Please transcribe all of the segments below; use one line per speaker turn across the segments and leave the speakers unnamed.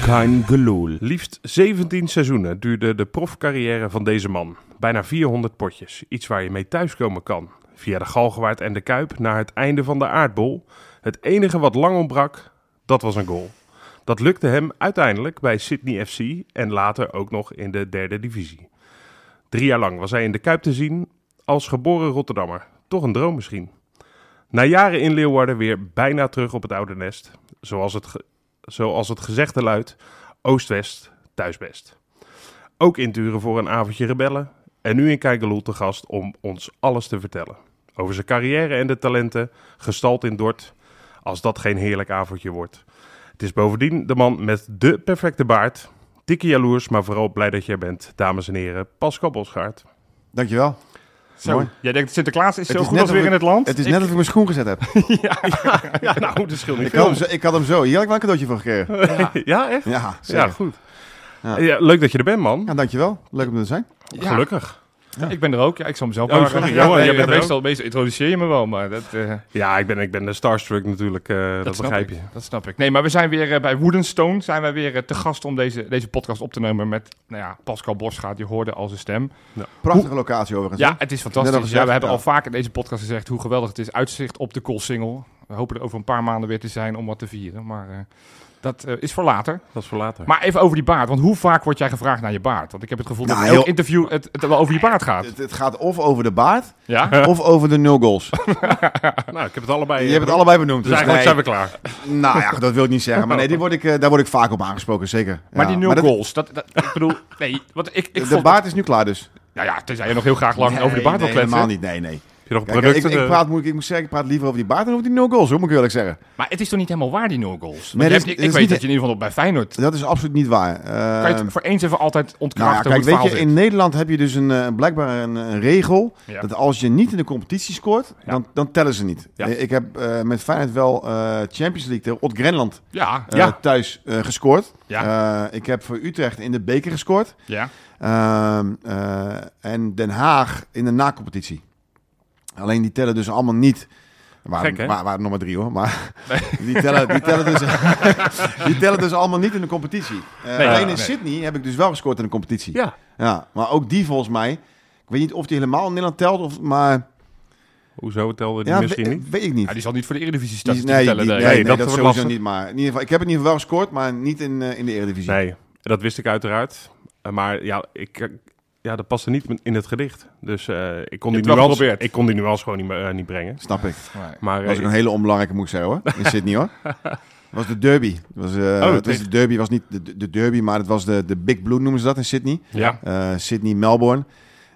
Kein Gelul.
Liefst 17 seizoenen duurde de profcarrière van deze man. Bijna 400 potjes, iets waar je mee thuiskomen kan. Via de Galgenwaard en de Kuip naar het einde van de aardbol. Het enige wat lang ontbrak, dat was een goal. Dat lukte hem uiteindelijk bij Sydney FC en later ook nog in de derde divisie. Drie jaar lang was hij in de Kuip te zien als geboren Rotterdammer. Toch een droom misschien. Na jaren in Leeuwarden weer bijna terug op het oude nest. Zoals het, ge- zoals het gezegde luidt, Oost-West, thuisbest. Ook inturen voor een avondje rebellen. En nu in Kijkeloel te gast om ons alles te vertellen. Over zijn carrière en de talenten, gestald in Dort. Als dat geen heerlijk avondje wordt. Het is bovendien de man met de perfecte baard. Tikkie jaloers, maar vooral blij dat je er bent. Dames en heren, Pascal Bosgaard.
Dankjewel.
Zo,
Mooi.
jij denkt Sinterklaas is
Het
zo
is
goed
net
als weer
of
in het land?
Het is
Ik-
net alsof ik mijn schoen gezet heb.
Ja, nou, dat scheelt niet
Ik had, hem zo, ik had hem zo. Hier had ik wel een cadeautje voor gekregen.
Ja, echt?
Ja,
Ja,
zeker.
goed.
Ja.
Ja, leuk dat je er bent, man.
Ja, dankjewel. Leuk om er te zijn.
Ja,
Gelukkig.
ja, Ik ben er ook. Ja, ik zal mezelf
Oh,
maar-
sorry,
Ja,
Johan,
nee,
jij bent er
meestal, meestal introduceer je me wel, maar dat, eh, dat,
Ja, ik ben, ik ben de starstruck natuurlijk. eh, dat
snap
begrijp
ik.
je.
Dat snap ik. Nee, maar we zijn weer eh, bij Woodenstone. Zijn wij weer eh, te gast om deze, deze podcast op te nemen met nou ja, Pascal Bosgaard. Je hoorde al zijn stem.
Prachtige locatie overigens.
Ja, het is fantastisch.
Net al
ja,
gezegd,
we hebben
ja.
al vaak in deze podcast gezegd hoe geweldig het is. Uitzicht op de Koolsingel. We hopen er over een paar maanden weer te zijn om wat te vieren. Maar eh, dat eh, is voor later.
Dat is voor later.
Maar even over die baard. Want hoe vaak word jij gevraagd naar je baard? Want ik heb het gevoel dat
Nou,
in elk
heel-
interview het, het wel over je baard gaat.
Het, het gaat of over de baard
Ja?
of over de no goals.
nou, ik heb het allebei.
Je
eh,
hebt het allebei benoemd.
Dus
Dus
eigenlijk zijn
nee.
we klaar.
Nou ja, dat wil ik niet zeggen. Maar nee, die word ik, eh, daar word ik vaak op aangesproken, zeker.
Maar
Ja.
die nul
dat-
goals, dat, dat, ik bedoel, nee, want ik, ik
de
vond
baard is nu klaar dus.
nou ja, tenzij je nog heel graag lang over de baard
nee,
wil kletsen.
helemaal niet. Nee, nee.
Heb je nog
Kijk,
producten?
ik, ik,
eh,
praat, moet, ik- ik moet zeggen, ik praat liever over die baard dan over die no goals, hoor, moet ik eerlijk zeggen.
Maar het is toch niet helemaal waar, die nul goals? Want
Nee, dat
je
is-
hebt- ik
dat
ik
is
weet
niet- Eh,
dat je in ieder geval op bij Feyenoord,
Dat is absoluut niet waar.
kan je
Ehm,
het voor eens even altijd
Nou ja,
ontkrachten
kijk,
hoe het
weet
verhaal
je, in Nederland heb je dus een, eh, blijkbaar een, een regel
Ja.
dat als je niet in de competitie scoort,
Ja.
dan, dan tellen ze niet.
Ja.
Eh, Ik heb eh, met Feyenoord wel eh, Champions League tegen Ot Grenland
zit. Ja,
eh,
ja,
thuis eh, gescoord.
ja,
Eh, ik heb voor Utrecht in de beker gescoord
ja.
Ehm, eh, en Den Haag in de nacompetitie. Alleen die tellen dus allemaal niet. Waar,
Gek, hè?
waar, waren nog maar drie hoor, maar die, tellen, die, tellen dus, die tellen dus allemaal niet in de competitie. Eh,
Nee,
alleen in
nee.
Sydney heb ik dus wel gescoord in de competitie.
Ja,
Ja, maar ook die volgens mij. Ik weet niet of die helemaal in Nederland telt, of, maar...
hoezo telde die
Ja, eh,
misschien
we-
niet?
weet ik niet.
Ja, die zal niet voor de Eredivisie
Die-
statistiek
nee,
tellen.
die- nee,
nee.
nee,
Nee, dat
dat,
wordt
sowieso
lastig.
niet. Maar in ieder geval, ik heb in ieder geval wel gescoord, maar niet in, eh, in de Eredivisie.
Nee, dat wist ik uiteraard. Eh, maar ja, ik, eh, ja, dat paste niet in het gedicht. Dus eh, ik, kon
Je
die
hebt het wel
nuance,
geprobeerd.
ik kon die nuance gewoon niet, me- eh, niet brengen.
Snap ik.
Nee.
Maar
Dat was
eh,
ook een hele onbelangrijke, moet ik zeggen hoor. In Sydney hoor. Dat was de derby. Dat was, eh,
dat
het was
weet-
de derby was niet de, de derby, maar het was de, de Big Blue noemen ze dat in Sydney.
ja,
Eh, Sydney Melbourne.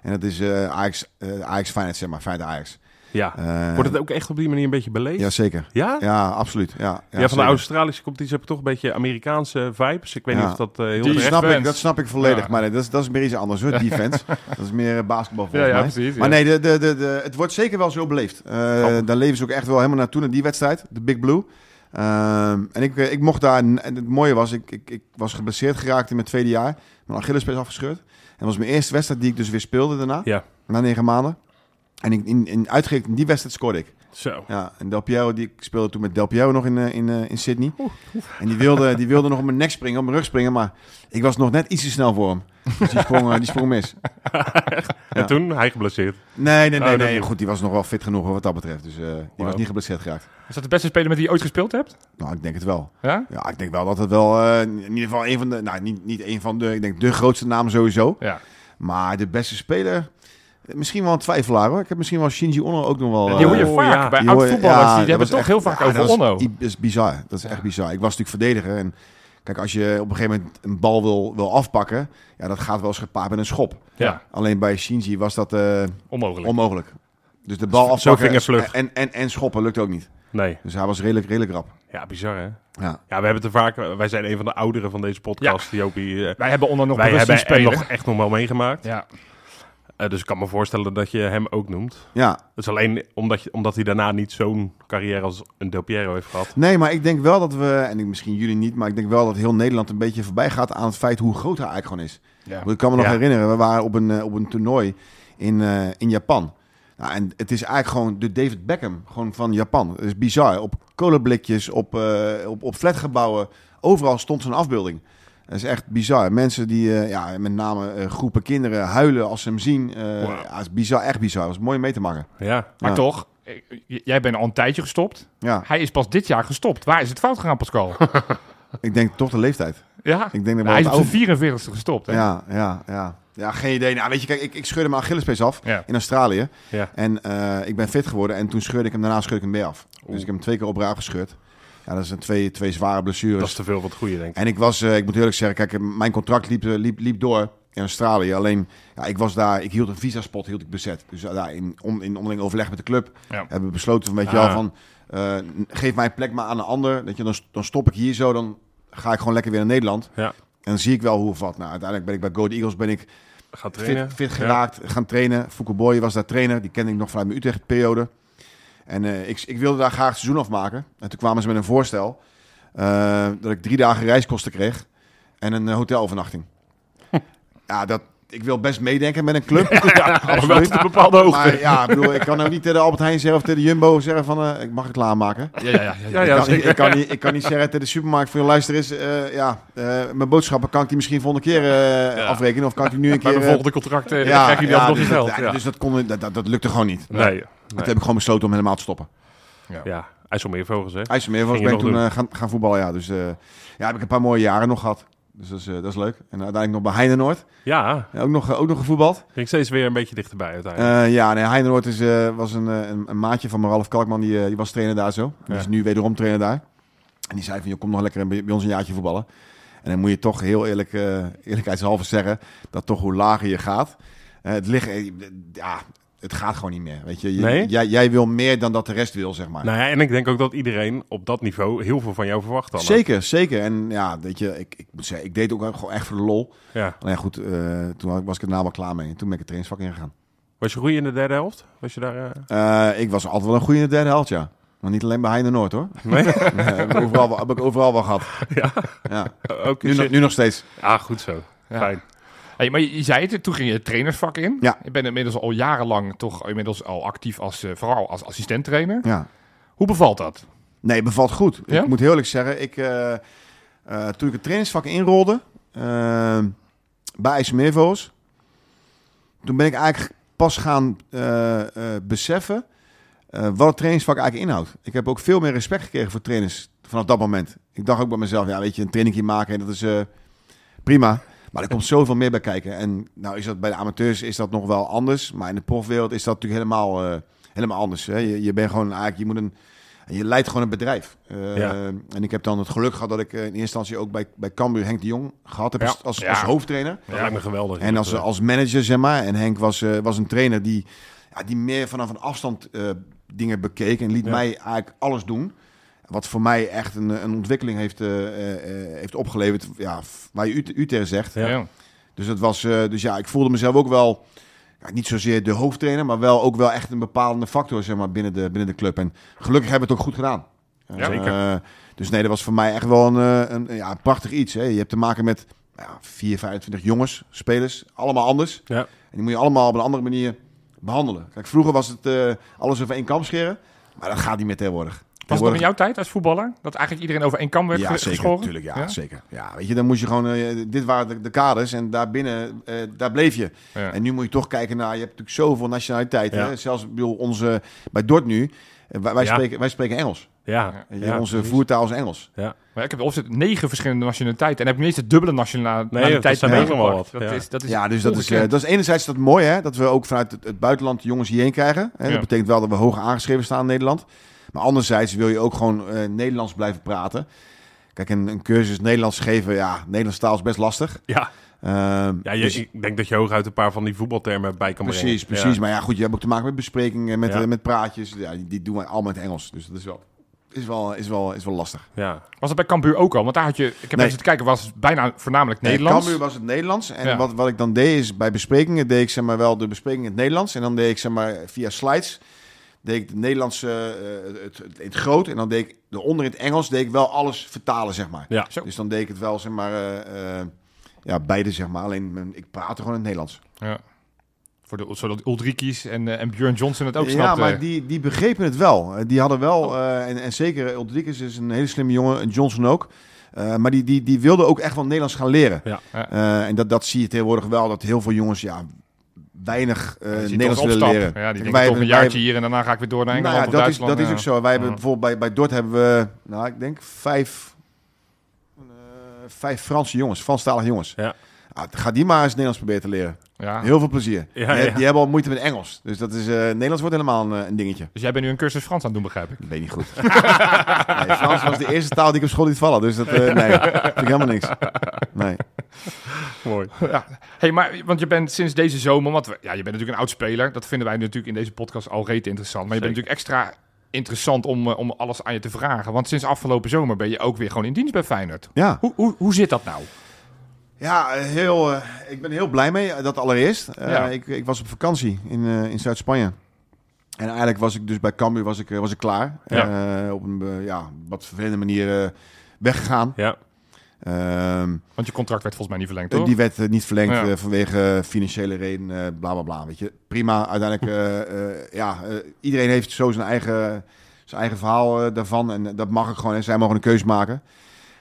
En dat is eh Ajax, eh Ajax Feyenoord, zeg maar. Feyenoord Ajax.
ja.
Eh,
Wordt het ook echt op die manier een beetje beleefd? Ja?
Jazeker.
Ja,
Ja, absoluut. Ja, ja,
van
zeker.
de Australische competitie heb ik toch een beetje Amerikaanse vibes. Ik weet
Ja.
niet of dat eh, heel
Die
Dat
terecht
snap, ik,
Defense.
dat snap ik volledig.
Ja.
Maar nee, dat, is, dat is meer iets anders hoor, defense. dat is meer eh, basketbal
Ja,
volgens
ja,
mij.
precies. ja. Oh.
Maar nee, de, de, de, de- het wordt zeker wel zo beleefd. Eh, Daar leven ze ook echt wel helemaal naartoe, naar die wedstrijd, de Big Blue. Ehm, en ik, eh, ik mocht daar, en het mooie was, ik, ik, ik was geblesseerd geraakt in mijn tweede jaar. Mijn Achillespees afgescheurd. En dat was mijn eerste wedstrijd die ik dus weer speelde daarna,
Ja.
na negen maanden. En ik, in, in, uitgerekend in die wedstrijd scoorde ik.
Zo.
Ja, en Del Piero, die, ik speelde toen met Del Piero nog in, eh, in, eh, in Sydney. En die wilde, die wilde nog op mijn nek springen, op mijn rug springen, maar ik was nog net iets te snel voor hem. Dus die sprong, eh, die sprong mis.
En toen, hij geblesseerd.
Nee, nee,
Oh,
nee,
dat
nee.
niet.
Goed, die was nog wel fit genoeg hoor, wat dat betreft. Dus eh, die
Wauw.
was niet geblesseerd geraakt.
Is dat de beste speler met wie je ooit gespeeld hebt?
Nou, ik denk het wel.
Ja?
Ja, ik denk wel dat het wel eh, in ieder geval een van de... Nou, niet, niet een van de... Ik denk de grootste naam sowieso.
Ja.
Maar de beste speler... eh, Misschien wel een twijfelaar hoor. Ik heb misschien wel Shinji Ono ook nog wel...
Ja,
eh,
Die hoor je
Oh,
vaak
ja.
bij
die hoor je-
oud-voetballers.
ja,
die
dat
hebben
was
het toch
echt-
heel vaak
ja,
over
dat was-
Onno.
i- Dat is bizar. Dat is echt bizar. Ik was natuurlijk verdediger en... Kijk, als je op een gegeven moment een bal wil, wil afpakken... Ja, dat gaat wel eens gepaard met een schop.
Ja,
Alleen bij Shinji was dat... eh,
onmogelijk.
Onmogelijk. Dus de bal
Zo
afpakken
vingervlug.
en, en, en schoppen lukt ook niet.
Nee.
Dus hij was redelijk, redelijk rap.
Ja, bizar hè?
Ja.
Ja, we hebben het er vaak... Wij zijn een van de ouderen van deze podcast, Jopie. eh,
Wij hebben Onno nog
wij
bewust zien
hebben hem
spelen.
nog echt nog wel meegemaakt.
Ja.
Eh, dus ik kan me voorstellen dat je hem ook noemt.
ja.
Het is alleen omdat, je, omdat hij daarna niet zo'n carrière als een Del Piero heeft gehad.
Nee, maar ik denk wel dat we, en ik, misschien jullie niet, maar ik denk wel dat heel Nederland een beetje voorbij gaat aan het feit hoe groot hij eigenlijk gewoon is.
Ja.
Want ik kan me nog
Ja.
herinneren, we waren op een, eh, op een toernooi in, eh, in Japan. Nou, en het is eigenlijk gewoon de David Beckham gewoon van Japan. Het is bizar. Op kolenblikjes, op, eh op, op flatgebouwen, overal stond zijn afbeelding. Dat is echt bizar. Mensen die, eh, ja, met name eh, groepen kinderen, huilen als ze hem zien. Eh
Wauw.
ja, het is bizar, echt bizar. Het was mooi om mee te maken.
Ja.
Maar
Ja.
toch, eh, j- jij bent al een tijdje gestopt.
Ja,
Hij is pas dit jaar gestopt. Waar is het fout gegaan, Pascal?
ik denk toch de leeftijd.
ja,
Ik denk dat we
Nou, hij is
wat
op
ouder-
zijn 44ste gestopt. Hè?
Ja, ja, ja. Ja, geen idee. Nou, weet je, kijk, ik, ik scheurde mijn Achillespees af
Ja.
in Australië.
Ja.
En eh, ik ben fit geworden en toen scheurde ik hem, daarna scheurde ik hem weer af. Dus
Oeh.
ik heb hem twee keer op raak gescheurd. Ja, dat zijn twee, twee zware blessures.
Dat is te veel wat goede, denk ik.
En ik was, eh, ik moet eerlijk zeggen, kijk, mijn contract liep, eh, liep, liep door in Australië. Alleen, ja, ik was daar, ik hield een visaspot, hield ik bezet. Dus eh, daar in, on- in onderling overleg met de club
Ja.
hebben we besloten van, weet je
Ah.
wel, van, eh, geef mijn plek maar aan een ander. Weet je, dan, dan stop ik hier zo, dan ga ik gewoon lekker weer naar Nederland.
Ja.
En dan zie ik wel hoe of wat. Nou, uiteindelijk ben ik bij Go Ahead Eagles ben ik
Gaat trainen.
fit, fit geraakt, gaan trainen. Foucault Boy was daar trainer. Die kende ik nog vanuit mijn Utrecht-periode. En eh, ik, ik wilde daar graag het seizoen afmaken. En toen kwamen ze met een voorstel eh, dat ik drie dagen reiskosten kreeg en een eh, hotelovernachting. ja, dat, ik wil best meedenken met een club.
Alhoewel tot een bepaalde hoogte.
maar ja, ik bedoel, ik kan nou niet tegen de Albert Heijn zeggen of tegen de Jumbo zeggen van eh, ik mag het klaarmaken.
Ja, ja, ja, ja.
Ja,
Ik
ja,
kan,
zeker.
ik, kan niet, ik kan niet zeggen tegen de supermarkt van luister eens, eh, ja, eh, mijn boodschappen kan ik die misschien volgende keer eh,
Ja.
afrekenen of kan ik die nu een
Bij
keer...
mijn
eh,
volgende contract eh, dan krijg je dat nog
dus
geen geld.
Dat,
ja.
Dus dat, kon, dat, dat, dat lukte gewoon niet.
Nee. nee.
Toen heb ik gewoon besloten om helemaal te stoppen.
Ja, IJsselmeervogels, hè?
IJsselmeer was
Ging
ben
je
ik
nog
toen eh, gaan, gaan voetballen. Ja, dus eh, ja, heb ik een paar mooie jaren nog gehad. Dus dat is, eh, dat is leuk. En uiteindelijk nog bij Heidenoord.
Ja,
Ja, ook, nog, eh, ook nog gevoetbald.
ging steeds weer een beetje dichterbij uiteindelijk.
Eh, ja, nee, Heidenoord is, eh, was een, eh, een, een maatje van me, Ralf Kalkman. Die, eh, die was trainer daar zo. Die
Ja.
is nu wederom trainer daar. En die zei van, je komt nog lekker bij bij ons een jaartje voetballen. En dan moet je toch heel eerlijk, eh, eerlijkheidshalve zeggen... dat toch hoe lager je gaat... eh, het, liggen, eh, ja, het gaat gewoon niet meer. Weet je? Je-
Nee?
jij, jij wil meer dan dat de rest wil, zeg maar.
nou ja, en ik denk ook dat iedereen op dat niveau heel veel van jou verwacht dan. hè?
Zeker, zeker. En ja, weet je, ik, ik moet zeggen, ik deed het ook gewoon echt voor de lol.
Ja.
Alleen goed, eh, toen had- was ik er nou wel klaar mee. En toen ben ik het trainingsvak ingegaan.
Was je goed in de derde helft? Was je daar... eh,
Eh, ik was altijd wel een goede in de derde helft, ja. Maar niet alleen bij Heine Noord, hoor.
Nee?
Nee, heb, ik overal, wel- heb ik overal wel gehad.
Ja. Dus
Ja.
ook
Nu, nog- nu nog steeds.
Ah, goed zo.
Ja.
Fijn.
Hey, maar je, je zei het, toen ging je het trainersvak in.
Ja.
Je bent inmiddels al jarenlang toch inmiddels al actief als, eh, vooral als assistent trainer.
Ja.
Hoe bevalt dat?
Nee, bevalt goed.
Ja?
Ik moet heel eerlijk zeggen, ik, eh, eh, toen ik het trainingsvak inrolde eh, bij IJsselmeervoos, toen ben ik eigenlijk pas gaan eh, eh, beseffen eh, wat het trainingsvak eigenlijk inhoudt. Ik heb ook veel meer respect gekregen voor trainers vanaf dat moment. Ik dacht ook bij mezelf, ja weet je, een trainingje maken, dat is eh, prima. Maar er komt zoveel meer bij kijken. En nou is dat bij de amateurs is dat nog wel anders. Maar in de profwereld is dat natuurlijk helemaal, eh, helemaal anders. Hè? Je, je bent gewoon eigenlijk, je moet een en je leidt gewoon een bedrijf. Eh,
Ja.
En ik heb dan het geluk gehad dat ik eh, in eerste instantie ook bij, bij Cambuur Henk de Jong gehad heb
Ja.
als, als,
Ja.
als hoofdtrainer.
Dat lijkt me geweldig.
En als,
Dat, eh,
als manager, zeg maar. En Henk was, eh, was een trainer die, ja, die meer vanaf een afstand eh, dingen bekeek en liet
Ja.
mij eigenlijk alles doen. Wat voor mij echt een, eh, een ontwikkeling heeft, eh, eh, eh, heeft opgeleverd, ja, f- waar je u, u tegen zegt.
Ja.
Dus, dat was, eh, dus ja, ik voelde mezelf ook wel, ja, niet zozeer de hoofdtrainer, maar wel ook wel echt een bepalende factor zeg maar, binnen, de, binnen de club. En gelukkig hebben we het ook goed gedaan.
Ja, zeker.
Eh, dus nee, dat was voor mij echt wel een, eh, een, ja, een prachtig iets. Hè. Je hebt te maken met ja, 4, 25 jongens, spelers, allemaal anders.
Ja.
En die moet je allemaal op een andere manier behandelen. Kijk, vroeger was het eh, alles over één kam scheren, maar dat gaat niet meer tegenwoordig.
Was het nog
Tegenwoordig-
in jouw tijd als voetballer? Dat eigenlijk iedereen over één kam werd
ja,
ge-
zeker,
geschoren?
Tuurlijk, ja,
Ja?
zeker. Ja, weet je, dan moest je gewoon... eh, dit waren de, de kaders en daarbinnen, eh daar bleef je.
Ja.
En nu moet je toch kijken naar... Je hebt natuurlijk zoveel nationaliteiten.
Ja.
Hè? Zelfs ik bedoel, onze, bij Dort nu, eh, wij, wij
Ja.
spreken, wij spreken Engels.
Ja.
Weet je,
ja,
onze
precies.
voertaal is Engels.
Maar ik heb opzet negen verschillende nationaliteiten. En heb ik niet eens de dubbele nationaliteit
dat zijn
erbij
ook nog wel
gepakt.
wat,
Dat
ja.
is, dat is
Ja, dus dat is, eh,
ongekend.
dat is enerzijds dat mooi, hè? Dat we ook vanuit het, het buitenland de jongens hierheen krijgen. Hè?
Ja.
Dat betekent wel dat we hoog aangeschreven staan in Nederland. Maar anderzijds wil je ook gewoon eh, Nederlands blijven praten. Kijk, een, een cursus Nederlands geven, ja, Nederlands taal is best lastig.
Ja,
Ehm,
ja je,
dus-
ik denk dat je hooguit een paar van die voetbaltermen bij kan
Precies,
brengen.
precies. Maar ja, goed, je hebt ook te maken met besprekingen, met,
Ja.
eh, met praatjes. Ja, die, die doen wij allemaal in het Engels. Dus dat is wel, is wel, is wel, is wel lastig.
Ja. ja.
Was dat bij Cambuur ook al? Want daar had je... Ik heb
Nee.
even te kijken, was het bijna voornamelijk Nederlands.
Cambuur was het Nederlands. En
Ja.
wat, wat ik dan deed is, bij besprekingen deed ik zeg maar wel de bespreking in het Nederlands. En dan deed ik zeg maar via slides, deed ik het Nederlands eh, eh, het, het, in het groot. En dan deed ik eronder in het Engels, deed ik wel alles vertalen, zeg maar.
Ja.
Zo.
Dus dan deed ik het wel, zeg maar, eh, eh, ja, beide, zeg maar. Alleen mijn- ik praatte gewoon in het Nederlands.
Ja. Voor de, zodat Ulrikies en, eh, en Björn Johnson het ook
ja,
snapten.
maar die, die begrepen het wel. Eh, Die hadden wel, eh, en, en zeker Ulrikes is een hele slimme jongen, en Johnson ook. Eh, Eh, maar die, die, die wilde ook echt wel Nederlands gaan leren.
Ja.
Ja.
Eh, en dat, dat zie je tegenwoordig wel, dat heel veel jongens ja, weinig eh,
Je ziet
Nederlands
toch
willen
opstappen.
leren.
Ja, die
Kijk, wij
denken toch een
hebben- wij
jaartje hier en daarna ga ik weer door naar Engeland
nou
of
ja, dat, is,
Duitsland. eh.
dat is
ja.
ook zo. Wij hebben
Ja.
bijvoorbeeld bij, bij Dort hebben we, nou, ik denk vijf, eh, vijf Franse jongens, Franstalige jongens.
Ja.
Ah, ga die maar eens Nederlands proberen te leren.
Ja.
Heel veel plezier.
Ja,
die,
ja.
die hebben al moeite met Engels. Dus dat is, eh, Nederlands wordt helemaal een, eh, een dingetje.
Dus jij bent nu een cursus Frans aan het doen, begrijp ik.
Dat weet ik niet goed. nee, Frans was de eerste taal die ik op school liet vallen. Dus dat, eh, nee, vind ik helemaal niks. Nee.
Mooi.
Eh,
Hey, maar, want je bent sinds deze zomer, want we- ja, je bent natuurlijk een oud speler. Dat vinden wij natuurlijk in deze podcast al reet interessant. Maar je bent
Zeker.
natuurlijk extra interessant om, eh, om alles aan je te vragen. Want sinds afgelopen zomer ben je ook weer gewoon in dienst bij Feyenoord.
Ja.
Hoe, hoe, hoe zit dat nou?
Ja, heel, eh, ik ben heel blij mee. eh, Dat allereerst. Eh,
Ja.
ik, ik was op vakantie in, eh, in Zuid-Spanje. En eigenlijk was ik dus bij Cambuur was ik, eh, was ik klaar. Eh, op een eh, ja, wat vervelende manier eh, weggegaan.
Ja,
Ehm,
Want je contract werd volgens mij niet verlengd,
eh,
toch?
die werd eh, niet verlengd
Ja.
eh, vanwege eh, financiële redenen, eh, bla bla bla. Weet je. Prima, uiteindelijk, eh, eh, ja, eh, iedereen heeft zo zijn eigen, zijn eigen verhaal eh, daarvan. En eh, dat mag ik gewoon, en zij mogen een keus maken.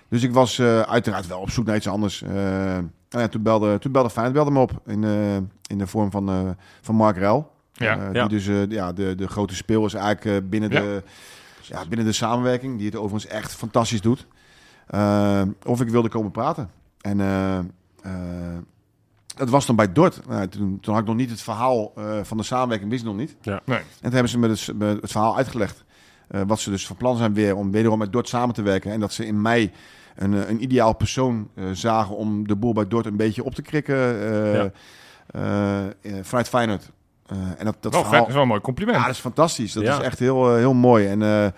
Dus ik was eh, uiteraard wel op zoek naar iets anders. Eh, en ja, toen belde, toen belde Feyenoord belde me op in, eh, in de vorm van, eh, van Mark Rel.
Ja,
Eh,
ja.
Die dus eh, ja, de, de grote speel is eigenlijk eh, binnen,
Ja.
de, ja, binnen de samenwerking, die het overigens echt fantastisch doet. Eh, of ik wilde komen praten. En eh, eh, dat was dan bij Dort. Nou, toen, toen had ik nog niet het verhaal eh, van de samenwerking, wist ik nog niet.
Nee.
En toen hebben ze me dus, me het verhaal uitgelegd. eh, wat ze dus van plan zijn weer om wederom met Dort samen te werken. En dat ze in mei een, eh, een ideaal persoon eh, zagen om de boel bij Dort een beetje op te krikken. eh,
Ja.
eh, eh, vanuit Feyenoord. Eh, en dat, dat
wel, vet,
verhaal...
dat is wel een mooi compliment.
Ja, dat is fantastisch. Dat
Ja.
is echt heel, eh, heel mooi. En eh, eh,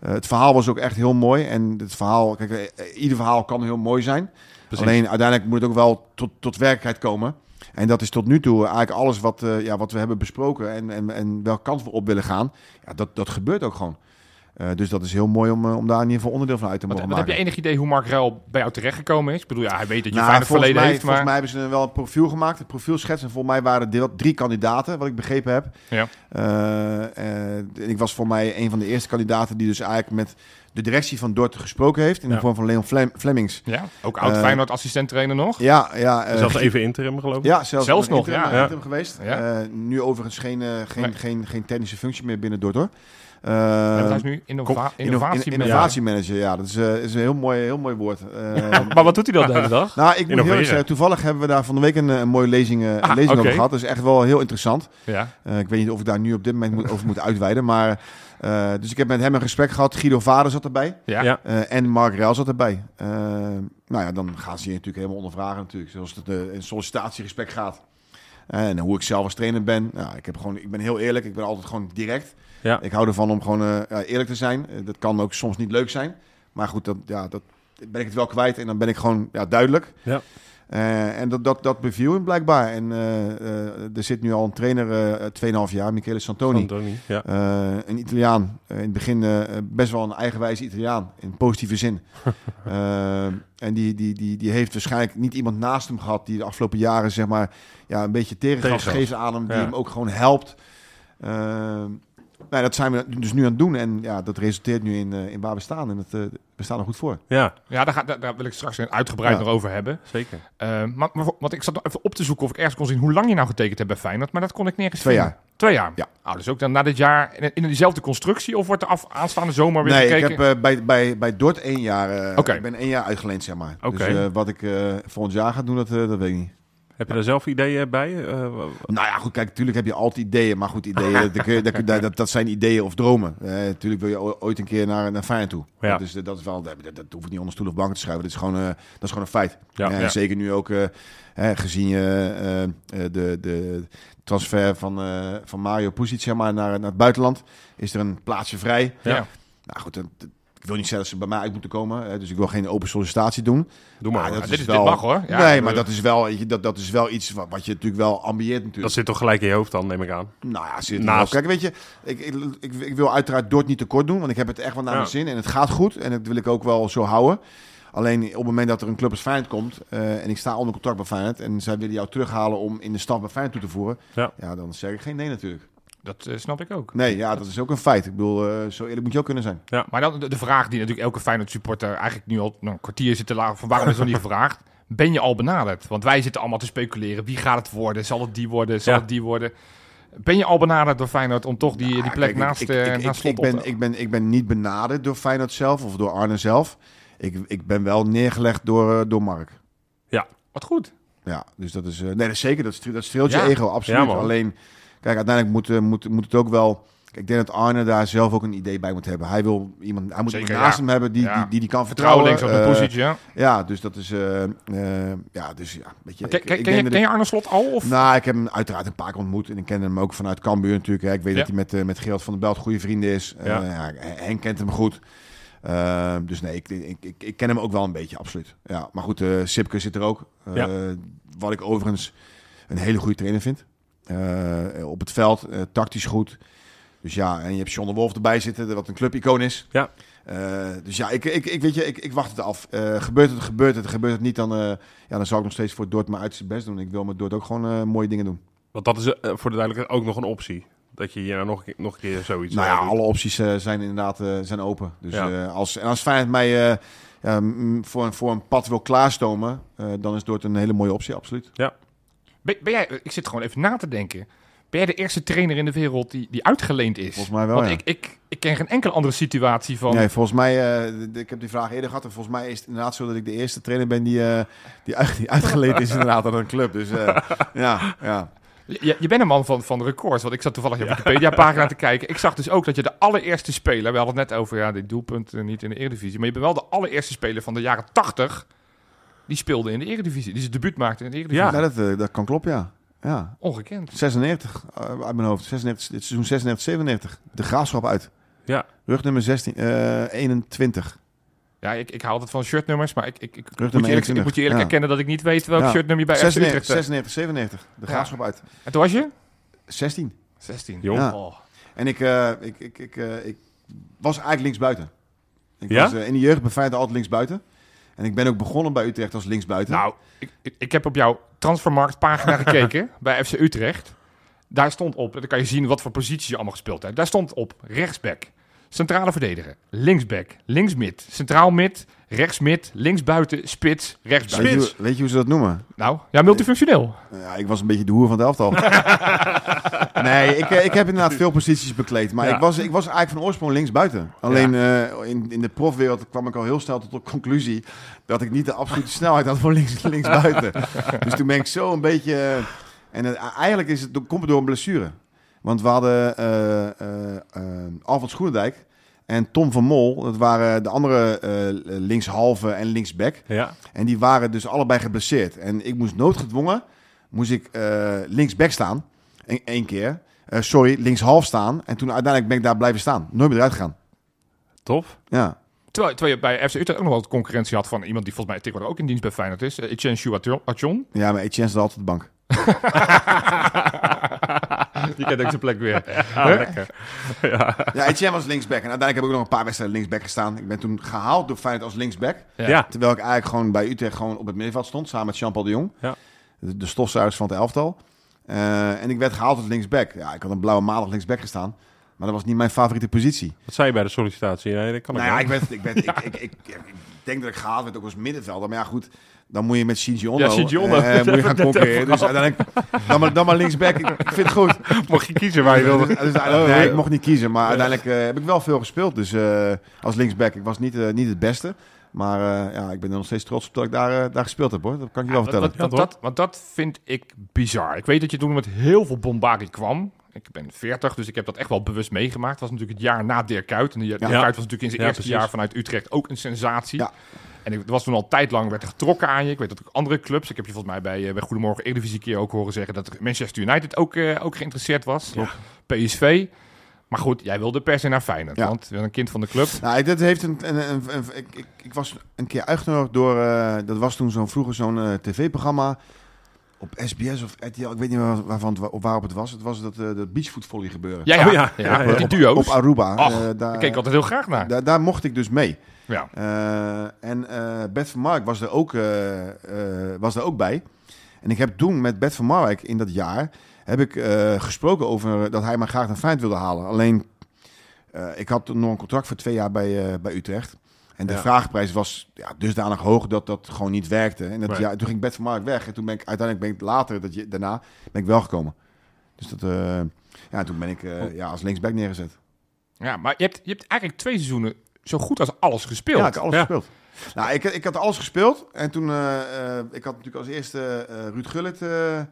het verhaal was ook echt heel mooi. En het verhaal, kijk, eh, ieder verhaal kan heel mooi zijn.
precies.
Alleen uiteindelijk moet het ook wel tot, tot werkelijkheid komen. En dat is tot nu toe eigenlijk alles wat, eh, ja, wat we hebben besproken en, en, en welke kant we op willen gaan. Ja, dat, dat gebeurt ook gewoon. Eh, dus dat is heel mooi om, eh, om daar in ieder geval onderdeel van uit te
Wat,
mogen
wat heb
maken.
je enig idee hoe Mark Ruil bij jou terechtgekomen is? Ik bedoel, ja, hij weet dat je
Nou,
Feyenoord
volgens
verleden
mij,
heeft, maar...
volgens mij hebben ze wel een profiel gemaakt, een profielschets. En volgens mij waren er drie kandidaten, wat ik begrepen heb.
Ja.
Eh, eh, en ik was voor mij een van de eerste kandidaten die dus eigenlijk met de directie van Dort gesproken heeft. In
Ja.
de vorm van Leon Flem Flemings.
Ja, ook oud
Eh,
Feyenoord assistent trainer nog.
Ja, ja. eh,
Zelfs even interim, geloof ik.
ja, zelfs,
Zelfs
een
nog,
interim-
ja.
een interim geweest.
Ja.
Eh, nu overigens geen, eh, geen,
Nee.
geen, geen technische functie meer binnen Dort hoor. Eh,
Ja, want hij is nu innova
inno-
innovatie.
in- innovatiemanager, ja. Dat is, eh, is een heel mooi, heel mooi woord. Eh,
Maar wat doet hij dan de hele dag?
Nou, ik moet heel
Innoveren.
eerlijk zeggen, toevallig hebben we daar van de week een, eh, een mooie lezing, eh, een
Ah,
lezing
oké.
over gehad. Dat is echt wel heel interessant.
Ja.
Eh, ik weet niet of ik daar nu op dit moment moet, over moet uitweiden. Maar, eh, dus ik heb met hem een gesprek gehad. Guido Vader zat erbij.
Ja.
Ja.
eh, en Mark Rijl zat erbij. Eh, nou ja, dan gaan ze je natuurlijk helemaal ondervragen natuurlijk. Zoals het eh, een sollicitatiegesprek gaat. Eh, En hoe ik zelf als trainer ben. Nou, ik, heb gewoon, ik ben heel eerlijk. Ik ben altijd gewoon direct.
Ja.
Ik hou ervan om gewoon eh, ja, eerlijk te zijn. Eh, dat kan ook soms niet leuk zijn. Maar goed, dat, ja, dat ben ik het wel kwijt. En dan ben ik gewoon ja, duidelijk.
Ja.
Eh, en dat, dat, dat beviel hem blijkbaar. En eh, eh, er zit nu al een trainer, eh 2,5 jaar, Michele Santoni.
Antoni, Oh, Ja.
Eh, een Italiaan, eh, in het begin eh, best wel een eigenwijze Italiaan, in positieve zin. Eh, en die, die, die, die heeft waarschijnlijk niet iemand naast hem gehad die de afgelopen jaren zeg maar, ja, een beetje tegengas
Tegengas.
geeft aan hem, die
Ja.
hem ook gewoon helpt. Eh, nou, dat zijn we dus nu aan het doen en ja, dat resulteert nu in, eh, in waar we staan. En dat, eh, we staan er goed voor.
ja,
Ja, daar, ga, daar, daar wil ik straks uitgebreid
Ja.
nog over hebben.
zeker.
Eh, maar, maar voor- want ik zat nog even op te zoeken of ik ergens kon zien hoe lang je nou getekend hebt bij Feyenoord. Maar dat kon ik nergens
Twee
vinden.
jaar.
Twee jaar?
Ja.
Oh, dus ook dan na dit jaar in, in diezelfde constructie? Of wordt er af, aanstaande zomer weer
Nee, ik
gekeken?
heb eh, bij, bij, bij Dort één jaar. eh,
Oké.
Ik ben één jaar uitgeleend, zeg maar.
Oké.
Dus eh, wat ik eh, volgend jaar ga doen, dat, eh, dat weet ik niet.
Heb je daar zelf ideeën bij? Eh, w- w-
Nou ja, goed, kijk, natuurlijk heb je altijd ideeën. Maar goed, ideeën, dat, kun je- dat, kun- dat, dat, dat zijn ideeën of dromen. Natuurlijk wil je o- ooit een keer naar, naar Feyenoord toe.
Ja.
Dus eh, dat is wel, dat, dat dat hoef ik niet onder stoel of bank te schuiven. Dat is gewoon, eh, dat is gewoon een feit.
Ja,
en
ja.
zeker nu ook, eh, hè, gezien je eh, eh, de, de transfer van, eh, van Mario Pusic zeg maar, naar, naar het buitenland, is er een plaatsje vrij.
Ja.
Ja.
Nou goed, dat- dat- ik wil niet zeggen dat ze bij mij uit moeten komen. hè, dus ik wil geen open sollicitatie doen.
Doe maar.
Ah,
hoor.
dat
dat,
Ja, dit,
is
is,
wel-
dit mag hoor. Ja,
nee,
bedoel-
maar dat is, wel, weet je, dat, dat is wel iets wat, wat je natuurlijk wel ambieert natuurlijk.
zit toch gelijk in je hoofd dan, neem ik aan.
Nou ja, zit er
Naast-
wel. Kijk, weet je, ik, ik, ik, ik wil uiteraard Dort niet tekort doen, want ik heb het echt wel naar
Ja.
mijn zin. En het gaat goed en dat wil ik ook wel zo houden. Alleen op het moment dat er een club als Feyenoord komt eh, en ik sta onder contract bij Feyenoord... en zij willen jou terughalen om in de stad bij Feyenoord toe te voeren...
Ja.
ja, dan zeg ik geen nee natuurlijk.
Dat eh, snap ik ook.
Nee, ja, dat is ook een feit. Ik bedoel, eh, zo eerlijk moet je ook kunnen zijn.
Maar dan de, de vraag die natuurlijk elke Feyenoord supporter eigenlijk nu al nou, een kwartier zit te laag van waarom is dat niet gevraagd? Ben je al benaderd? Want wij zitten allemaal te speculeren. Wie gaat het worden? Zal het die worden? Zal
Ja.
het die worden? Ben je al benaderd door Feyenoord om toch die, die
Ja,
plek
kijk, ik-
naast,
ik,
eh,
ik,
naast
ik,
slot
ik,
op
ben, ik, ben, ik ben niet benaderd door Feyenoord zelf of door Arne zelf. Ik, ik ben wel neergelegd door, eh, door Mark.
Wat goed.
Ja, dus dat is... eh, nee, dat is zeker. Dat, stree- dat streelt je
Ja.
ego, absoluut.
Ja, man.
Alleen, kijk, uiteindelijk moet, eh, moet, moet het ook wel... Kijk, ik denk dat Arne daar zelf ook een idee bij moet hebben. Hij, wil iemand, hij moet
Zeker,
iemand naast
ja.
hem hebben die,
Ja.
die, die die kan
Vertrouwen
vertrouwen.
links op de
Eh,
positie, ja.
Ja, dus dat is... eh, eh, ja, dus ja, weet je...
Maar Ken,
ik-
ken-
ik
ken
denk
je,
dat
ken
ik-
je Arne Slot al? Of?
Nou, ik heb hem uiteraard een paar keer ontmoet. En ik ken hem ook vanuit Cambuur natuurlijk. Hè. Ik weet
Ja.
dat hij met, eh, met Gerald van der Belt goede vrienden is. Eh,
Ja.
Ja. Henk kent hem goed. Eh, dus nee, ik, ik, ik, ik ken hem ook wel een beetje, absoluut. Ja, maar goed, eh Sipke zit er ook. Eh, Wat ik overigens een hele goede trainer vind. Eh, op het veld, eh, tactisch goed. Dus ja, en je hebt John de Wolf erbij zitten, wat een clubicoon is.
Ja.
Eh, dus ja, ik, ik, ik, weet je, ik, ik wacht het af. Eh, gebeurt het, gebeurt het, gebeurt het niet, dan, eh, ja, dan zal ik nog steeds voor Dordt mijn uiterste best doen. Ik wil met Dordt ook gewoon eh, mooie dingen doen.
Want dat is eh, voor de duidelijkheid ook nog een optie. Dat je hier nou nog, een keer- nog een keer zoiets
nou ja,
doet.
alle opties eh, zijn inderdaad eh, zijn open. Dus
Ja.
eh, als, en als Feyenoord mij eh, ja, mm, voor, een- voor een pad wil klaarstomen, eh, dan is Dordt een hele mooie optie, absoluut.
Ben, ben jij, ik zit gewoon even na te denken. Ben jij de eerste trainer in de wereld die, die uitgeleend is?
Volgens mij wel,
Want
ja.
ik, ik, ik ken geen enkele andere situatie van...
Nee, volgens mij, eh, d- d- ik heb die vraag eerder gehad. En volgens mij is het inderdaad zo dat ik de eerste trainer ben die, eh, die, uit- die uitgeleend is inderdaad aan een club. Dus eh, ja, ja.
Je, je bent een man van, van records, want ik zat toevallig je Wikipedia-pagina te kijken. Ik zag dus ook dat je de allereerste speler, we hadden het net over ja, dit doelpunt eh, niet in de Eredivisie, maar je bent wel de allereerste speler van de jaren 80 die speelde in de Eredivisie, die zijn debuut maakte in de
Ja.
Eredivisie.
Ja, dat, eh, dat kan kloppen, ja. ja.
Ongekend.
96 eh, uit mijn hoofd. 96, dit seizoen 96, 97. De graafschap uit.
Ja.
Rug nummer 16, eh 21.
Ja, ik, ik hou altijd van shirtnummers, maar ik, ik, ik, moet, je
nummer
eerlijk,
21,
ik moet je eerlijk
ja.
erkennen dat ik niet weet welk
Ja.
shirtnummer je bij FC
96,
Utrecht eh. hebt.
96, 97. De graafschap uit.
En toen was je?
16.
16.
Jong.
Ja.
Oh.
En ik, eh, ik, ik, ik, eh, ik was eigenlijk linksbuiten. Ik
Ja?
was eh, in de jeugd bij Feyenoord altijd linksbuiten. En ik ben ook begonnen bij Utrecht als linksbuiten.
Nou, ik, ik, ik heb op jouw transfermarktpagina gekeken bij FC Utrecht. Daar stond op, en dan kan je zien wat voor posities je allemaal gespeeld hebt. Daar stond op rechtsback, centrale verdediger, linksback, linksmid, centraal mid, rechtsmid, linksbuiten, spits,
weet,
rechtsbuiten.
je,
Spits.
hoe- weet je hoe ze dat noemen?
Nou, ja, multifunctioneel.
Nou Ja, ik was een beetje de hoer van het elftal. nee, ik, eh, ik heb inderdaad veel posities bekleed. Maar
Ja.
ik, was, ik was eigenlijk van oorsprong linksbuiten. Alleen eh, in, in de profwereld kwam ik al heel snel tot de conclusie... dat ik niet de absolute snelheid had voor links, linksbuiten. dus toen ben ik zo een beetje... eh, en eh, eigenlijk is het, komt het door een blessure. Want we hadden eh eh, eh, Alfred Schoenendijk en Tom van Mol. Dat waren de andere eh, linkshalve en linksback.
Ja.
En die waren dus allebei geblesseerd. En ik moest noodgedwongen, moest ik eh, linksback staan. Eén één keer. Eh, sorry, linkshalf staan. En toen uiteindelijk ben ik daar blijven staan. Nooit meer eruit gegaan.
Tof.
Ja.
Terwijl, terwijl je bij FC Utrecht ook nog wel wat concurrentie had van iemand die volgens mij tegenwoordig ook in dienst bij Feyenoord is. eh, Etienne Chouatjon.
ja, maar Etienne zat altijd op de bank.
Die kent ook zijn plek weer. Ah,
Ja, Etienne was linksback. En uiteindelijk heb ik ook nog een paar wedstrijden linksback gestaan. Ik ben toen gehaald door Feyenoord als linksback.
Ja.
Ja.
Terwijl ik eigenlijk gewoon bij Utrecht gewoon op het middenveld stond. Samen met Jean-Paul de Jong.
Ja.
De, de stofzuigers van het elftal. Eh, en ik werd gehaald als linksback. Ja, ik had een blauwe maandag linksback gestaan. Maar dat was niet mijn favoriete positie.
Wat zei je bij de sollicitatie? Nee, dat kan
Nou
ik
ja, ik,
niet.
ben, ik, ben, ik, ik, ik, ik denk dat ik gehaald werd ook als middenvelder. Maar ja, goed, dan moet je met Shinji Ono,
Ja, Shinji Ono.
eh, moet je gaan concurreren. Dus uiteindelijk, dan maar, dan maar linksback. Ik, ik vind het goed.
Mocht je kiezen waar je
Dus,
wilde.
dus uiteindelijk- nee, ik mocht niet kiezen, maar uiteindelijk eh, heb ik wel veel gespeeld. Dus eh, als linksback, ik was niet, eh, niet het beste. Maar eh, ja, ik ben er nog steeds trots op dat ik daar, eh, daar gespeeld heb, hoor. Dat kan ik je wel vertellen.
Want, want-
Ja,
want dat, want dat vind ik bizar. Ik weet dat je toen met heel veel bombardie kwam. Ik ben 40, dus ik heb dat echt wel bewust meegemaakt. Het was natuurlijk het jaar na Dirk Kuyt. En Dirk
Ja.
Kuyt was natuurlijk in zijn
Ja,
eerste
precies.
jaar vanuit Utrecht ook een sensatie.
Ja.
En ik- er was toen al tijd lang werd er getrokken aan je. Ik weet dat ook andere clubs. Ik heb je volgens mij bij, eh, bij Goedemorgen Eredivisie een keer ook horen zeggen... dat Manchester United ook, eh, ook geïnteresseerd was. PSV. Maar goed, jij wilde per se naar Feyenoord.
Ja.
Want je bent een kind van de club.
Nou, dit heeft een, een, een- een- ik, ik, ik was een keer uitgenodigd door, eh, dat was toen zo'n vroeger zo'n eh, tv-programma op SBS of RTL, ik weet niet waar, waarvan, het wa- op waarop het was. Het was dat, eh dat beachvoetvolley gebeuren.
Ja, ja,
Oh, ja.
ja.
Ja, ja.
Die
op,
duo's.
Op Aruba.
Ach,
Eh,
daar
daar,
keek ik altijd heel graag naar.
daar, daar mocht ik dus mee.
Ja.
Eh, en eh Bert van Mark was er ook, eh, eh, was er ook bij. En ik heb toen met Bert van Marwijk in dat jaar heb ik, eh, gesproken over dat hij maar graag naar Feyenoord wilde halen. Alleen, eh, ik had nog een contract voor twee jaar bij, eh, bij Utrecht. En de
Ja.
vraagprijs was ja, dusdanig hoog dat dat gewoon niet werkte. En dat,
Nee.
ja, toen ging Bert van Marwijk weg. En toen ben ik uiteindelijk ben ik later, dat, je- daarna, ben ik wel gekomen. Dus dat, eh, ja, toen ben ik eh, ja, als linksback neergezet.
Ja, maar je hebt, je hebt eigenlijk twee seizoenen zo goed als alles gespeeld.
Ja, ik had alles
Ja.
gespeeld. Nou, ik, ik had alles gespeeld. En toen, eh, eh, ik had natuurlijk als eerste eh, Ruud Gullit, eh, eh,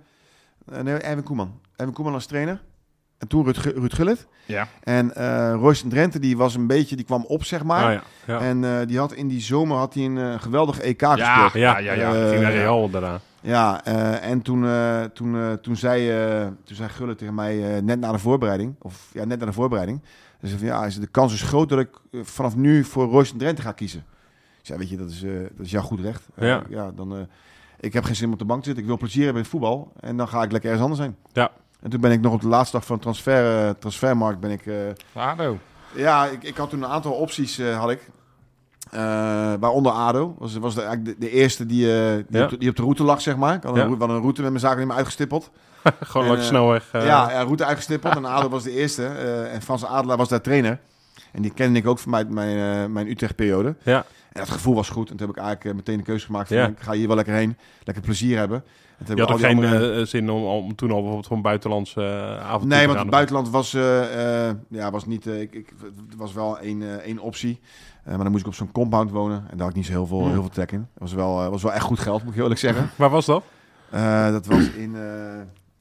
nee, Erwin Koeman. Erwin Koeman als trainer. En toen Ruud, Gu- Ruud Gullit.
Ja.
En eh Royston Drenthe, die was een beetje, die kwam op, zeg maar.
Ah, ja. Ja.
En eh, die had in die zomer had hij een eh, geweldig EK
ja,
gespeeld.
ja, ja, ja.
Eh,
ging naar Real daarna.
Ja, eh, en toen, eh, toen, eh, toen, zei, eh, toen zei Gullit tegen mij eh, net na de voorbereiding, of ja, net na de voorbereiding, dus van, ja, hij zei, de kans is groot dat ik eh, vanaf nu voor Royston Drenthe ga kiezen. Dus ja, weet je, dat is, eh, dat is jouw goed recht. Eh,
Ja.
ja dan, eh, ik heb geen zin om op de bank te zitten, ik wil plezier hebben in het voetbal en dan ga ik lekker ergens anders zijn.
Ja.
En toen ben ik nog op de laatste dag van de transfer, eh, transfermarkt ben ik... eh,
ADO.
ja, ik, ik had toen een aantal opties, eh, had ik. Eh, waaronder ADO. was, was de, eigenlijk de, de eerste die, eh, die,
Ja.
op de, die op de route lag, zeg maar. Ik had een,
Ja.
route, we hadden een route met mijn zaken niet meer uitgestippeld.
Gewoon
en,
langs
eh,
snelweg. eh,
ja, ja, route uitgestippeld. En ADO was de eerste. eh, en Frans Adelaar was daar trainer. En die kende ik ook van mijn, mijn, eh, mijn Utrecht-periode.
Ja.
En dat gevoel was goed. En toen heb ik eigenlijk eh, meteen de keuze gemaakt van...
Ja.
ik ga hier wel lekker heen. Lekker plezier hebben. En toen heb
Je had
ik al
ook
die
geen
andere-
eh, zin om, om toen al bijvoorbeeld gewoon buitenlandse eh avontuur
Nee,
te
want
gaan
het
of-
buitenland was, eh, eh, ja, was niet. eh, ik, ik, het was wel één, eh, één optie. Eh, maar dan moest ik op zo'n compound wonen. En daar had ik niet zo heel veel,
Hmm.
heel veel trek in. Het was wel, eh, was wel echt goed geld, moet ik heel eerlijk zeggen.
Waar was dat?
Eh, dat was in eh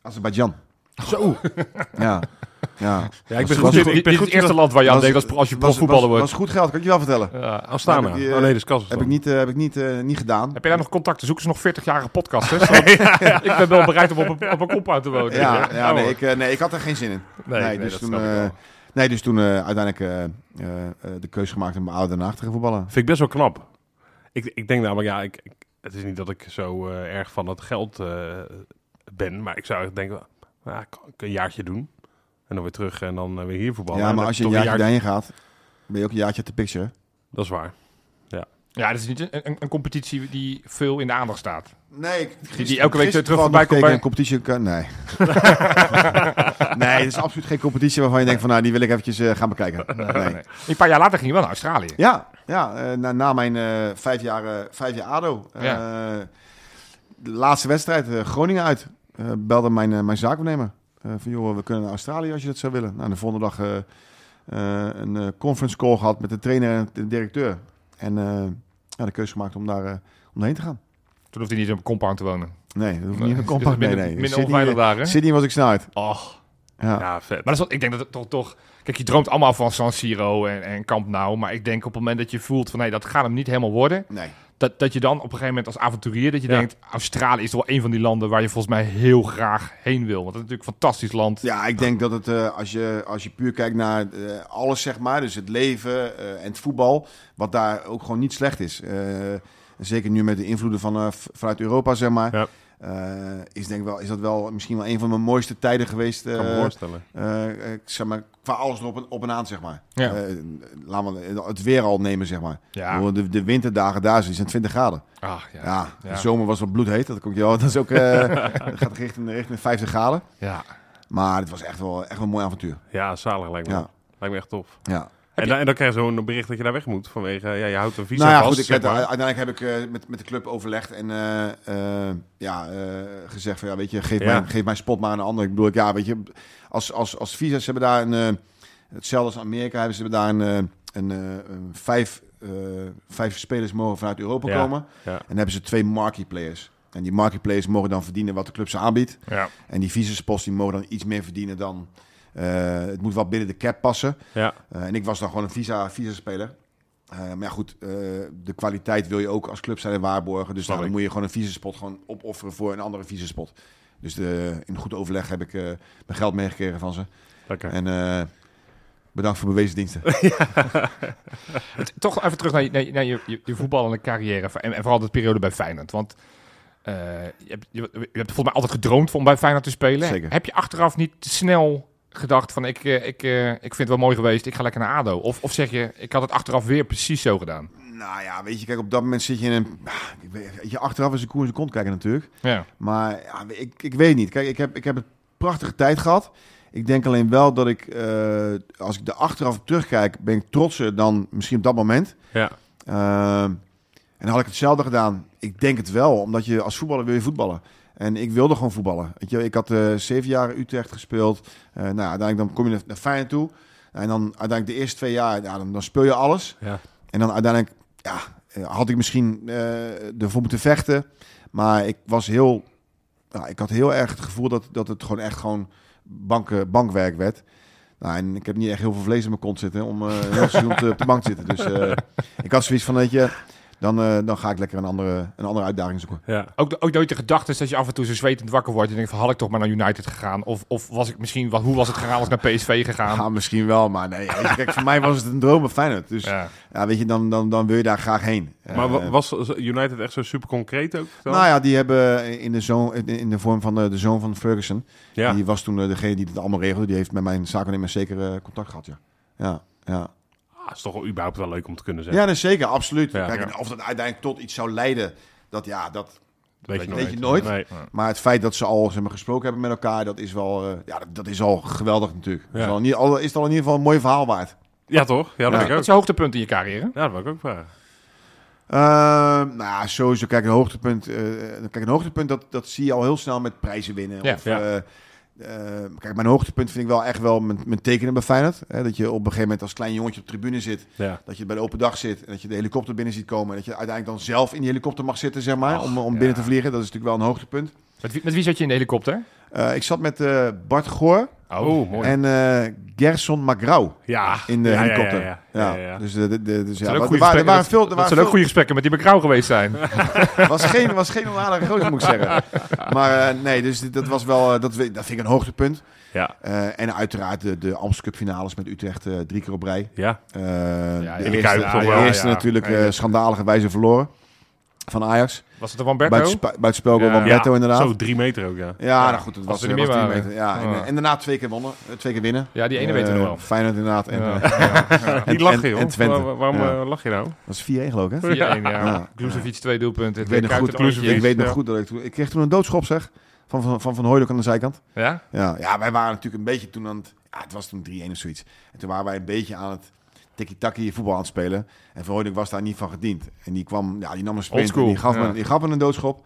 Azerbeidzjan.
Zo!
Ja. ja.
Ja, ik
Was-
ben
was
goed
Dit
in...
goed-
Ik
dit
ben
is
goed
het
in
eerste
dat-
land waar je aan
was-
deed als, als je
was,
profvoetballer
was,
wordt.
was goed geld, kan ik je wel vertellen.
Ja.
Astana.
Heb ik die, eh,
oh nee, dat is Kazachstan.
Heb ik niet, eh, heb ik niet, eh, niet gedaan.
Heb je daar nog contacten? Zoeken ze nog 40-jarige podcasters? Want Ik ben wel bereid om op een, op een Oh. compound te wonen.
ja, ja, nee,
hoor.
ik, eh, nee, ik had er geen zin in.
Nee, nee,
dus
dat
toen,
snap ik
eh,
wel.
Nee, dus toen eh, uiteindelijk eh, eh, eh, de keuze gemaakt om mijn ouder daarna te gaan voetballen.
Vind ik best wel knap. Ik, ik denk namelijk, ja, ik, ik- het is niet dat ik zo eh, erg van het geld eh, ben, maar ik zou echt denken, nou, ik kan ik een jaartje doen. En dan weer terug en dan eh, weer hier voetballen.
Ja,
En
maar
dan
als je een
toch
jaartje daarheen gaat, ben je ook een jaartje te picture.
Dat is waar.
Ja, dat is niet een, een, een competitie die veel in de aandacht staat.
Nee, ik- gisteren-
die elke week
gisteren
terug
toevallig
voorbij
nog
komt
gekeken
bij-
een competitie. kan- Nee. nee, het is absoluut geen competitie waarvan je denkt van nou, die wil ik eventjes eh, gaan bekijken. Nee.
Nee. Een paar jaar later ging je wel naar Australië.
Ja, ja eh, na, na mijn eh, vijf, jaar, eh, vijf jaar ADO. eh, de laatste wedstrijd, eh, Groningen uit, eh, belde mijn, eh, mijn zaakwaarnemer. eh, van joh, we kunnen naar Australië als je dat zou willen. Nou, de volgende dag eh, eh, een eh, conference call gehad met de trainer en de directeur. En eh, ja, de keuze gemaakt om daar eh, om daarheen te gaan.
Toen hoefde hij niet op een compound te wonen.
Nee, dat hoeft
Nee,
niet in een compact. Nee,
minder-
nee.
minder
Sydney-
onveilig daar, hè?
Sydney was ik snel uit.
Och.
Ja.
Ja, vet.
Maar dat is wat, ik denk dat het toch, toch... Kijk, je droomt allemaal van San Siro en, en Camp Nou. Maar ik denk op het moment dat je voelt van... Nee, dat gaat hem niet helemaal worden.
Nee.
Dat, dat je dan op een gegeven moment als avonturier... Dat je
Ja.
denkt, Australië is toch wel een van die landen... waar je volgens mij heel graag heen wil. Want dat is natuurlijk een fantastisch land.
Ja, ik denk dat het, eh, als, je, als je puur kijkt naar eh, alles, zeg maar, dus het leven eh, en het voetbal, wat daar ook gewoon niet slecht is. Eh, zeker nu met de invloeden van, eh, v- vanuit Europa, zeg maar.
Ja.
eh, is, denk ik wel, is dat wel misschien wel een van mijn mooiste tijden geweest.
Ik kan me
eh,
voorstellen.
eh, ik zeg maar, qua alles erop en, op en aan, zeg maar.
Ja.
Eh, laat maar het weer al nemen, zeg maar. Ik
Ja.
bedoel, De, de winterdagen daar die zijn 20 graden.
Ah, ja. ja.
Ja,
Ja.
de zomer was wat bloedheet. Dat, komt je wel, dat is ook, eh, dat gaat richting, richting 50 graden. Maar het was echt wel, echt wel een mooi avontuur.
Ja, zalig lijkt me.
Ja.
Lijkt me echt tof.
Ja.
En, dan- en dan krijg je zo'n bericht dat je daar weg moet vanwege, ja, je houdt een visa
Nou ja,
vast.
goed, ik
zeg
heb,
maar.
uiteindelijk heb ik eh, met, met de club overlegd en eh, eh, ja, eh, gezegd van ja, weet je, geef,
Ja.
mijn, geef mijn spot maar aan een ander. Ik bedoel, ja, weet je, als, als, als visa's hebben daar een, eh, hetzelfde als Amerika, hebben ze hebben daar een, eh, een, eh, een vijf, eh, vijf spelers mogen vanuit Europa
Ja,
komen.
ja.
En dan hebben ze twee marquee players. En die marquee players mogen dan verdienen wat de club ze aanbiedt.
ja.
En die visaspost die mogen dan iets meer verdienen dan... eh, het moet wel binnen de cap passen.
Ja,
Uh, en ik was dan gewoon een visa, visa speler. Uh, maar ja, goed, eh, de kwaliteit wil je ook als club zijn en waarborgen. Dus
Snap
nou, dan
ik.
moet je gewoon een visaspot gewoon opofferen voor een andere visaspot. Dus de, in goed overleg heb ik eh, mijn geld meegekregen van ze.
lekker.
En eh, bedankt voor bewezen diensten.
Het- Toch even terug naar je, naar je, naar je, je- je voetballende carrière en, en vooral de periode bij Feyenoord. Want eh, je, hebt, je, je hebt volgens mij altijd gedroomd om bij Feyenoord te spelen.
Zeker.
Heb je achteraf niet te snel gedacht van ik, eh, ik, eh, ik vind het wel mooi geweest, ik ga lekker naar ADO? Of, of zeg je, ik had het achteraf weer precies zo gedaan?
Nou ja, weet je, kijk, op dat moment zit je in een... ah, ik weet- weet Je achteraf is een koe in zijn kont kijken natuurlijk.
Ja.
Maar ja, ik, ik weet niet. Kijk, ik heb, ik heb een prachtige tijd gehad. Ik denk alleen wel dat ik, eh, als ik er achteraf op terugkijk, ben ik trotser dan misschien op dat moment.
Ja.
Ehm, en had ik hetzelfde gedaan? Ik denk het wel, omdat je als voetballer wil je voetballen. En ik wilde gewoon voetballen. Weet je, ik had eh, zeven jaar Utrecht gespeeld. Eh nou, uiteindelijk dan kom je naar, naar Feyenoord toe. En dan uiteindelijk de eerste twee jaar, ja, dan, dan speel je alles.
Ja.
En dan uiteindelijk ja, eh, had ik misschien eh ervoor moeten vechten. Maar ik was heel... Nou, ik had heel erg het gevoel dat, dat het gewoon echt gewoon banken, bankwerk werd. Nou, en ik heb niet echt heel veel vlees in mijn kont zitten om eh een heel seizoen te- op de bank te zitten. Dus eh, ik had zoiets van, weet je, dan, eh, dan ga ik lekker een andere, een andere uitdaging zoeken.
Ja.
Ook, de- ook nooit de gedachte is dat je af en toe zo zwetend wakker wordt en denkt van had ik toch maar naar United gegaan? Of, of was ik misschien, wat, hoe was het gegaan als ik naar PSV gegaan?
Ja, misschien wel, maar nee. weet je, kijk, voor mij was het een droom bij Feyenoord. Dus ja,
Ja.
weet je, dan, dan, dan wil je daar graag heen.
Maar
Eh,
wa- was United echt zo super concreet ook? dan?
nou ja, die hebben in de, zoon, in- in de vorm van eh, de, de zoon van Ferguson.
ja.
Die was toen eh, degene die het allemaal regelde. Die heeft met mijn zakennemer zeker eh, contact gehad, ja. Ja, ja.
Ah, is toch wel überhaupt wel leuk om te kunnen
ja
zeggen.
nee, zeker, absoluut.
Ja.
Kijk, en
Ja.
Of dat uiteindelijk tot iets zou leiden, dat ja, dat,
weet, je
weet
nooit.
je nooit.
Nee.
Maar het feit dat ze al zeg maar, gesproken hebben met elkaar, dat is wel, eh, ja, dat, dat is al geweldig natuurlijk. Dat Is,
Ja.
al, niet- al- is het al in ieder geval een mooi verhaal waard.
Ja, toch? Ja, dat
Ja.
denk ik
Dat
ook.
is je hoogtepunt in je carrière.
Ja, dat wil ik ook vragen.
Eh, nou, ja, sowieso, kijk, een hoogtepunt, eh, kijk, een hoogtepunt dat, dat zie je al heel snel met prijzen winnen.
Ja,
of,
ja.
eh, eh, kijk, mijn hoogtepunt vind ik wel echt wel mijn, mijn tekenen bij Feyenoord. Hè, dat je op een gegeven moment als klein jongetje op de tribune zit,
Ja.
dat je bij de open dag zit en dat je de helikopter binnen ziet komen. En dat je uiteindelijk dan zelf in die helikopter mag zitten, zeg maar,
Och,
om, om
ja.
binnen te vliegen. Dat is natuurlijk wel een hoogtepunt.
Met wie, met wie zat je in de helikopter?
Eh, ik zat met eh, Bart Goor
Oh,
mooi.
en eh, Gerson Magrau.
Ja.
in de
ja, ja,
helikopter.
Ja, ja.
Ja,
Ja, ja.
dus, de, de, de- dus ja,
zijn ook
er,
goede
waren, er
gesprekken.
waren veel. Er
Dat
waren
zullen
veel-
ook goede gesprekken met die McGraw geweest zijn.
was geen, was geen onaardige gozer, moet ik zeggen. Maar eh, nee, dus dit- dat was wel. eh, dat, we- dat vind ik een hoogtepunt.
Ja.
Eh, en uiteraard de, de Amstel Cup finales met Utrecht eh, drie keer op rij.
Ja.
Eh,
in de
de eerste,
Kuip toch
de
wel,
eerste
ja.
natuurlijk
Ja,
eh, schandalige wijze verloren van Ajax.
Was het er van Berto?
Buiten het spel
Ja.
van Beto inderdaad.
Zo drie meter ook, ja.
Ja, nou goed, het was,
er
er
niet
was
meer
drie
waren.
meter. Ja, en,
Ja.
eh, en daarna twee keer, wonnen, eh, twee keer winnen.
Ja, die ene weten we
Eh,
nog wel.
Feyenoord inderdaad. En,
Ja.
eh, en,
Niet lachen,
en-
joh.
en Twente.
Waar- waarom
Ja.
eh, lach je nou?
Dat is 4-1 geloof ik, hè?
4-1, ja.
Ja.
Kloesevic, twee doelpunten.
Ik weet nog goed, ik weet nog goed dat ik toen... Ik kreeg toen een doodschop, zeg. Van Van, van, van Hooydonk aan de zijkant.
Ja?
Ja, ja, wij waren natuurlijk een beetje toen aan het... Ja, het was toen 3-1 of zoiets. En toen waren wij een beetje aan het tikkie-takkie voetbal aan het spelen. En Van Hooydonk was daar niet van gediend. En die kwam... Ja, die nam een sprint
Oldschool,
en die gaf,
ja.
me, die gaf me een doodschop.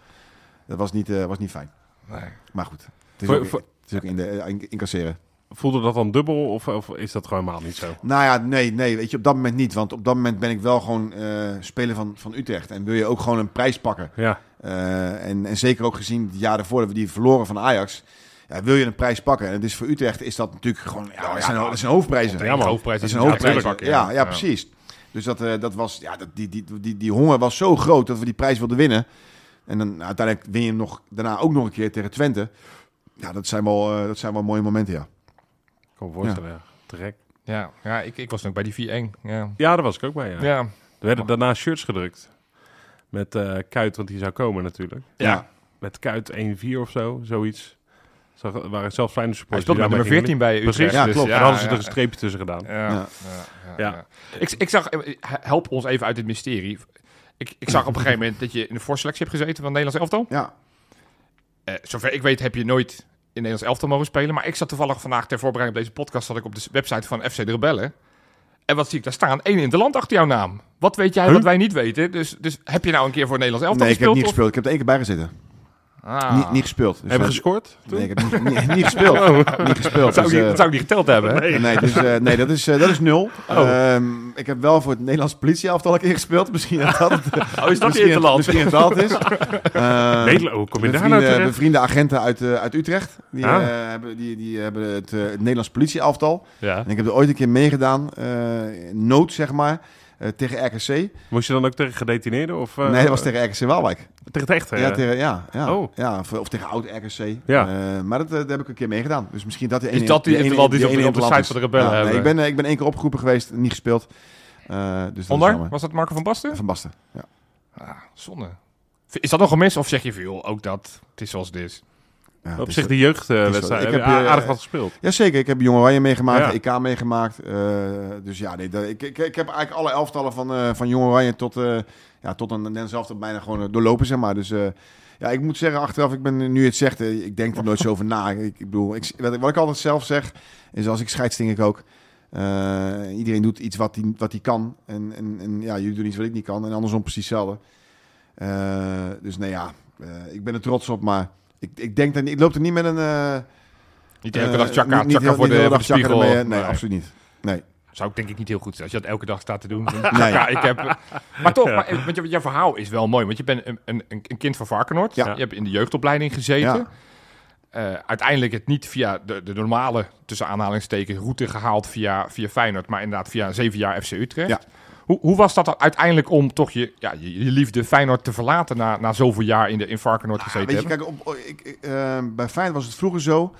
Dat was niet, eh, was niet fijn.
Nee.
Maar goed. Het is,
Voor-
ook,
voor-
het is ook in de, eh, in- incasseren.
Voelde dat dan dubbel of, of is dat gewoon helemaal niet zo?
Nou ja, nee, nee, weet je, op dat moment niet. Want op dat moment ben ik wel gewoon eh, speler van, van Utrecht. En wil je ook gewoon een prijs pakken.
Ja.
Eh, en, en zeker ook gezien het jaar daarvoor dat we die verloren van Ajax. Ja, wil je een prijs pakken? En het is voor Utrecht is dat natuurlijk gewoon. Ja, dat, zijn, dat zijn hoofdprijzen.
Ja, man.
hoofdprijs
dat
is
zijn
een hoofdprijs.
hoofdprijzen. Ja, ja, precies. Dus dat, eh, dat was, ja, dat, die, die, die, die honger was zo groot dat we die prijs wilden winnen. En dan nou, uiteindelijk win je hem nog, daarna ook nog een keer tegen Twente. Ja, dat zijn wel, eh, dat zijn wel mooie momenten, ja.
Ik kan me voorstellen, ja. Te gek.
Ja, ja ik, ik was ook bij die 4-1. Ja.
Ja, daar was ik ook bij, ja.
Ja. Ja.
Er werden daarna shirts gedrukt. Met eh, Kuit, want die zou komen natuurlijk. Met Kuit 1-4 of zo, zoiets. Zag, er waren zelfs kleine
hij
supporters.
speelde met
die daarmee
nummer 14 bij Utrecht.
Precies,
ja,
dus
klopt.
gingen. Daar hadden ze
ja,
er een streepje tussen gedaan.
Ja. Ja.
Ja.
ja,
Ja.
ja. Ik, ik zag, help ons even uit dit mysterie. Ik, ik zag op een gegeven moment dat je in de voorselectie hebt gezeten van het Nederlands elftal.
Ja,
Eh, zover ik weet heb je nooit in Nederlands elftal mogen spelen. Maar ik zat toevallig vandaag ter voorbereiding op deze podcast... zat ik op de s- website van FC de Rebellen. En wat zie ik daar staan? Eén in de land achter jouw naam. Wat weet jij wat wij niet weten? Dus, dus heb je nou een keer voor het Nederlands elftal
nee, ik heb
gespeeld?
niet gespeeld. Ik heb er één keer bij gezeten.
of- Ah.
Niet, niet gespeeld. Dus
Hebben
dat-
gescoord?
Nee, ik heb niet, niet, niet gespeeld. Niet gespeeld.
Dat Ah. zou, ik
Dus,
niet,
eh,
dat zou ik niet geteld hebben. hè?
Nee, dus, eh, nee dat, is, eh, dat is nul. Ehm, ik heb wel voor het Nederlands politieaftal een keer gespeeld. Misschien dat dat het,
Oh, is dat die
misschien,
in het land?
misschien dat dat is. Ehm,
Nederland, hoe kom je
mijn
daar nou
vrienden,
terecht?
bevriende agenten uit, eh, uit Utrecht, die,
Ah.
eh, hebben, die, die hebben het, eh, het Nederlands politieaftal.
Ja.
En ik heb er ooit een keer meegedaan, eh, in nood zeg maar, eh, tegen RKC.
Moest je dan ook tegen gedetineerden? Of, eh,
nee, dat was tegen RKC Waalwijk.
tegen het echte?
ja,
eh,
tegen, ja, ja,
Oh.
ja, of, of tegen oud RKC.
Ja.
Eh, maar dat, eh, dat heb ik een keer meegedaan. Dus misschien dat die
Is
ene-
dat die
ene-
interland die ze op de-
ene
op de
interland
site
is.
van de rebellen
Ja, nee,
hebben?
ik, ben, eh, ik ben één keer opgeroepen geweest, niet gespeeld. Eh, dus dat is
Onder?
jammer.
Was dat Marco van Basten?
Van Basten. Ja.
Ah, zonde. V- Is dat nog een mis? Of zeg je veel? Ook dat. Het is zoals het is.
Ja,
Op
dus
zich
dat-
de jeugdwedstrijd.
Ik
heb
heb,
je
eh,
aardig wat gespeeld.
Jazeker, ik heb Jong Oranje meegemaakt, EK meegemaakt. eh, dus ja, nee, dat- ik, ik, ik heb eigenlijk alle elftallen van, eh, van Jong Oranje tot, eh ja, tot een Nederlands elftal bijna gewoon eh, doorlopen, zeg maar. Dus eh, ja, ik moet zeggen, achteraf, ik ben nu het zegt, eh, ik denk er nooit zo over na. Ik, ik bedoel, ik, wat, ik- wat ik altijd zelf zeg, is als ik scheids, denk ik ook. eh, iedereen doet iets wat hij wat die kan. En, en, en ja, jullie doen iets wat ik niet kan. En andersom precies hetzelfde. Eh, dus nee, ja, eh, ik ben er trots op, maar ik, ik denk dat niet- ik loop er niet met een... eh,
Niet elke
eh,
dag chakka,
niet- niet
chakka
heel-
voor
niet
de,
heel
voor de
dag chakka
spiegel.
ermee, eh, nee,
Nee.
absoluut niet. Nee.
Zou ik denk ik niet heel goed zijn als je dat elke dag staat te doen. Chakka, ik heb, eh, maar toch, maar, eh, want je, jouw verhaal is wel mooi. Want je bent een, een, een kind van Varkenoord.
Ja.
Je hebt in de jeugdopleiding gezeten.
Ja.
Eh, uiteindelijk het niet via de, de normale, tussen aanhalingstekens, route gehaald via, via Feyenoord. Maar inderdaad via zeven jaar FC Utrecht.
Ja.
Hoe, hoe was dat dan uiteindelijk om toch je, ja, je, je liefde Feyenoord te verlaten na, na zoveel jaar in, de, in Varkenoord gezeten
Ah, Weet je,
hebben?
kijk, op, op- ik, ik, eh, bij Feyenoord was het vroeger zo.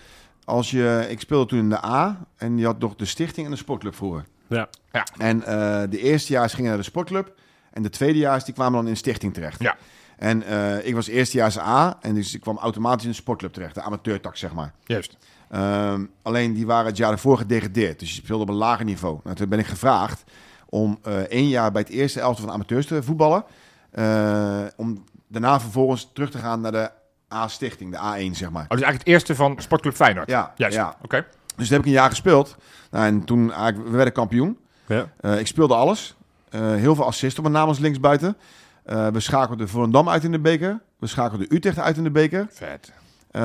Als je, ik speelde toen in de A en je had nog de stichting en de sportclub vroeger.
Ja.
Ja.
En eh, de eerstejaars gingen naar de sportclub en de tweedejaars die kwamen dan in de stichting terecht.
Ja.
En eh, ik was eerstejaars A en dus ik kwam automatisch in de sportclub terecht, de amateurtak zeg maar.
Juist. Oh,
Ehm, alleen die waren het jaar daarvoor gedegradeerd. Dus je speelde op een lager niveau. Nou, toen ben ik gevraagd om eh, één jaar bij het eerste elftal van de amateurs te voetballen. Eh, om daarna vervolgens terug te gaan naar de A-stichting, de A1 zeg maar.
Oh, dus eigenlijk het eerste van Sportclub Feyenoord.
Ja,
Juist.
ja.
Oké.
Dus dat heb ik een jaar gespeeld. Nou, en toen eigenlijk, we werden kampioen.
Ja.
Eh, ik speelde alles. Eh, heel veel assist op mijn naam als linksbuiten. Eh, we schakelden Volendam uit in de beker. We schakelden Utrecht uit in de beker.
Vet.
Eh,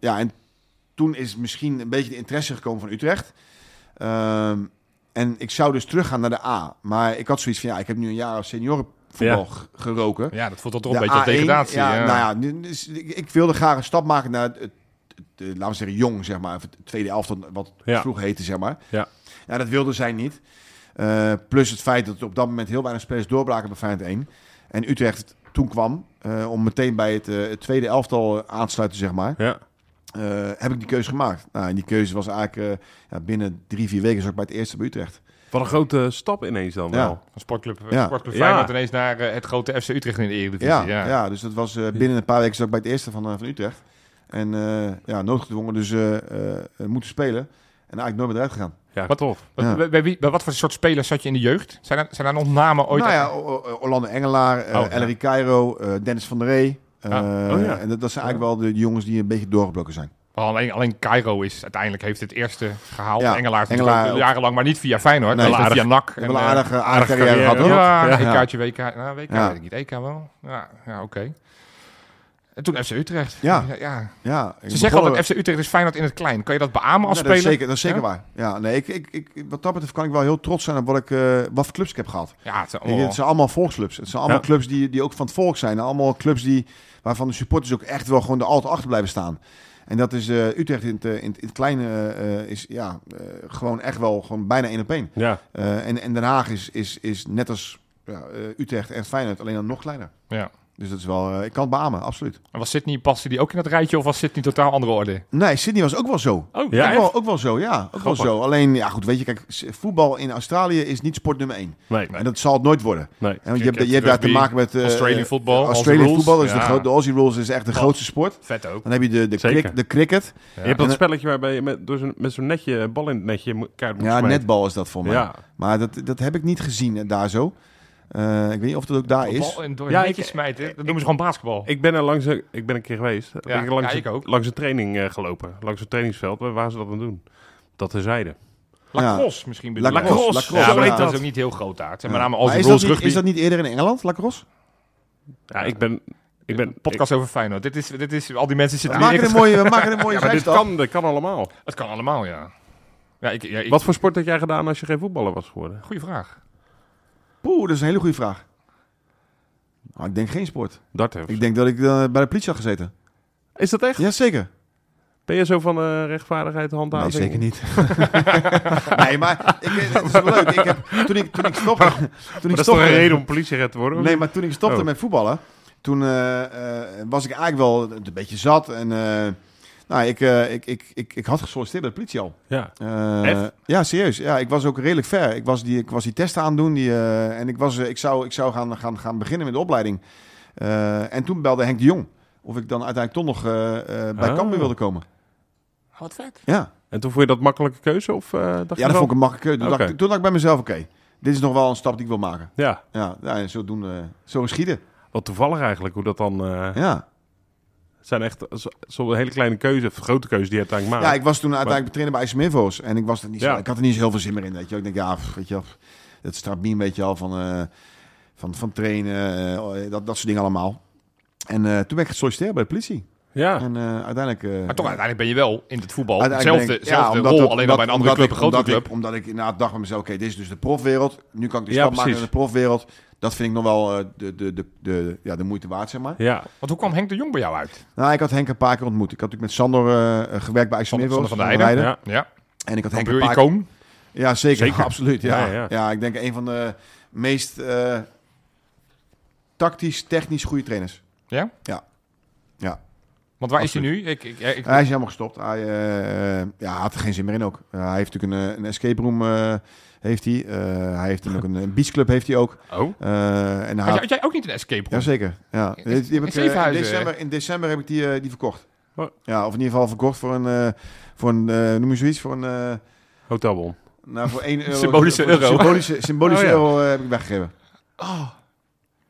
ja, en toen is misschien een beetje de interesse gekomen van Utrecht. Ehm, en ik zou dus teruggaan naar de A. Maar ik had zoiets van, ja, ik heb nu een jaar seniorenvoetbal
Ja.
g- geroken.
Ja, dat voelt dan toch
De
een beetje als
A1,
degradatie.
Ja,
ja.
Nou ja, nu- nu is- ik, ik wilde graag een stap maken naar het, het- het- eh, laten we zeggen, jong, zeg maar. Of het tweede elftal, wat
Ja.
vroeg heette, zeg maar.
Ja.
ja, dat wilde zij niet. Eh, plus het feit dat op dat moment heel weinig spelers doorbraken bij Feyenoord 1. En Utrecht toen kwam eh, om meteen bij het, eh, het tweede elftal eh, aan te sluiten, zeg maar.
Ja.
Eh, heb ik die keuze gemaakt. Nou, en die keuze was eigenlijk eh, ja, binnen drie, vier weken zat ik bij het eerste bij Utrecht.
Wat een grote stap ineens dan
Ja.
wel.
Van sportclub,
Ja.
sportclub
Ja.
Feyenoord ineens naar eh, het grote FC Utrecht in de Eredivisie.
Ja,
Ja,
ja. dus dat was eh, binnen een paar weken zat ik bij het eerste van, eh, van Utrecht. En eh, ja, noodgedwongen dus eh, eh, eh, moeten spelen. En eigenlijk nooit meer eruit gegaan.
Ja,
Wat-
tof.
Wat-
Ja.
Bij, bij wie, bij wat voor soort spelers zat je in de jeugd? Zijn er, zijn er nog namen ooit?
nou ja, O- O- Orlando Engelaar, eh
Oh, ja.
Ellery Cairo, eh, Dennis van der Ree. eh,
Ah,
oh ja.
En dat, dat zijn eigenlijk wel de jongens die een beetje doorgebroken zijn.
alleen, alleen Cairo is uiteindelijk heeft het eerste gehaald.
Ja,
Engelaar,
Engelaar
natuurlijk ook
ook.
jarenlang, maar niet via Feyenoord,
Nee,
maar
aardig.
via NAC.
We hebben
eh,
een aardige, aardige
aardige
carrière gehad.
carrière,
hoor.
ja,
Ja.
EK'tje, WK. Nou, WK
Ja.
weet ik niet. EK wel. Ja, ja oké. En toen FC Utrecht.
Ja.
ja.
Ja,
Ze zeggen altijd FC Utrecht is Feyenoord in het klein. Kan je dat beamen als
Ja,
speler?
Dat is zeker, dat is zeker
Ja?
waar. Ja, nee, ik, ik, ik, wat dat betreft kan ik wel heel trots zijn op wat, ik, eh, wat voor clubs ik heb gehad.
Ja, het zijn
Ik denk,
allemaal-
het zijn allemaal volksclubs. Het zijn allemaal
Oh. Ja.
clubs die, die ook van het volk zijn. Allemaal clubs die, waarvan de supporters ook echt wel gewoon de alt achter blijven staan. En dat is eh, Utrecht in het, eh, in het, in het kleine eh, is ja, eh, gewoon echt wel gewoon bijna één op één.
Ja.
Eh, en, en Den Haag is, is, is net als ja, eh, Utrecht en Feyenoord, alleen dan nog kleiner.
Ja.
Dus dat is wel, eh, ik kan het beamen, absoluut.
En was Sydney, paste die ook in dat rijtje of was Sydney totaal andere orde?
Nee, Sydney was ook wel zo.
Oh,
ook,
ja.
wel, ook wel zo, ja. Ook wel
Grappig.
zo. Alleen, ja goed, weet je, kijk, s- voetbal in Australië is niet sport nummer één.
Nee.
En dat zal het nooit worden.
nee.
En want je hebt, je hebt daar
Rugby,
te maken met... eh,
Australian
eh,
football. Aussie
Australian
rules.
voetbal is de,
Ja.
groot- de Aussie Rules is echt de grootste sport.
Vet ook.
Dan heb je de, de,
Zeker.
crick- de cricket.
Je hebt
En eh,
dat
dan-
spelletje waarbij je met, door zo'n- met zo'n netje, een bal in het netje, moet- kaart moet
Ja,
smijten.
netbal is dat voor mij.
Ja.
Maar dat, dat heb ik niet gezien eh, daar zo. Eh, ik weet niet of dat ook daar
Een
is.
bal en door
Ja,
een netje
ik-
smijten, dat noemen ze gewoon basketbal.
Ik ben er langs een, ik ben een keer geweest. Dan
Ja,
ben ik langs,
ja, ik
een-
ook.
langs een training eh, gelopen. Langs een trainingsveld. Waar waren ze dat aan het doen? Dat terzijde.
Lacrosse misschien bedoel ik.
Lacrosse, lacrosse,
Ja, maar
ja.
dat is ook niet heel groot daar. Het zijn met name
Maar
als
is,
rules
dat niet,
rugby.
is dat niet eerder in Engeland, lacrosse?
Ja, ik ben... Ik ben
Podcast over Feyenoord. Dit is, dit is, al die mensen
We
zitten hier.
maken er een mooie, we maken er een mooie
ik- ja, maar dit
zijstap.
kan, dit kan allemaal.
Het kan allemaal, ja. ja, ik, ja ik,
Wat voor sport had jij gedaan als je geen voetballer was geworden?
Goeie vraag.
Poeh, dat is een hele goede vraag. Maar ik denk geen sport.
Darten.
Ik denk dat ik eh, bij de politie had gezeten.
Is dat echt?
Jazeker.
Ben je zo van eh, rechtvaardigheid handhaving?
Nee, zeker niet. nee, maar ik, het is wel leuk. Ik heb, toen, ik, toen ik stopte... Toen
Maar
ik
dat is toch
stopte-
een reden om politierecht te worden? of
eh, Nee,
niet?
maar toen ik stopte
Oh.
met voetballen, toen eh, eh, was ik eigenlijk wel een beetje zat. En eh, nou, ik, eh, ik, ik, ik, ik had gesolliciteerd bij de politie al.
Ja.
Eh,
Echt?
ja, serieus. Ja, ik was ook redelijk ver. Ik was die, ik was die testen aan het doen die, eh, en ik, was, eh, ik zou, ik zou gaan, gaan, gaan beginnen met de opleiding. Eh, en toen belde Henk de Jong of ik dan uiteindelijk toch nog eh, eh, bij
Oh.
Cambuur wilde komen.
Oh, Wat vet.
Ja,
En toen vond je dat makkelijke keuze? Of, eh, dacht je
ja dat
wel-
vond ik een makkelijke keuze. Toen,
Oké.
dacht, ik- toen dacht ik bij mezelf, oké, dit is nog wel een stap die ik wil maken.
Ja,
Ja, ja en zo, doen, eh, zo geschieden.
wat toevallig eigenlijk hoe dat dan... eh,
Ja.
Het zijn echt zo- zo'n hele kleine keuze, of grote keuze die je
Ah.
uiteindelijk
ja,
maakt.
ik was toen uiteindelijk trainer bij IJssum Info's. En ik, was er niet zo,
Ja.
ik had er niet zo heel veel zin meer in. Weet je. wel. Ik denk, ja, pff, weet je, wel, het strapt een beetje al van, eh, van, van trainen, eh, dat, dat soort dingen allemaal. En eh, toen ben ik gesolliciteerd bij de politie.
Ja,
En eh, uiteindelijk... eh,
Ah. Maar toch, uiteindelijk ben je wel in het voetbal.
Uiteindelijk
Zelfde,
ben ik- ja,
zelfde
omdat
rol,
dat-
alleen
omdat-
dan bij een andere club,
omdat
een grotere
ik-
club.
Omdat ik inderdaad dacht bij mezelf, oké, dit is dus de profwereld. Nu kan ik de
Ja,
stap maken in
precies.
de profwereld. Dat vind ik nog wel eh, de, de, de, de, ja, de moeite waard, zeg maar.
ja.
Want hoe kwam Henk de Jong bij jou uit?
Nou, ik had Henk een paar keer ontmoet. Ik had natuurlijk met Sander eh, eh, gewerkt bij IJsselmeer.
Sander van der
Sander
Heijden,
ja.
Ja,
En ik had Henk een
Cambuur
paar
icoon.
Ja, zeker.
Zeker.
Absoluut, ja.
Ja,
Ja,
ja.
ik denk een van de meest eh, tactisch, technisch goede trainers.
Ja?
Ja. Ja.
Want waar is hij nu? Ik, ik, ik,
Hij is helemaal gestopt. Hij eh, eh, ja, had er geen zin meer in ook. Eh, hij heeft natuurlijk een, eh, een escape room. eh, heeft hij. Eh, hij heeft ook een, een beachclub heeft hij ook.
oh.
Eh, en hij
Had jij,
had,
had jij ook niet een escape room?
jazeker. Ja.
Is-
Die heb ik,
is
eh, in,
Zevenhuizen,
december, in december heb ik die, eh, die verkocht.
Oh.
Ja, of in ieder geval verkocht voor een, eh, voor een eh, noem je zoiets, voor een, eh,
Hotelbon.
nou, voor 1 euro.
Symbolische
voor een
euro.
Symbolische, symbolische
Oh, ja.
euro eh, heb ik weggegeven.
Oh.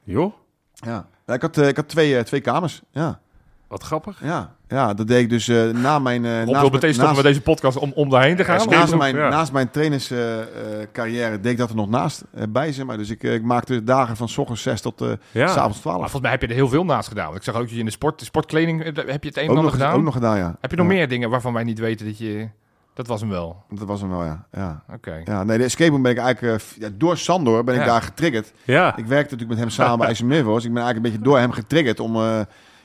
Joh,
Ja. Ja, ik had, eh, ik had twee, eh, twee kamers. Ja.
wat grappig.
Ja. ja, dat deed ik dus eh, na mijn... eh
Rob
naast
wil
mijn-
meteen stoppen
naast-
met deze podcast om, om daarheen te gaan.
Ja,
naast
room,
mijn,
ja.
naast mijn trainerscarrière deed ik dat er nog naast eh, bij, zeg maar. Dus ik, eh, ik maakte dagen van s ochtends 6 tot eh,
Ja.
s avonds
Maar
12.
volgens mij heb je er heel veel naast gedaan. Want ik zag ook dat je in de sport, de sportkleding eh, heb je het een en
Ook
ander
nog,
gedaan.
ook nog gedaan, ja.
Heb je nog
Ja,
meer dingen waarvan wij niet weten dat je... Dat was hem wel.
Dat was hem wel, ja. ja.
Oké.
Ja, nee, de escape room ben ik eigenlijk... eh, f- ja, door Sandor ben ik
Ja.
daar getriggerd.
Ja,
Ik werkte natuurlijk met hem samen bij IJssum Nivos. Ik ben eigenlijk een beetje door hem getriggerd om, eh,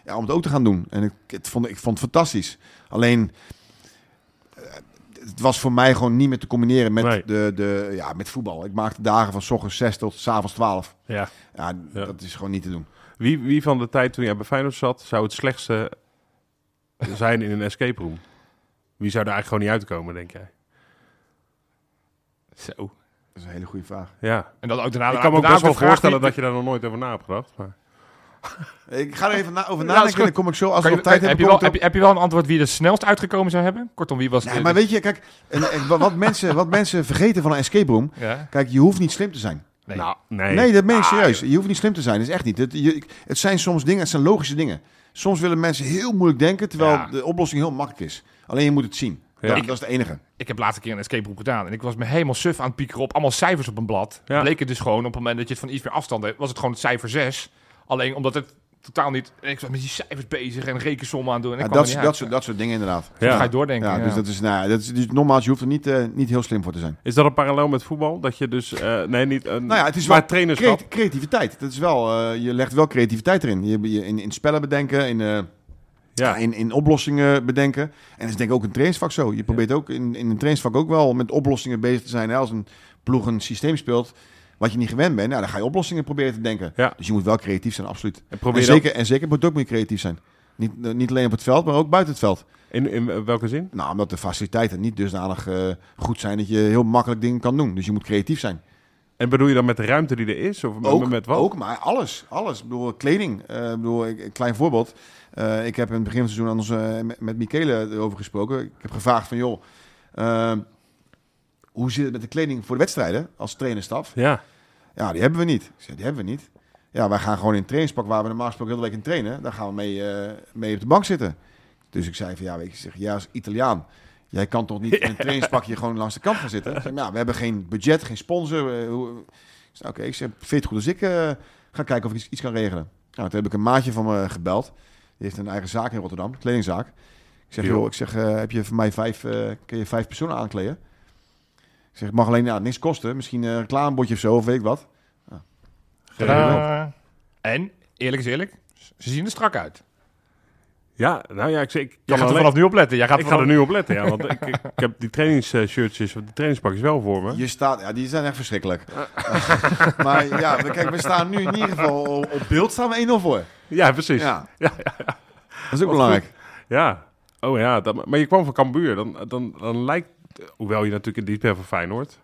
ja, om het ook te gaan doen. En ik, het vond, ik vond het fantastisch. Alleen, eh, het was voor mij gewoon niet meer te combineren met,
Nee.
de, de, ja, met voetbal. Ik maakte dagen van s ochtends 6 tot s avonds 12.
ja.
Ja,
Ja.
dat is gewoon niet te doen.
Wie, wie van de tijd toen jij bij Feyenoord zat, zou het slechtste zijn in een escape room? Wie zou er eigenlijk gewoon niet uitkomen, denk jij?
Zo.
Dat is een hele goede vraag.
Ja,
En dan ook daarna...
ik kan me ook
daarna
best wel
de vraag
voorstellen
die-
dat je daar nog nooit over na hebt gedacht. Maar...
Ik ga er even na- over
Ja,
nadenken
is goed.
en dan kom ik zo, als
Kan
we
je-
nog tijd
heb,
hebben...
je
kom
wel,
ik
heb,
erop.
je, heb je wel een antwoord wie er het snelst uitgekomen zou hebben? Kortom, wie was
Nee,
de-
maar weet je, kijk, en, en wat, mensen, wat mensen vergeten van een escape room...
Ja?
Kijk, je hoeft niet slim te zijn.
Nee.
Nou, nee.
Nee, dat meen ik
Ah,
serieus. Je hoeft niet slim te zijn. Dat is echt niet. Het, je- het zijn soms dingen, het zijn logische dingen. Soms willen mensen heel moeilijk denken, terwijl
Ja.
de oplossing heel makkelijk is. Alleen je moet het zien.
Ja.
Dat,
Ik-
dat is het enige.
Ik heb laatst een keer een escape room gedaan. En ik was me helemaal suf aan het piekeren op allemaal cijfers op een blad.
Ja.
Bleek het dus gewoon, op het moment dat je het van iets meer afstand deed, was het gewoon het cijfer 6. Alleen omdat het totaal niet... En ik was met die cijfers bezig en rekensommen aan het doen. En ik
Ja,
kwam
dat,
er niet
dat,
uit.
soort, dat soort dingen inderdaad.
Dan ga
ja.
je doordenken.
Ja,
ja.
Dus, dat is, nou, ja, dat is, dus nogmaals, je hoeft er niet, eh, niet heel slim voor te zijn.
Is dat een parallel met voetbal? Dat je dus, eh, nee, niet een
Nou ja, het is
maar
wel
trainerschap.
Creat- creativiteit. Dat is wel, eh, je legt wel creativiteit erin. Je, je, in, in spellen bedenken, in, eh,
ja.
in, in oplossingen bedenken. En dat is denk ik ook een trainingsvak zo. Je probeert ook in, in een trainingsvak ook wel met oplossingen bezig te zijn. Hè? Als een ploeg een systeem speelt wat je niet gewend bent, nou, dan ga je oplossingen proberen te denken.
Ja.
Dus je moet wel creatief zijn, absoluut.
En
En
probeer dat
zeker, en zeker moet ook moet je creatief zijn. Niet, eh, niet alleen op het veld, maar ook buiten het veld.
in, in welke zin?
Nou, omdat de faciliteiten niet dusdanig eh, goed zijn dat je heel makkelijk dingen kan doen. Dus je moet creatief zijn.
En bedoel je dan met de ruimte die er is? Of
Ook,
met wat?
ook, maar alles. Alles. Ik bedoel, kleding. Eh, ik bedoel, ik- een klein voorbeeld. Eh, ik heb in het begin van het seizoen aan ons, eh, met- met Michele erover gesproken. Ik heb gevraagd van, joh, eh, hoe zit het met de kleding voor de wedstrijden als trainerstaf?
Ja,
Ja, die hebben we niet. Ik zei, die hebben we niet. Ja, wij gaan gewoon in een trainingspak waar we normaal gesproken heel de week in trainen. Daar gaan we mee, eh, mee op de bank zitten. Dus ik zei van, ja, weet je, ik zeg, ja, als Italiaan. Jij kan toch niet in een trainingspakje gewoon langs de kant gaan zitten? Ik Zeg, nou, we hebben geen budget, geen sponsor. eh, hoe- Ik zei, Oké, ik zeg, vind je het goed als ik eh, ga kijken of ik iets, iets kan regelen? Nou, toen heb ik een maatje van me gebeld. Die heeft een eigen zaak in Rotterdam, een kledingzaak. Ik zeg,
Joh.
joh, ik zeg, eh, heb je voor mij vijf, eh, kun je vijf personen aankleden? Ik zeg, het mag alleen nou, niks kosten. Misschien een reclamebordje of zo, of weet ik wat.
Tadaa.
Eh, En, eerlijk is eerlijk, ze zien er strak uit.
ja, nou ja, ik, zeg, ik kan
Jij gaat er
alleen-
vanaf nu op letten. Jij gaat
ik
er
ga er
vanaf...
nu op letten, ja. Want ik, ik heb die trainingsshirtjes, of die trainingspakjes wel voor me.
Je staat, ja, die zijn echt verschrikkelijk. maar ja, we- kijk, we staan nu in ieder geval op op beeld staan we 1-0 voor.
Ja, precies. Ja.
Ja. Dat is ook belangrijk.
Oh ja, dat, maar je kwam van Cambuur. Dan, dan, dan lijkt, hoewel je natuurlijk in diep bent van Feyenoord.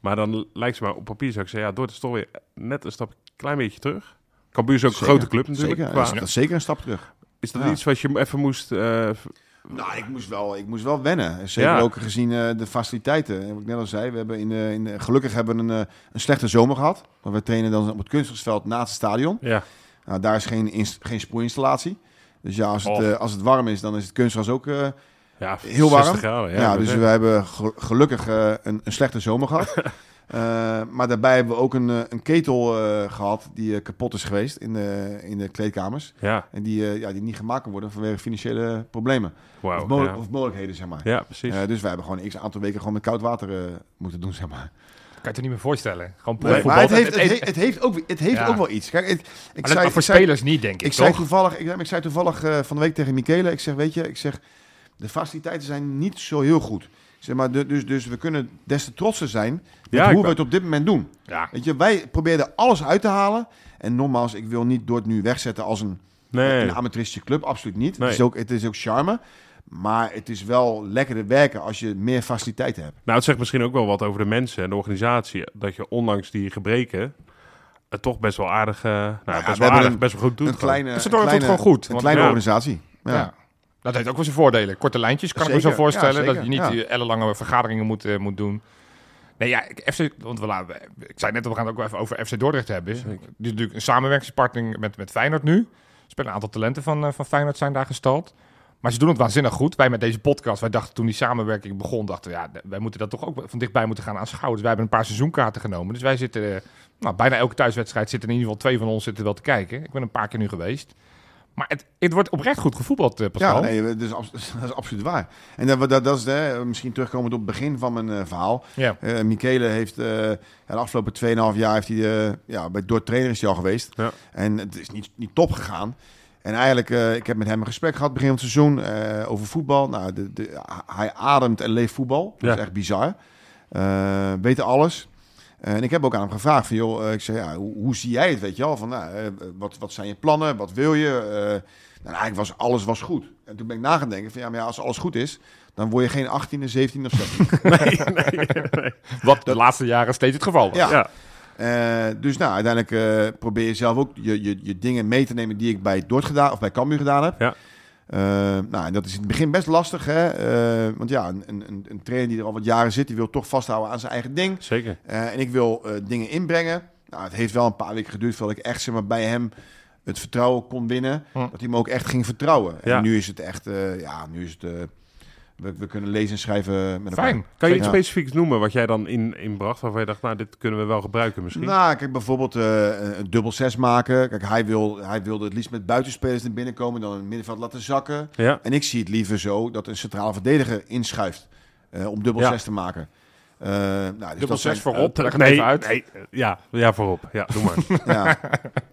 Maar dan lijkt ze maar op papier, zou ik zeggen, ja, Dordt is toch weer net een stap, klein beetje terug. Cambuur is ook een
Zeker,
grote club natuurlijk.
Zeker,
qua-
dat is, dat is zeker een stap terug.
Is dat
Ja.
iets wat je hem even moest... eh, v-
Nou, ik moest wel, ik moest wel wennen. Zeker
Ja.
ook gezien eh, de faciliteiten. En Wat ik net al zei, we hebben in, eh, in, eh, gelukkig hebben we een, eh, een slechte zomer gehad. Want we trainen dan op het kunstgrasveld naast het stadion.
ja.
Nou, daar is geen, ins- geen sproeinstallatie. Dus ja, als het,
Oh.
eh, als het warm is, dan is het kunstgras ook... eh,
ja,
Heel warm.
60 graden. Ja,
ja,
dat
dus
is-
we hebben ge- gelukkig eh, een, een slechte zomer gehad. Eh, maar daarbij hebben we ook een, eh, een ketel eh, gehad die eh, kapot is geweest in de, in de kleedkamers.
Ja,
En die, eh, ja, die niet gemaakt kan worden vanwege financiële problemen. of,
wauw.
mogel-
Oh, Ja.
of mogelijkheden, zeg maar.
ja, precies.
Eh, dus wij hebben gewoon x aantal weken gewoon met koud water eh, moeten doen, zeg maar.
Kan je het er niet meer voorstellen. Gewoon
Nee,
profvoetbal.
maar het
Het-
heeft, het,
het-
heeft, het heeft ook, het heeft
Ja.
ook wel iets. Kijk, ik, ik
maar dat-
zei,
maar voor
ik zei-
spelers niet, denk ik,
ik zei
toch?
toevallig, ik, ik zei toevallig eh, van de week tegen Michele, ik zeg, weet je, ik zeg, de faciliteiten zijn niet zo heel goed. Ik Zeg maar, de- dus, dus we kunnen des te trotser zijn met
Ja, ik
hoe we
wou-
het op dit moment doen.
Ja.
Weet je, wij probeerden alles uit te halen. En nogmaals, ik wil niet door het nu wegzetten als een,
nee.
een amateuristische club, absoluut niet.
Nee.
Het, is ook, het is ook charme, maar het is wel lekkerder werken als je meer faciliteiten hebt.
Nou, het zegt misschien ook wel wat over de mensen en de organisatie. Dat je ondanks die gebreken het toch best wel aardig, eh, nou,
ja, we
best, wel
hebben
aardig
een-
best wel goed doet.
een kleine,
Ze doen het
kleine,
gewoon goed,
Een
want-
kleine
ja.
organisatie.
Ja.
Ja.
Dat heeft ook wel zijn voordelen. Korte lijntjes, kan ik me zo
Zeker,
voorstellen.
ja,
dat je
zeker,
niet
ja.
die ellenlange vergaderingen moet, eh, moet doen. Nee, ja, ik- FC, want we laten, ik zei net, we gaan het ook wel even over FC Dordrecht hebben. Die is natuurlijk een samenwerkingspartner met, met Feyenoord nu. Er spelen een aantal talenten van, eh, van Feyenoord zijn daar gestald. Maar ze doen het waanzinnig goed. Wij met deze podcast, wij dachten toen die samenwerking begon, dachten we, ja, wij moeten dat toch ook van dichtbij moeten gaan aanschouwen. Dus wij hebben een paar seizoenkaarten genomen. Dus wij zitten, eh, nou, bijna elke thuiswedstrijd zitten in ieder geval twee van ons zitten wel te kijken. Ik ben een paar keer nu geweest. Maar het, het wordt oprecht goed gevoetbald, eh, Pascal.
Ja, nee, dat is, abs- dat is absoluut waar. En dat, dat, dat is eh, misschien terugkomend op het begin van mijn eh, verhaal.
Ja.
Eh, Michele heeft eh, ja, de afgelopen 2,5 jaar heeft hij, eh, ja, bij door trainer is hij al geweest.
Ja.
En het is niet, niet top gegaan. En eigenlijk, eh, ik heb met hem een gesprek gehad begin van het seizoen eh, over voetbal. Nou, de, de, hij ademt en leeft voetbal. Dat
Ja.
is echt bizar. Eh weet alles. En ik heb ook aan hem gevraagd van, joh, eh, ik zei, ja, hoe, hoe zie jij het, weet je wel? Van, nou, eh, wat, wat zijn je plannen? Wat wil je? Eh, nou, eigenlijk was alles was goed. En toen ben ik nagedenken van, ja, maar ja, als alles goed is, dan word je geen 18e, 17 of 16.
Wat de laatste jaren steeds het geval was.
ja.
Ja.
Eh, dus nou, uiteindelijk eh, probeer je zelf ook je, je, je dingen mee te nemen die ik bij Dort gedaan of bij Cambuur gedaan heb.
Ja.
Eh, nou, en dat is in het begin best lastig, hè? Eh, want ja, een, een, een trainer die er al wat jaren zit, die wil toch vasthouden aan zijn eigen ding.
Zeker.
Eh, en ik wil eh, dingen inbrengen. Nou, het heeft wel een paar weken geduurd voordat ik echt zeg maar, bij hem het vertrouwen kon winnen.
Hm.
Dat hij me ook echt ging vertrouwen.
Ja.
En nu is het echt, eh, ja, nu is het. eh, we, we kunnen lezen en schrijven met elkaar.
Fijn.
Kan je iets
Ja.
specifieks noemen wat jij dan in, inbracht waarvan je dacht, nou, dit kunnen we wel gebruiken misschien?
Nou, kijk, bijvoorbeeld eh, een dubbel zes maken. Kijk, hij, wil, hij wilde het liefst met buitenspelers naar binnen komen, dan een middenveld laten zakken.
ja.
En ik zie het liever zo dat een centrale verdediger inschuift eh, om dubbel
Ja.
zes te maken. Eh, nou, dus
Dubbel
dat zijn-
zes voorop, leg het
nee,
even uit.
nee, eh, ja, ja, voorop. Ja, doe maar.
Ja.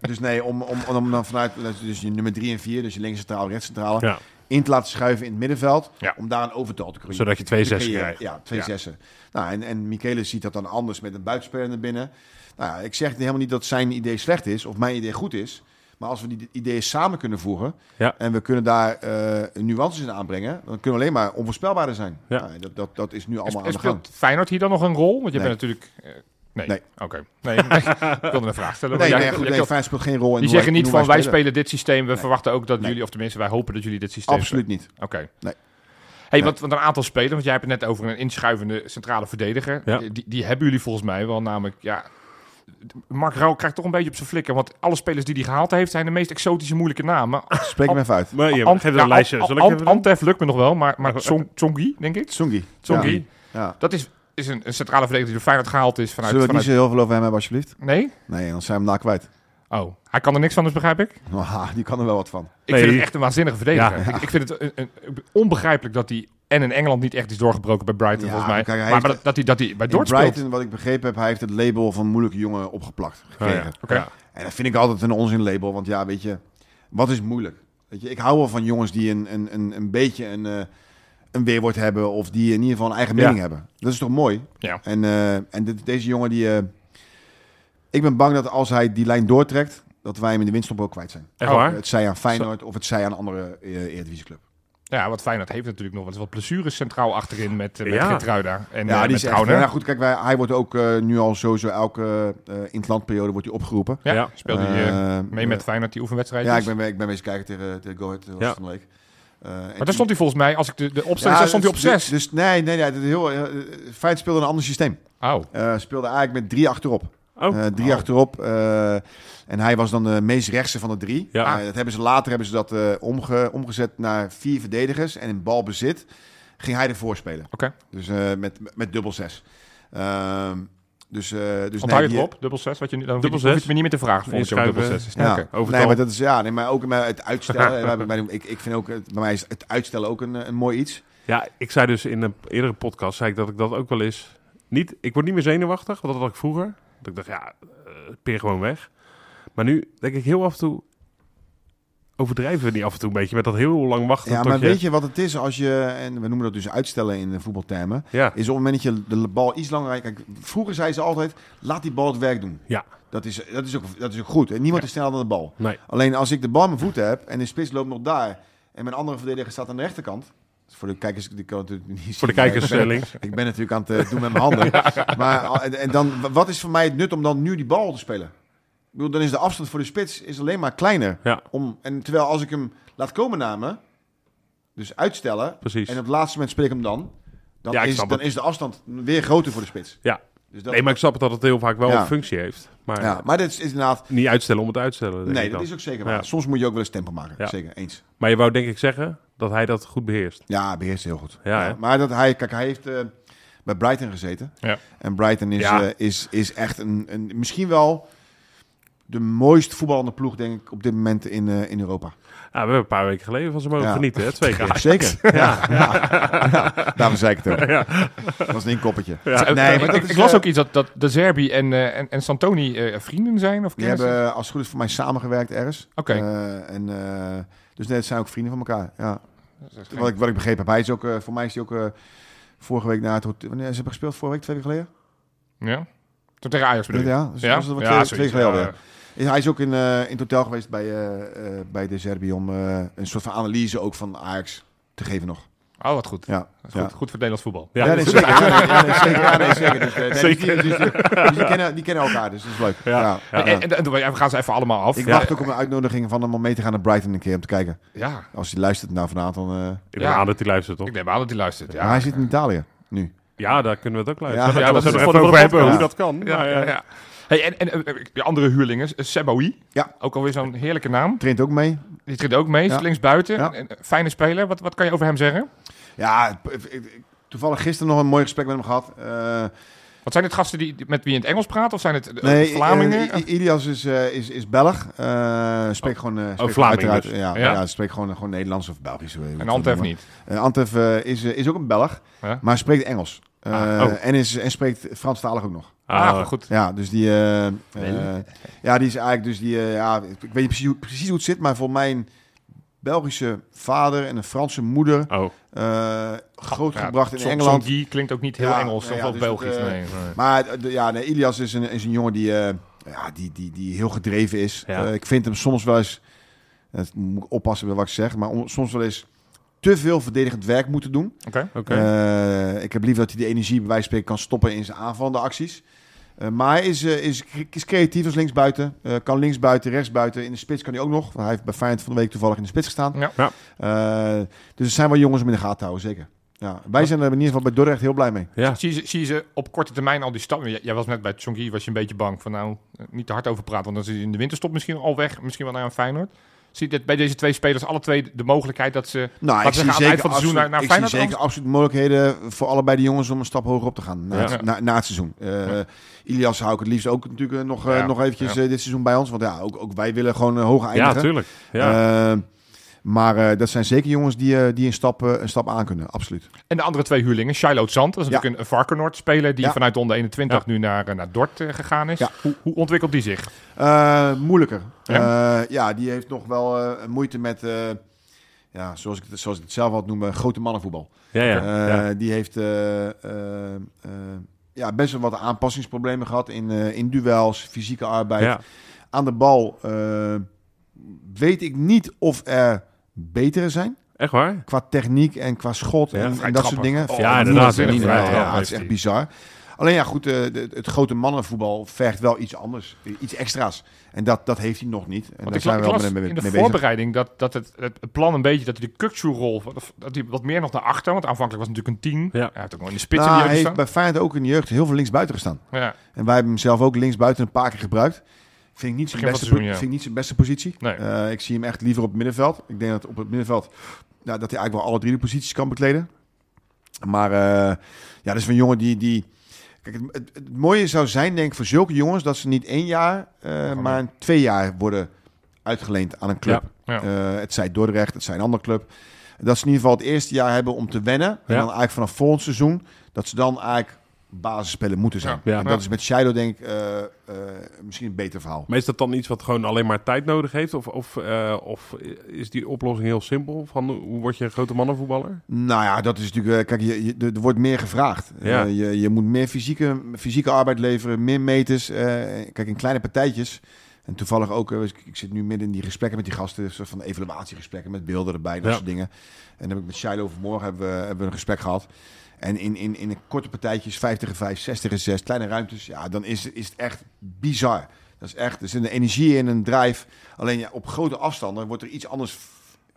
Dus nee, om, om, om dan vanuit dus je nummer 3 en 4, dus je links centraal, rechts centrale,
ja.
in te laten schuiven in het middenveld.
Ja.
Om daar een overtal te creëren.
Zodat je twee
Te
zessen
creëren.
krijgt.
Ja, twee
Ja.
zessen. Nou, en, en Michele ziet dat dan anders met een buitenspeler naar binnen. Nou, ja, ik zeg helemaal niet dat zijn idee slecht is of mijn idee goed is. Maar als we die ideeën samen kunnen voegen
Ja.
en we kunnen daar eh, nuances in aanbrengen, dan kunnen we alleen maar onvoorspelbaarder zijn.
Ja.
Nou, dat, dat, dat is nu
En
allemaal
sp- en
aan de gang.
speelt Feyenoord hier dan nog een rol? Want je
Nee.
bent natuurlijk... eh, nee.
Nee.
Oké. Nee, nee, ik wilde een vraag stellen.
Nee,
maar
nee,
jij-
goed,
jij-
nee, Feyenoord speelt geen rol in
die
hoe
zeggen niet
hoe
van, wij
spelen.
spelen dit systeem. We verwachten ook dat
Nee.
jullie, of tenminste, wij hopen dat jullie dit systeem...
Absoluut niet.
Oké.
Nee.
Hey,
Nee.
want, want een aantal spelers, want jij hebt het net over een inschuivende centrale verdediger.
Ja.
Eh, Die, die hebben jullie volgens mij wel namelijk, ja... Mark Rauw krijgt toch een beetje op zijn flikker, want alle spelers die hij gehaald heeft zijn de meest exotische moeilijke namen.
Spreek hem even uit.
Maar je,
Ant-
geef
ja,
dat een lijstje.
Ant-
Zal ik even
Ant- Antef lukt me nog wel, maar, maar Tsong- Tsongi, denk ik.
Tsungi.
Tsongi.
Ja. Ja.
Dat is, is een, een centrale verdediger die door Feyenoord gehaald is vanuit...
Zullen we het niet
vanuit
zo heel veel over hem hebben, alsjeblieft?
nee?
Nee, dan zijn we hem daar kwijt.
Oh, hij kan er niks van, dus begrijp ik.
Haha, die kan er wel wat van.
Ik
Nee.
vind het echt een waanzinnige verdediger. Ik, ik vind het een, een- onbegrijpelijk dat hij en in Engeland niet echt is doorgebroken bij Brighton,
Ja,
volgens mij.
kijk, hij
maar
heeft-
maar dat, dat hij, dat hij bij
In
Dortmund
Brighton,
speelt.
wat ik begrepen heb, hij heeft het label van moeilijke jongen opgeplakt gekregen.
Oh ja.
Oké.
Ja.
En dat vind ik altijd een onzin label, want ja, weet je, wat is moeilijk? Weet je, ik hou wel van jongens die een, een, een, een beetje een, eh, een weerwoord hebben of die in ieder geval een eigen
Ja.
mening hebben. Dat is toch mooi?
Ja.
En, eh, en dit- deze jongen die... eh, ik ben bang dat als hij die lijn doortrekt, dat wij hem in de winststop ook kwijt zijn.
Oh,
Echt waar?
Het zij aan Feyenoord of het zij aan een andere eh, Eredivisieclub.
Ja, wat Feyenoord heeft natuurlijk nog wat, wat blessures centraal achterin met, eh, met
Ja.
Geertruida en
Ja,
eh,
die
met
is echt,
Trauner.
nou goed, kijk, wij, hij wordt ook eh, nu al sowieso elke eh interlandperiode wordt hij opgeroepen.
Ja,
Ja.
speelde hij eh,
Eh,
mee met Feyenoord die oefenwedstrijd.
Ja, ik ben, ik ben bezig kijken tegen, tegen Go Ahead eh, was
Ja.
het van de week. Eh, en
Maar daar stond hij volgens mij, als ik de, de opstelling zag, stond hij op
dus-
6.
Dus nee, nee, nee. Het is heel, eh, Feyenoord speelde een ander systeem.
Oh,
Eh, speelde eigenlijk met drie achterop.
Oh.
Eh, drie
Oh.
achterop. eh, en hij was dan de meest rechtse van de drie.
Ja.
Eh, dat hebben ze, later hebben ze dat eh, omge, omgezet naar vier verdedigers. En in balbezit ging hij ervoor spelen.
Oké.
Dus eh, met, met dubbel zes. Ehm, dus, eh dus
onthoud je
die-
het erop? Dubbel 6? Wat je, nu- dan
Dubbel
hoef je, hoef je
zes.
het me niet meer te vragen. Volgens je
Inschuiven.
dubbel 6 is.
Ja,
Oké.
over het
nee, maar
al.
dat is ja, nee, maar ook maar het uitstellen. Eh, bij- bij- ik, ik vind ook, het- bij mij is het uitstellen ook een, eh, een mooi iets.
Ja, ik zei dus in een eerdere podcast zei ik dat ik dat ook wel eens. Niet, ik word niet meer zenuwachtig, want dat had ik vroeger. Dat ik dacht, ja, eh, peer gewoon weg. Maar nu denk ik heel af en toe. Overdrijven we niet af en toe een beetje met dat heel lang wachten.
Ja,
tot
maar
je,
weet je wat het is als je, en we noemen dat dus uitstellen in de voetbaltermen,
Ja,
is op het moment dat je de bal iets langer... Kijk, vroeger zei ze altijd, laat die bal het werk doen.
Ja.
Dat is, dat is, ook, dat is ook goed. En niemand is sneller dan de bal.
nee.
Alleen als ik de bal in mijn voeten heb en de spits loopt nog daar en mijn andere verdediger staat aan de rechterkant... Voor de kijkers, die kan het natuurlijk niet zien,
Voor de
maar
kijkers
ik ben-
eh, links.
Ik ben natuurlijk aan het eh, doen met mijn handen. Maar al- en- en dan, wat is voor mij het nut om dan nu die bal te spelen? Ik bedoel, dan is de afstand voor de spits is alleen maar kleiner.
Ja.
Om, en terwijl als ik hem laat komen naar me, dus uitstellen,
Precies.
en op het laatste moment speel ik hem dan, dan,
Ja, ik
is,
snap
dan
het.
is de afstand weer groter voor de spits.
Ja.
Dus dat,
Nee, maar ik snap dat het heel vaak wel
Ja.
een functie heeft. Maar
ja, maar dat is, is inderdaad...
niet uitstellen om het uitstellen. Denk
Nee,
ik
dat
dan.
is ook zeker waar.
Ja.
Soms moet je ook wel eens tempo maken.
Ja.
Zeker, eens.
Maar je wou denk ik zeggen dat hij dat goed beheerst.
Ja, beheerst heel goed.
Ja, hè?
maar dat hij, kijk, hij heeft eh, bij Brighton gezeten.
Ja.
En Brighton is,
Ja.
eh, is, is echt een, een, misschien wel de mooist voetballende ploeg, denk ik, op dit moment in, eh, in Europa.
Ah, we hebben een paar weken geleden van ze mogen
Ja.
genieten, hè? Twee keer.
Zeker. Ja. Ja. Ja. Daarom zei ik het ook. Dat was een inkoppertje.
Eh,
Nee,
ik-
maar dat
ik,
is,
ik las
eh,
ook iets dat, dat de Zerbi en, eh, en, en Santoni eh, vrienden zijn of
Die
kennissen.
hebben eh, als het goed is voor mij samengewerkt ergens.
Oké.
Eh, en, eh, dus net zijn ook vrienden van elkaar. Ja.
Dat is geen-
Wat, ik, wat ik begrepen heb, hij is ook, eh, voor mij is hij ook eh, vorige week na het hotel... Wanneer ze hebben gespeeld? Vorige week, twee weken geleden?
Ja? Toen tegen Ajax bedoel je?
Ja, dus was het wat twee, twee
zoiets,
weken geleden
ja.
alweer. Ja, Hij is ook in, eh, in het hotel geweest bij, eh, eh, bij de Serbi om eh, een soort van analyse ook van Ajax te geven nog.
Oh, wat goed.
Ja,
Dat is
ja.
Goed, goed voor het Nederlands voetbal.
Ja,
Ja,
nee, zeker. Ja, nee, ja, nee, zeker. Ja, nee, zeker. Dus, eh, nee,
Zeker.
Dus, die, dus die- dus die kennen, die kennen elkaar, dus dat is leuk. Ja. Ja.
En, en, en- we gaan ze even allemaal af.
Ik
ja.
wacht ook op een uitnodiging van hem om mee te gaan naar Brighton een keer om te kijken.
ja,
Als hij luistert nou vanavond, dan... eh,
Ik ben
Ja.
aan dat hij luistert, toch?
ik neem aan dat hij luistert.
maar
Ja,
hij zit in Italië nu.
Ja, daar kunnen we het ook
Ja,
luisteren.
ja, dat
we
is
zullen
het
even
voor
over
hebben.
hebben hoe dat
Ja.
kan.
ja,
maar,
ja,
eh,
ja. Hey, en, en eh, de andere huurlingen, eh, Seboui.
Ja.
Ook alweer zo'n heerlijke naam.
Traint ook mee.
Die treedt ook mee,
Ja.
links buiten. eh,
Ja.
Fijne speler. Wat, wat kan je over hem zeggen?
Ja, ik- ik- toevallig gisteren nog een mooi gesprek met hem gehad. Eh,
Wat zijn het gasten die, die- met wie je in het Engels praat? Of zijn het eh,
Nee,
Vlamingen? Oh.
eh, I- I- Ilias is, eh, is, is Belg. Eh spreekt gewoon... eh spreekt
Vlaming
uiteraard-
dus.
Ja,
Ja.
ja. spreekt gewoon, gewoon Nederlands of Belgisch. hoe je het
en
wil
Antef
noemen.
niet.
Eh, Antef eh, is, eh, is ook een Belg,
Ja.
maar spreekt Engels. Eh,
Ah,
oh.
en, is, en spreekt Franstalig ook nog.
Ah,
ah,
goed.
Ja, dus die... eh, eh,
Wel.
ja, die is eigenlijk dus die... eh, ja, ik weet niet precies, hoe- precies hoe het zit, maar voor mijn Belgische vader en een Franse moeder...
Oh,
eh, grootgebracht in
Son-
Engeland.
Songi klinkt ook niet heel
Ja,
Engels
nou
of
ja,
wel
dus dat,
Belgisch.
eh,
nee, nee.
Maar eh, de- ja, nee, Ilias is een, is een jongen die, eh, ja, die, die, die heel gedreven is.
Ja.
Eh, ik vind hem soms wel eens, dat moet ik oppassen bij wat ik zeg, maar om- soms wel eens te veel verdedigend werk moeten doen.
Oké.
oké.
Eh, ik heb liever dat hij de energie bij wijze van spreken kan stoppen in zijn aanvallende acties. Eh, maar hij is, eh, is, is creatief als linksbuiten. Eh, kan linksbuiten, rechtsbuiten. In de spits kan hij ook nog. want Hij heeft bij Feyenoord van de week toevallig in de spits gestaan.
Ja.
Ja.
Eh, dus er zijn wel jongens om in de gaten te houden, zeker. Ja. Wij zijn er in ieder geval bij Dordrecht heel blij mee.
Ja.
Zie, je, zie je ze op korte termijn al die stappen? Jij, jij was net bij Tsongi, was je een beetje bang van nou, eh, niet te hard over praten, want dan zit hij in de winterstop misschien al weg, misschien wel naar een Feyenoord. Zie je dit bij deze twee spelers alle twee de mogelijkheid dat ze...
Nou,
Laten
ik
we
zie,
zeggen, aan het eind
zeker
van het seizoen
absoluut,
naar- naar
ik zie
Feyenoord
zeker absoluut mogelijkheden voor allebei de jongens om een stap hoger op te gaan na,
Ja.
het, na, na het seizoen. Eh, Ilias hou ik het liefst ook natuurlijk eh, nog, eh,
Ja,
nog eventjes
ja.
eh, dit seizoen bij ons. Want ja, ook, ook wij willen gewoon eh, hoger
ja,
eindigen.
tuurlijk. Ja.
Eh, maar eh, dat zijn zeker jongens die, eh, die een, stap, eh, een stap aan kunnen, absoluut.
En de andere twee huurlingen, Shiloh Zand, dat is
Ja.
natuurlijk een Varkenoord-speler die
Ja.
vanuit de onder 21 nu naar, eh, naar Dort eh, gegaan is.
Ja.
Hoe, hoe ontwikkelt die zich?
Eh, moeilijker.
Ja?
Ja? ja, die heeft nog wel eh, moeite met, eh, ja, zoals, ik het, zoals ik het zelf had noemen, grote mannenvoetbal.
ja, ja, ja.
Eh, Die heeft eh, eh, eh, ja, best wel wat aanpassingsproblemen gehad in, eh, in duels, fysieke arbeid.
Ja.
Aan de bal eh, weet ik niet of er betere zijn.
Echt waar?
Qua techniek en qua schot
Ja,
en,
vrij
en dat soort
trappig.
dingen.
Oh,
Ja,
niemand
inderdaad,
wil
ja,
het.
vrij
Ja,
trappig
het is
heeft
echt
hij.
bizar. Alleen ja, goed, eh, de- het, grote mannenvoetbal vergt wel iets anders. eh, Iets extra's. En dat, dat heeft hij nog niet. En
Want
daar
ik,
zijn
ik
we wel
las
mee, mee,
in de
mee bezig.
voorbereiding dat, dat het, het plan een beetje dat hij de Kukchu-rol dat hij wat meer nog naar achter, want aanvankelijk was het natuurlijk een 10.
Ja.
Hij heeft ook nog in de spits
Nou,
in
hij
de
heeft
jeugd
bij Feyenoord ook in de jeugd heel veel linksbuiten gestaan.
staan. Ja.
En wij hebben hem zelf ook linksbuiten een paar keer gebruikt. Vind ik niet zijn,
Begin van het
beste,
seizoen,
po-
ja.
vind ik niet zijn beste positie.
Nee.
Eh, ik zie hem echt liever op het middenveld. Ik denk dat op het middenveld nou, dat hij eigenlijk wel alle drie de posities kan bekleden. Maar eh, ja, dat is een jongen die... die Kijk, het, het- het mooie zou zijn, denk ik, voor zulke jongens... dat ze niet één jaar, eh, maar een twee jaar worden uitgeleend aan een club.
Ja.
Eh, het zij Dordrecht, het zij een andere club. Dat ze in ieder geval het eerste jaar hebben om te wennen. En
Ja.
dan eigenlijk vanaf volgend seizoen... dat ze dan eigenlijk basisspeler moeten zijn.
Ja.
Ja.
En dat is met Shadow denk ik eh, eh, misschien een beter verhaal.
Maar is dat dan iets wat gewoon alleen maar tijd nodig heeft? Of, of, eh, of is die oplossing heel simpel? Van hoe word je een grote mannenvoetballer?
Nou ja, dat is natuurlijk... eh, kijk, je, je- er- er wordt meer gevraagd.
Ja.
Eh, je, je moet meer fysieke, fysieke arbeid leveren, meer meters. eh, kijk, in kleine partijtjes... En toevallig ook, eh, ik ik zit nu midden in die gesprekken met die gasten, een soort van evaluatiegesprekken met beelden erbij, dat
Ja.
soort dingen. En dan heb ik met Shiloh vanmorgen hebben we, hebben we een gesprek gehad. En in, in, in korte partijtjes, 5 tegen 5, 6 tegen 6, kleine ruimtes, ja, dan is, is het echt bizar. Dat is echt, er zit een energie in, een drive. Alleen ja, op grote afstanden wordt er iets anders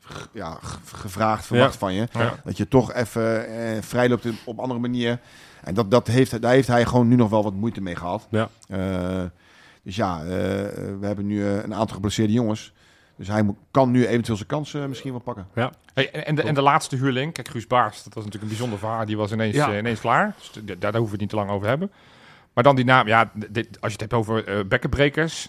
g- ja, g- gevraagd, verwacht
Ja.
van je.
Ja.
Dat je toch even eh, vrij loopt in- op andere manier. En dat, dat heeft, daar heeft hij gewoon nu nog wel wat moeite mee gehad.
Ja.
Eh, dus ja, eh, we hebben nu eh, een aantal geblesseerde jongens. Dus hij moet, kan nu eventueel zijn kansen misschien wel pakken.
Hey, en, en, de, en de laatste huurling, kijk Guus Baars, dat was natuurlijk een bijzonder verhaal, die was ineens,
Ja.
eh, ineens klaar. Dus d- daar, daar hoeven we het niet te lang over te hebben. Maar dan die naam, ja, d- dit, als je het hebt over eh bekkenbrekers.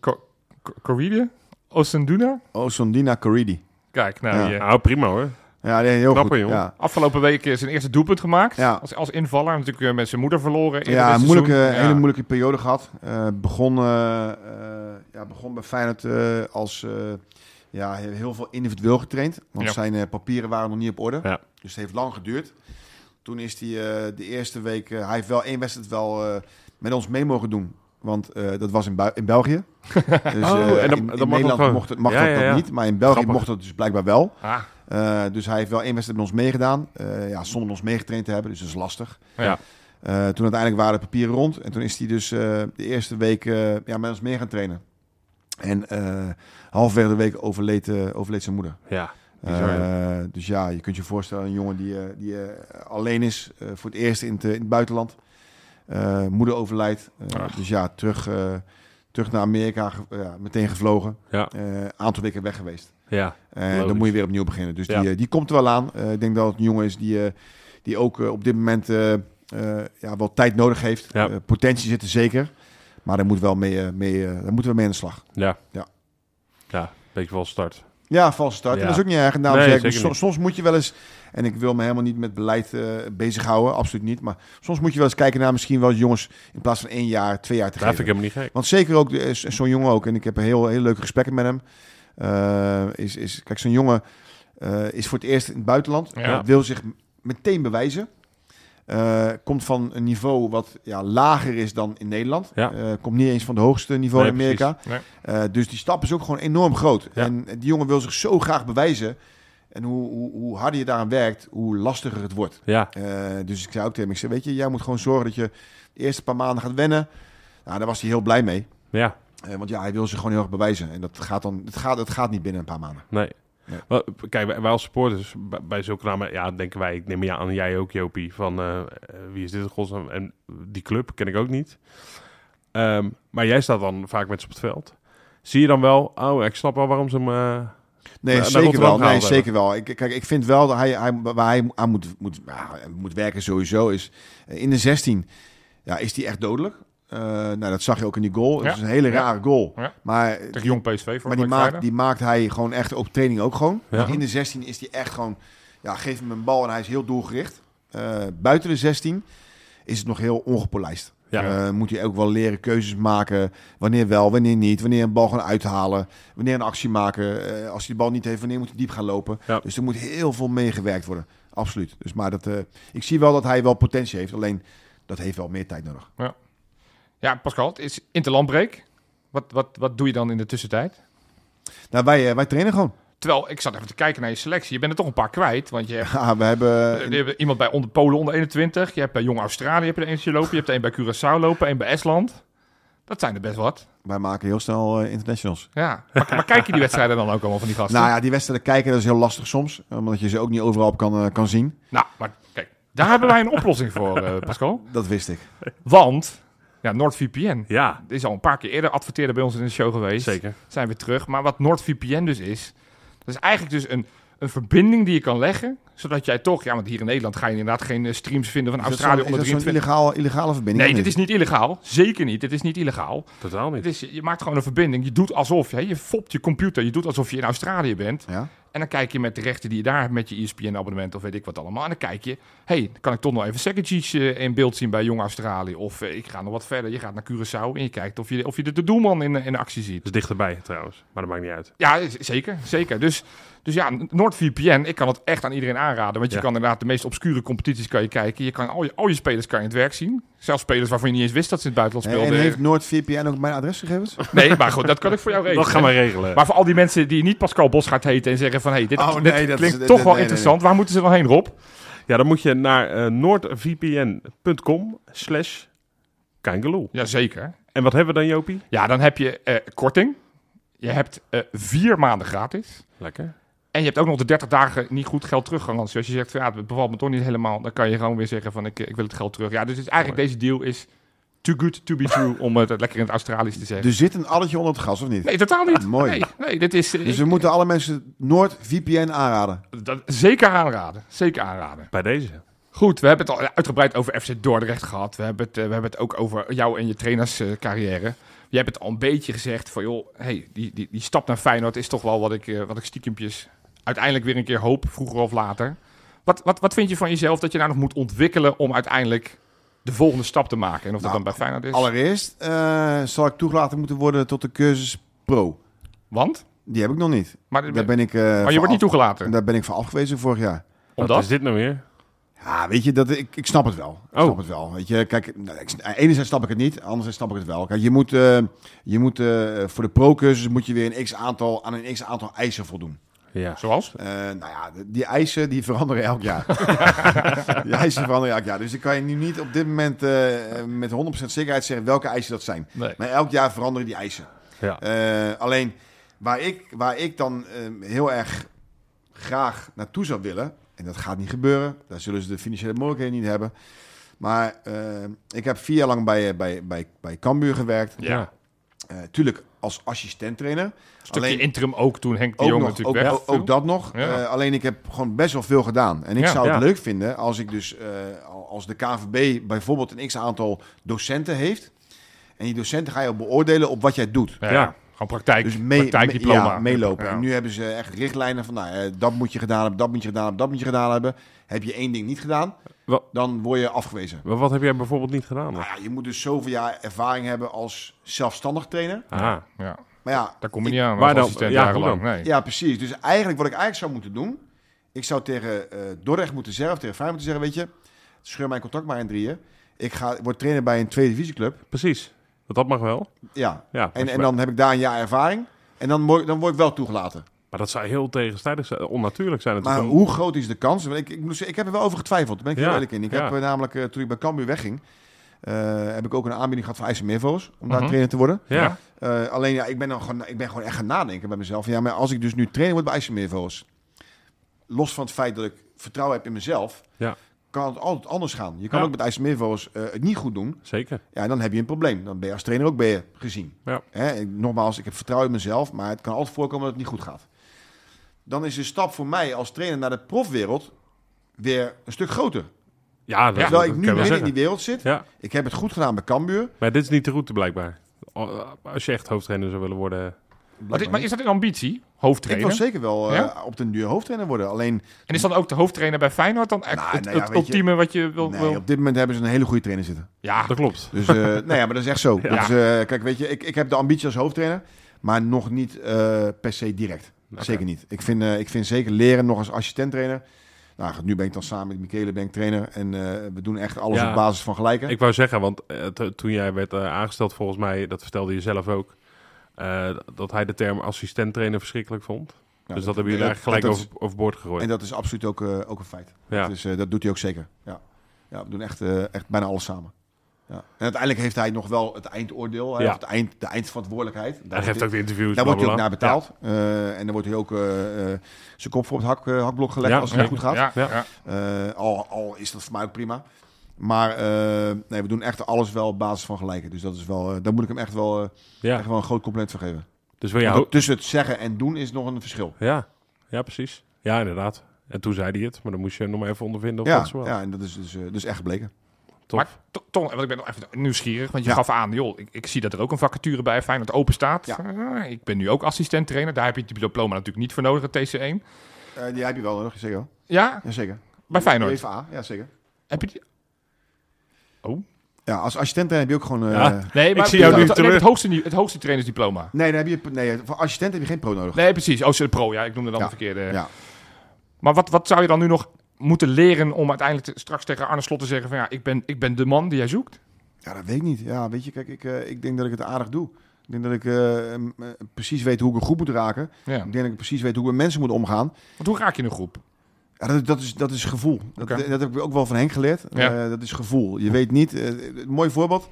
Co- Co- Corrida? Osenduna?
Oh, Osondina Corridi.
Kijk, nou,
Ja.
die, eh,
Nou, prima hoor.
Ja, nee, heel
Knapper,
goed.
joh.
Ja,
afgelopen week is zijn eerste doelpunt gemaakt.
Ja.
Als, als invaller, natuurlijk eh, met zijn moeder verloren. eerder
ja
dit
moeilijke,
seizoen. Ja.
hele moeilijke periode gehad. Eh, begon, eh, eh, ja, begon bij Feyenoord eh, als eh, ja, he- heel veel individueel getraind. Want
Ja.
zijn eh, papieren waren nog niet op orde.
Ja.
Dus het heeft lang geduurd. Toen is hij eh, de eerste week... eh, hij heeft wel één wedstrijd wel eh, met ons mee mogen doen. Want eh, dat was in, Bui- in België. Dus, eh,
Oh, en dan- dan
in, in
mag dat
Nederland
gewoon.
mocht, het, mag
Ja,
dat,
ja,
dat
ja.
niet. Maar in België
Grappig.
mocht dat dus blijkbaar wel.
Ah,
Eh, dus hij heeft wel één wedstrijd met ons meegedaan. Eh, ja, zonder ons meegetraind te hebben, dus dat is lastig.
Ja.
Eh, toen uiteindelijk waren de papieren rond. En toen is hij dus eh, de eerste week eh, ja, met ons mee gaan trainen. En eh halverwege de week overleed, eh, overleed zijn moeder.
Ja.
Eh,
Bizar,
dus ja, je kunt je voorstellen, een jongen die, eh, die eh, alleen is eh, voor het eerst in het, eh, in het buitenland. Eh, moeder overlijdt. Eh,
Ach.
dus ja, terug, eh, terug naar Amerika, ge- ja, meteen gevlogen.
Ja.
Eh, aantal weken weg geweest.
Ja.
En
Logisch.
Eh, dan moet je weer opnieuw beginnen. Dus
Ja.
die, eh, die komt er wel aan. Eh, ik denk dat het een jongen is die, eh, die ook eh, op dit moment eh, eh, ja, wel tijd nodig heeft.
Ja.
Eh, potentie zit er zeker. Maar daar, moet wel mee, eh, mee, eh, daar moeten we mee aan de slag.
Ja.
Ja.
Ja, beetje wel start.
Ja, valse start. En
Ja.
dat is ook niet erg. Nou,
Nee,
zeg ik,
zeker
so-
niet.
soms moet je wel eens... En ik wil me helemaal niet met beleid eh, bezighouden. Absoluut niet. Maar soms moet je wel eens kijken naar misschien wel jongens... in plaats van één jaar, twee jaar te
Dat vind ik
geven.
helemaal niet gek.
Want zeker ook de- is- is zo'n jongen ook, en ik heb een heel, heel leuke gesprekken met hem. eh, is, is, kijk, zo'n jongen eh, is voor het eerst in het buitenland.
Ja.
eh, Wil zich m- meteen bewijzen. Eh, komt van een niveau wat ja, lager is dan in Nederland.
Ja.
Eh, komt niet eens van het hoogste niveau
Nee,
in Amerika.
Nee.
Eh, dus die stap is ook gewoon enorm groot.
Ja.
En die jongen wil zich zo graag bewijzen. En hoe, hoe, hoe harder je daaraan werkt, hoe lastiger het wordt.
Ja.
Eh, dus ik zei ook tegen hem, ik zei, weet je, jij moet gewoon zorgen dat je de eerste paar maanden gaat wennen. Nou, daar was hij heel blij mee.
Ja.
Eh, want ja, hij wil zich gewoon heel erg bewijzen. En dat gaat, dan, het gaat, het gaat niet binnen een paar maanden.
Nee.
Ja.
Wel, Kijk, wij wij als supporters bij- bij zulke namen, ja, denken wij, ik neem je aan, jij ook, Jopie, van eh, eh, wie is dit in godsnaam? En die club ken ik ook niet. Ehm, maar jij staat dan vaak met ze op het veld. Zie je dan wel, oh, ik snap wel waarom ze hem... eh,
Nee,
Naar- naar
zeker
Rotterdam
wel. Nee,
gehaald
zeker wel. Ik, kijk, ik vind wel dat hij, hij, waar hij aan moet, moet, ja, moet werken sowieso is... eh, In de 16 ja, is hij echt dodelijk. Eh, nou, dat zag je ook in die goal. Het
Ja.
is een hele
Ja.
rare goal.
Ja.
Maar,
Tegen jong PSV voor
maar die, maakt, die maakt hij gewoon echt op training ook gewoon.
Ja.
Want In de 16 is hij echt gewoon... Ja, geef hem een bal en hij is heel doelgericht. Eh, buiten de 16 is het nog heel ongepolijst.
ja,
Eh, moet hij ook wel leren keuzes maken. Wanneer wel, wanneer niet. Wanneer een bal gaan uithalen. Wanneer een actie maken. Eh, als hij de bal niet heeft, wanneer moet hij diep gaan lopen.
Ja.
Dus er moet heel veel meegewerkt worden. Absoluut. Dus, maar dat, eh, ik zie wel dat hij wel potentie heeft. Alleen dat heeft wel meer tijd nodig.
Ja, Pascal, het is interlandbreek. Wat, wat, wat doe je dan in de tussentijd?
Nou, wij, eh, wij trainen gewoon.
Terwijl ik zat even te kijken naar je selectie. Je bent er toch een paar kwijt. Want je hebt,
Ja, Ah, we hebben...
je hebt Eh, iemand bij onder Polen onder 21. Je hebt bij Jong Australië heb je er eentje lopen. Je hebt er een bij Curaçao lopen. Een bij Estland. Dat zijn er best wat.
Wij maken heel snel eh, internationals.
Ja. Maar, maar kijk je die wedstrijden dan ook allemaal van die gasten?
Nou ja, die wedstrijden kijken, dat is heel lastig soms. eh, Omdat je ze ook niet overal op kan, eh, kan zien.
Nou, maar kijk, daar hebben wij een oplossing voor, eh, Pascal.
Dat wist ik.
Want, ja, NordVPN
Ja,
is al een paar keer eerder adverteerder bij ons in de show geweest.
zeker.
Zijn we terug. Maar wat NordVPN dus is, dat is eigenlijk dus een, een verbinding die je kan leggen. Zodat jij toch, ja, want hier in Nederland ga je inderdaad geen eh, streams vinden van
Is dat
Australië
zo'n-
onder
is dat zo'n
23.
illegale, illegale verbinding?
Nee,
of
dit is niet illegaal. Zeker niet. Dit is niet illegaal.
Totaal
Het
niet.
is, je maakt gewoon een verbinding. Je doet alsof, hè, je fopt je computer. Je doet alsof je in Australië bent.
Ja?
En dan kijk je met de rechten die je daar hebt met je ESPN-abonnement of weet ik wat allemaal. En dan kijk je, hé, hey, kan ik toch nog even Sekacic eh, in beeld zien bij Jong Australië? Of eh, ik ga nog wat verder. Je gaat naar Curaçao en je kijkt of je, of je de, de doelman in, eh, in actie ziet.
Dat is dichterbij trouwens, maar dat maakt niet uit.
Ja, z- zeker, zeker. Dus, dus ja, NordVPN, ik kan het echt aan iedereen aanraden. Want je
Ja.
kan inderdaad de meest obscure competities kan je kijken. Je kan al je, al je spelers kan je in het werk zien. Zelfs spelers waarvan je niet eens wist dat ze in het buitenland
En, en
speelden.
heeft NoordVPN ook mijn adresgegevens?
Nee, maar goed, dat kan ik voor jou regelen.
Dat gaan we regelen.
Maar voor al die mensen die niet Pascal Bos gaat heten en zeggen van... hé, hey, dit,
Oh,
dit
nee, dat
klinkt
is-
toch
nee,
wel
nee,
interessant. Waar moeten ze dan heen, Rob?
Ja, dan moet je naar eh, noordvpn.com slash kangaloo.
Jazeker.
En wat hebben we dan, Jopie?
Ja, dan heb je eh, korting. Je hebt eh, vier maanden gratis.
Lekker.
En je hebt ook nog de 30 dagen niet goed geld teruggarantie. Als je zegt, van, ja, het bevalt me toch niet helemaal, dan kan je gewoon weer zeggen van ik, ik wil het geld terug. Ja, dus het is eigenlijk deze deal is too good to be true, om het lekker in het Australisch te zeggen.
Er zit een alletje onder het gas, of niet?
Nee, totaal niet.
Dus- Ah, Mooi.
Nee, nee Dus- dit is eh,
Dus we moeten alle mensen NoordVPN aanraden.
dat, zeker aanraden. Zeker aanraden.
Bij deze.
Goed, we hebben het al uitgebreid over FC Dordrecht gehad. We hebben het, eh, we hebben het ook over jou en je trainerscarrière. Je hebt het al een beetje gezegd van, joh, hey, die, die, die stap naar Feyenoord is toch wel wat ik, eh, wat ik stiekempjes uiteindelijk weer een keer hoop, vroeger of later. Wat, wat, wat vind je van jezelf dat je nou nog moet ontwikkelen om uiteindelijk de volgende stap te maken? En of dat
Nou,
dan bij Feyenoord is?
Allereerst eh, zal ik toegelaten moeten worden tot de cursus Pro.
Want?
Die heb ik nog niet.
Maar,
Daar ben ik, eh,
maar
van
je wordt niet
af-
toegelaten.
Daar ben ik van afgewezen vorig jaar.
Wat
Omdat?
is dit nou weer?
Ja, weet je, dat, ik, ik snap het wel. Ik
Oh.
snap het wel. Weet je, kijk, nou, ik, enerzijds snap ik het niet, anderzijds snap ik het wel. Kijk, je moet, eh, je moet eh, voor de pro-cursus moet je weer een x aantal, aan een x aantal eisen voldoen.
Ja.
Zoals?
Eh, nou ja, de- die eisen die veranderen elk jaar. die eisen veranderen elk jaar. Dus ik kan je nu niet op dit moment eh, met 100% zekerheid zeggen welke eisen dat zijn.
Nee.
Maar elk jaar veranderen die eisen.
Ja.
Eh, alleen waar ik, waar ik dan eh, heel erg graag naartoe zou willen, en dat gaat niet gebeuren, daar zullen ze de financiële mogelijkheden niet hebben. Maar eh, ik heb vier jaar lang bij, eh, bij, bij, bij Cambuur gewerkt.
Ja.
Eh, tuurlijk als assistent trainer.
Stukje
Alleen-
interim ook toen Henk de
ook,
Jong
nog, ook,
natuurlijk weg.
ook- ook dat nog.
Ja.
Eh, alleen ik heb gewoon best wel veel gedaan. En ik
Ja,
zou het
ja.
leuk vinden als ik dus eh, als de KVB bijvoorbeeld een x aantal docenten heeft. En die docenten ga je beoordelen op wat jij doet.
Ja,
Ja.
gewoon praktijk,
Dus mee,
praktijkdiploma.
ja, meelopen.
Ja.
En nu hebben ze echt richtlijnen van, nou, eh, dat moet je gedaan hebben, dat moet je gedaan hebben, dat moet je gedaan hebben. Heb je één ding niet gedaan,
Wat?
dan word je afgewezen.
Maar wat heb jij bijvoorbeeld niet gedaan?
Nou ja, je moet dus zoveel jaar ervaring hebben als zelfstandig trainer.
Ah,
Ja.
Maar ja,
Daar kom je
ik-
niet aan
Waar
als
dan?
assistent
Ja,
jarenlang.
hoe
Nee.
Ja, precies. Dus eigenlijk wat ik eigenlijk zou moeten doen, ik zou tegen eh Dordrecht moeten zeggen, of tegen Feyenoord moeten zeggen, weet je, scheur mijn contract maar in drieën. Ik ga, word trainer bij een tweede divisieclub.
precies. Want dat mag wel.
Ja.
Ja,
En, en dan heb ik daar een jaar ervaring. En dan, mo- dan word ik wel toegelaten.
Maar dat zou heel tegenstrijdig zijn. Onnatuurlijk zijn
Maar
natuurlijk.
hoe groot is de kans? Want ik, ik, moet zeggen, ik heb er wel over getwijfeld. Daar ben ik heel
Ja,
eerlijk in. Ik
ja.
heb eh, namelijk, eh, toen ik bij Cambuur wegging, eh, heb ik ook een aanbieding gehad van IJsselmeervoos om daar
Mhm.
trainer te worden.
Ja.
Ja.
Eh, alleen ja, ik ben, dan gewoon, ik ben gewoon echt gaan nadenken bij mezelf. Ja, maar als ik dus nu trainer word bij IJsselmeervoos, los van het feit dat ik vertrouwen heb in mezelf,
Ja.
kan het altijd anders gaan. Je kan
Ja.
ook met IJsselmeervoos eh, het niet goed doen.
Zeker.
Ja, en dan heb je een probleem. Dan ben je als trainer ook ben je gezien.
Ja.
Hè, ik- nogmaals, ik heb vertrouwen in mezelf, maar het kan altijd voorkomen dat het niet goed gaat. Dan is de stap voor mij als trainer naar de profwereld weer een stuk groter.
Ja, dat,
Terwijl ik
dat
nu
kan je wel
midden in
zeggen.
die wereld zit.
Ja.
Ik heb het goed gedaan bij Cambuur.
Maar dit is niet de route blijkbaar. Als je echt hoofdtrainer zou willen worden.
Maar, is- maar is dat een ambitie?
ik
Hoofdtrainer?
wil zeker wel eh,
Ja?
op den duur hoofdtrainer worden. Alleen
En is dan ook de hoofdtrainer bij Feyenoord dan echt
Nou,
het,
nou ja,
het
weet je-
ultieme wat je wil? wil-
nee, op dit moment hebben ze een hele goede trainer zitten.
Ja,
Dat klopt.
Dus eh nee, ja, maar dat is echt zo.
Ja.
Dat is, eh, kijk, weet je, ik, ik heb de ambitie als hoofdtrainer, maar nog niet eh, per se direct.
Oké.
Zeker niet. Ik vind, eh, ik vind zeker leren nog als assistent trainer. Nou, goed, nu ben ik dan samen met Michele ben ik trainer en eh, we doen echt alles
Ja.
op basis van gelijke.
Ik wou zeggen, want eh, to- toen jij werd eh, aangesteld, volgens mij, dat vertelde je zelf ook, eh, dat hij de term assistent trainer verschrikkelijk vond. dus dat hebben jullie
Nou, dat-
eigenlijk
dat
gelijk
is-
over, overboord gegooid.
En dat is absoluut ook, eh, ook een feit.
ja.
Dus eh, dat doet hij ook zeker. Ja, ja we doen echt, eh, echt bijna alles samen. Ja. En uiteindelijk heeft hij nog wel het eindoordeel, hè,
Ja.
of het eind, de eindverantwoordelijkheid. Daar
hij
wordt
geeft
hij-
ook de interviews.
daar wordt hij ook
blablabla.
naar betaald. Eh, en dan wordt hij ook eh, eh, zijn kop voor op het hak, eh, hakblok gelegd
Ja,
als het
ja.
niet goed gaat.
Ja,
Ja.
ja.
Eh, al, al is dat voor mij ook prima. Maar eh, nee, we doen echt alles wel op basis van gelijkheid. Dus dat is wel, eh, daar moet ik hem echt wel, eh,
Ja.
echt wel een groot compliment voor geven.
Dus wil je
Want
ho-
dat- Tussen het zeggen en doen is nog een verschil.
Ja. ja, precies. Ja, inderdaad. En toen zei hij het, maar dan moest je nog maar even ondervinden of
Ja,
dat zo was.
ja, en dat is dus, eh, dus echt gebleken.
Tof.
Maar to- Ton, want ik ben nog even nieuwsgierig, want je
Ja.
gaf aan, joh, ik, ik zie dat er ook een vacature bij Feyenoord open staat.
Ja.
Eh, ik ben nu ook assistent trainer, daar heb je het diploma natuurlijk niet voor nodig, het TC1.
Eh, die heb je wel nodig, zeker wel.
Ja,
Jazeker.
bij Feyenoord.
UEFA, ja zeker.
Heb je die?
Ja, als assistent heb je ook gewoon... eh,
Ja.
Nee, maar
zie jou
het-
nu
het,
terug.
het hoogste, nie- het hoogste trainersdiploma.
Nee, dan heb je, nee, voor assistent heb je geen pro nodig.
Nee, precies. Oh, sorry, pro, ja, ik noemde dan
Ja.
de verkeerde.
Ja.
Maar wat, wat zou je dan nu nog moeten leren om uiteindelijk te- straks tegen Arne Slot te zeggen van ja, ik ben, ik ben de man die jij zoekt?
ja, dat weet ik niet. Ja, weet je, kijk, ik, eh, ik denk dat ik het aardig doe. Ik denk dat ik eh, m- eh, precies weet hoe ik een groep moet raken.
Ja.
Ik denk dat ik precies weet hoe ik met mensen moet omgaan.
Want hoe raak je een groep?
Ja, dat, dat, is, dat is gevoel. Dat,
Oké.
dat heb ik ook wel van Henk geleerd.
Ja.
Eh, dat is gevoel. Je weet niet... eh, een mooi voorbeeld.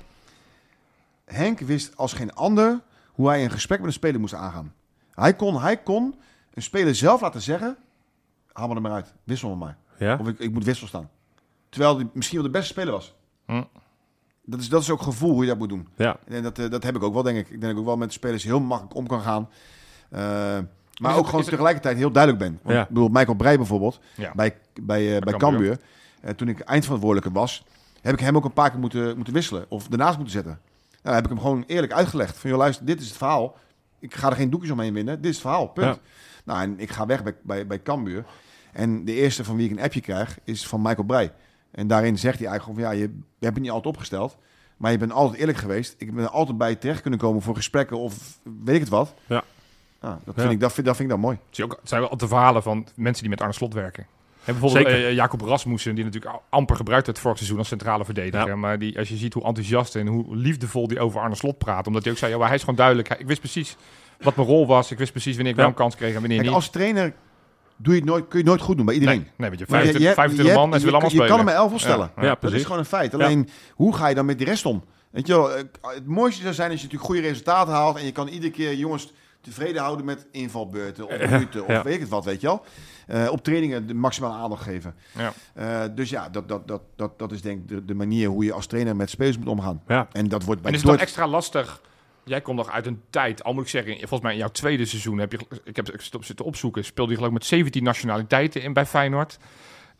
Henk wist als geen ander hoe hij een gesprek met een speler moest aangaan. Hij kon, hij kon een speler zelf laten zeggen... Haal me er maar uit. Wissel me maar.
Ja?
Of ik, ik moet wissel staan. Terwijl die misschien wel de beste speler was.
Hm.
Dat, is, dat is ook gevoel hoe je dat moet doen.
Ja.
En dat, eh, dat heb ik ook wel, denk ik. Ik denk dat ik ook wel met spelers heel makkelijk om kan gaan. Eh, maar
het-
ook
is
gewoon
het-
tegelijkertijd heel duidelijk ben. Want,
Ja.
Ik bedoel, Michael Breij bijvoorbeeld,
Ja.
bij, bij, eh, bij
Cambuur.
Cambuur. eh, toen ik eindverantwoordelijke was, heb ik hem ook een paar keer moeten, moeten wisselen. Of ernaast moeten zetten. Nou, dan heb ik hem gewoon eerlijk uitgelegd. Van, joh, luister, dit is het verhaal. Ik ga er geen doekjes omheen winnen. Dit is het verhaal, punt.
Ja.
Nou, en ik ga weg bij, bij, bij Cambuur. En de eerste van wie ik een appje krijg, is van Michael Breij. En daarin zegt hij eigenlijk gewoon van, ja, je, je hebt het niet altijd opgesteld. Maar je bent altijd eerlijk geweest. Ik ben er altijd bij terecht kunnen komen voor gesprekken of weet ik het wat.
Ja.
Nou, dat,
Ja.
vind ik, dat, vind, dat vind ik dan mooi.
Zie je ook, het zijn wel altijd de verhalen van mensen die met Arne Slot werken. En bijvoorbeeld
Zeker.
eh, Jacob Rasmussen, die natuurlijk al- amper gebruikt werd vorig seizoen als centrale verdediger.
Ja.
Maar die, als je ziet hoe enthousiast en hoe liefdevol die over Arne Slot praat. Omdat hij ook zei, ja, maar hij is gewoon duidelijk. Hij- Ik wist precies wat mijn rol was. Ik wist precies wanneer ik
Ja.
wel een kans kreeg en wanneer
Kijk,
niet.
als trainer doe je het nooit, kun je het nooit goed doen bij iedereen.
nee, nee, weet je,
Maar je-
25,
je hebt-
25
je
man en
hebt-
ze willen
je-
allemaal spelen.
Je kan er maar elf opstellen.
Ja.
Ja,
Dat is
precies.
gewoon een feit. Alleen, hoe ga je dan met die rest om? Weet je wel, eh, het mooiste zou zijn als je natuurlijk goede resultaten haalt... en je kan iedere keer jongens tevreden houden met invalbeurten of minuten... of
ja.
weet ik het wat, weet je wel. Eh, op trainingen de maximale aandacht geven.
Ja.
Eh, dus ja, dat, dat, dat, dat, dat is denk ik de, de manier hoe je als trainer met spelers moet omgaan.
Ja.
En dat wordt bij
En is het dan
Dordt-
extra lastig? Jij komt nog uit een tijd, al moet ik zeggen, volgens mij in jouw tweede seizoen heb je, ik heb het op- zitten opzoeken, speelde je geloof ik met 17 nationaliteiten in bij Feyenoord.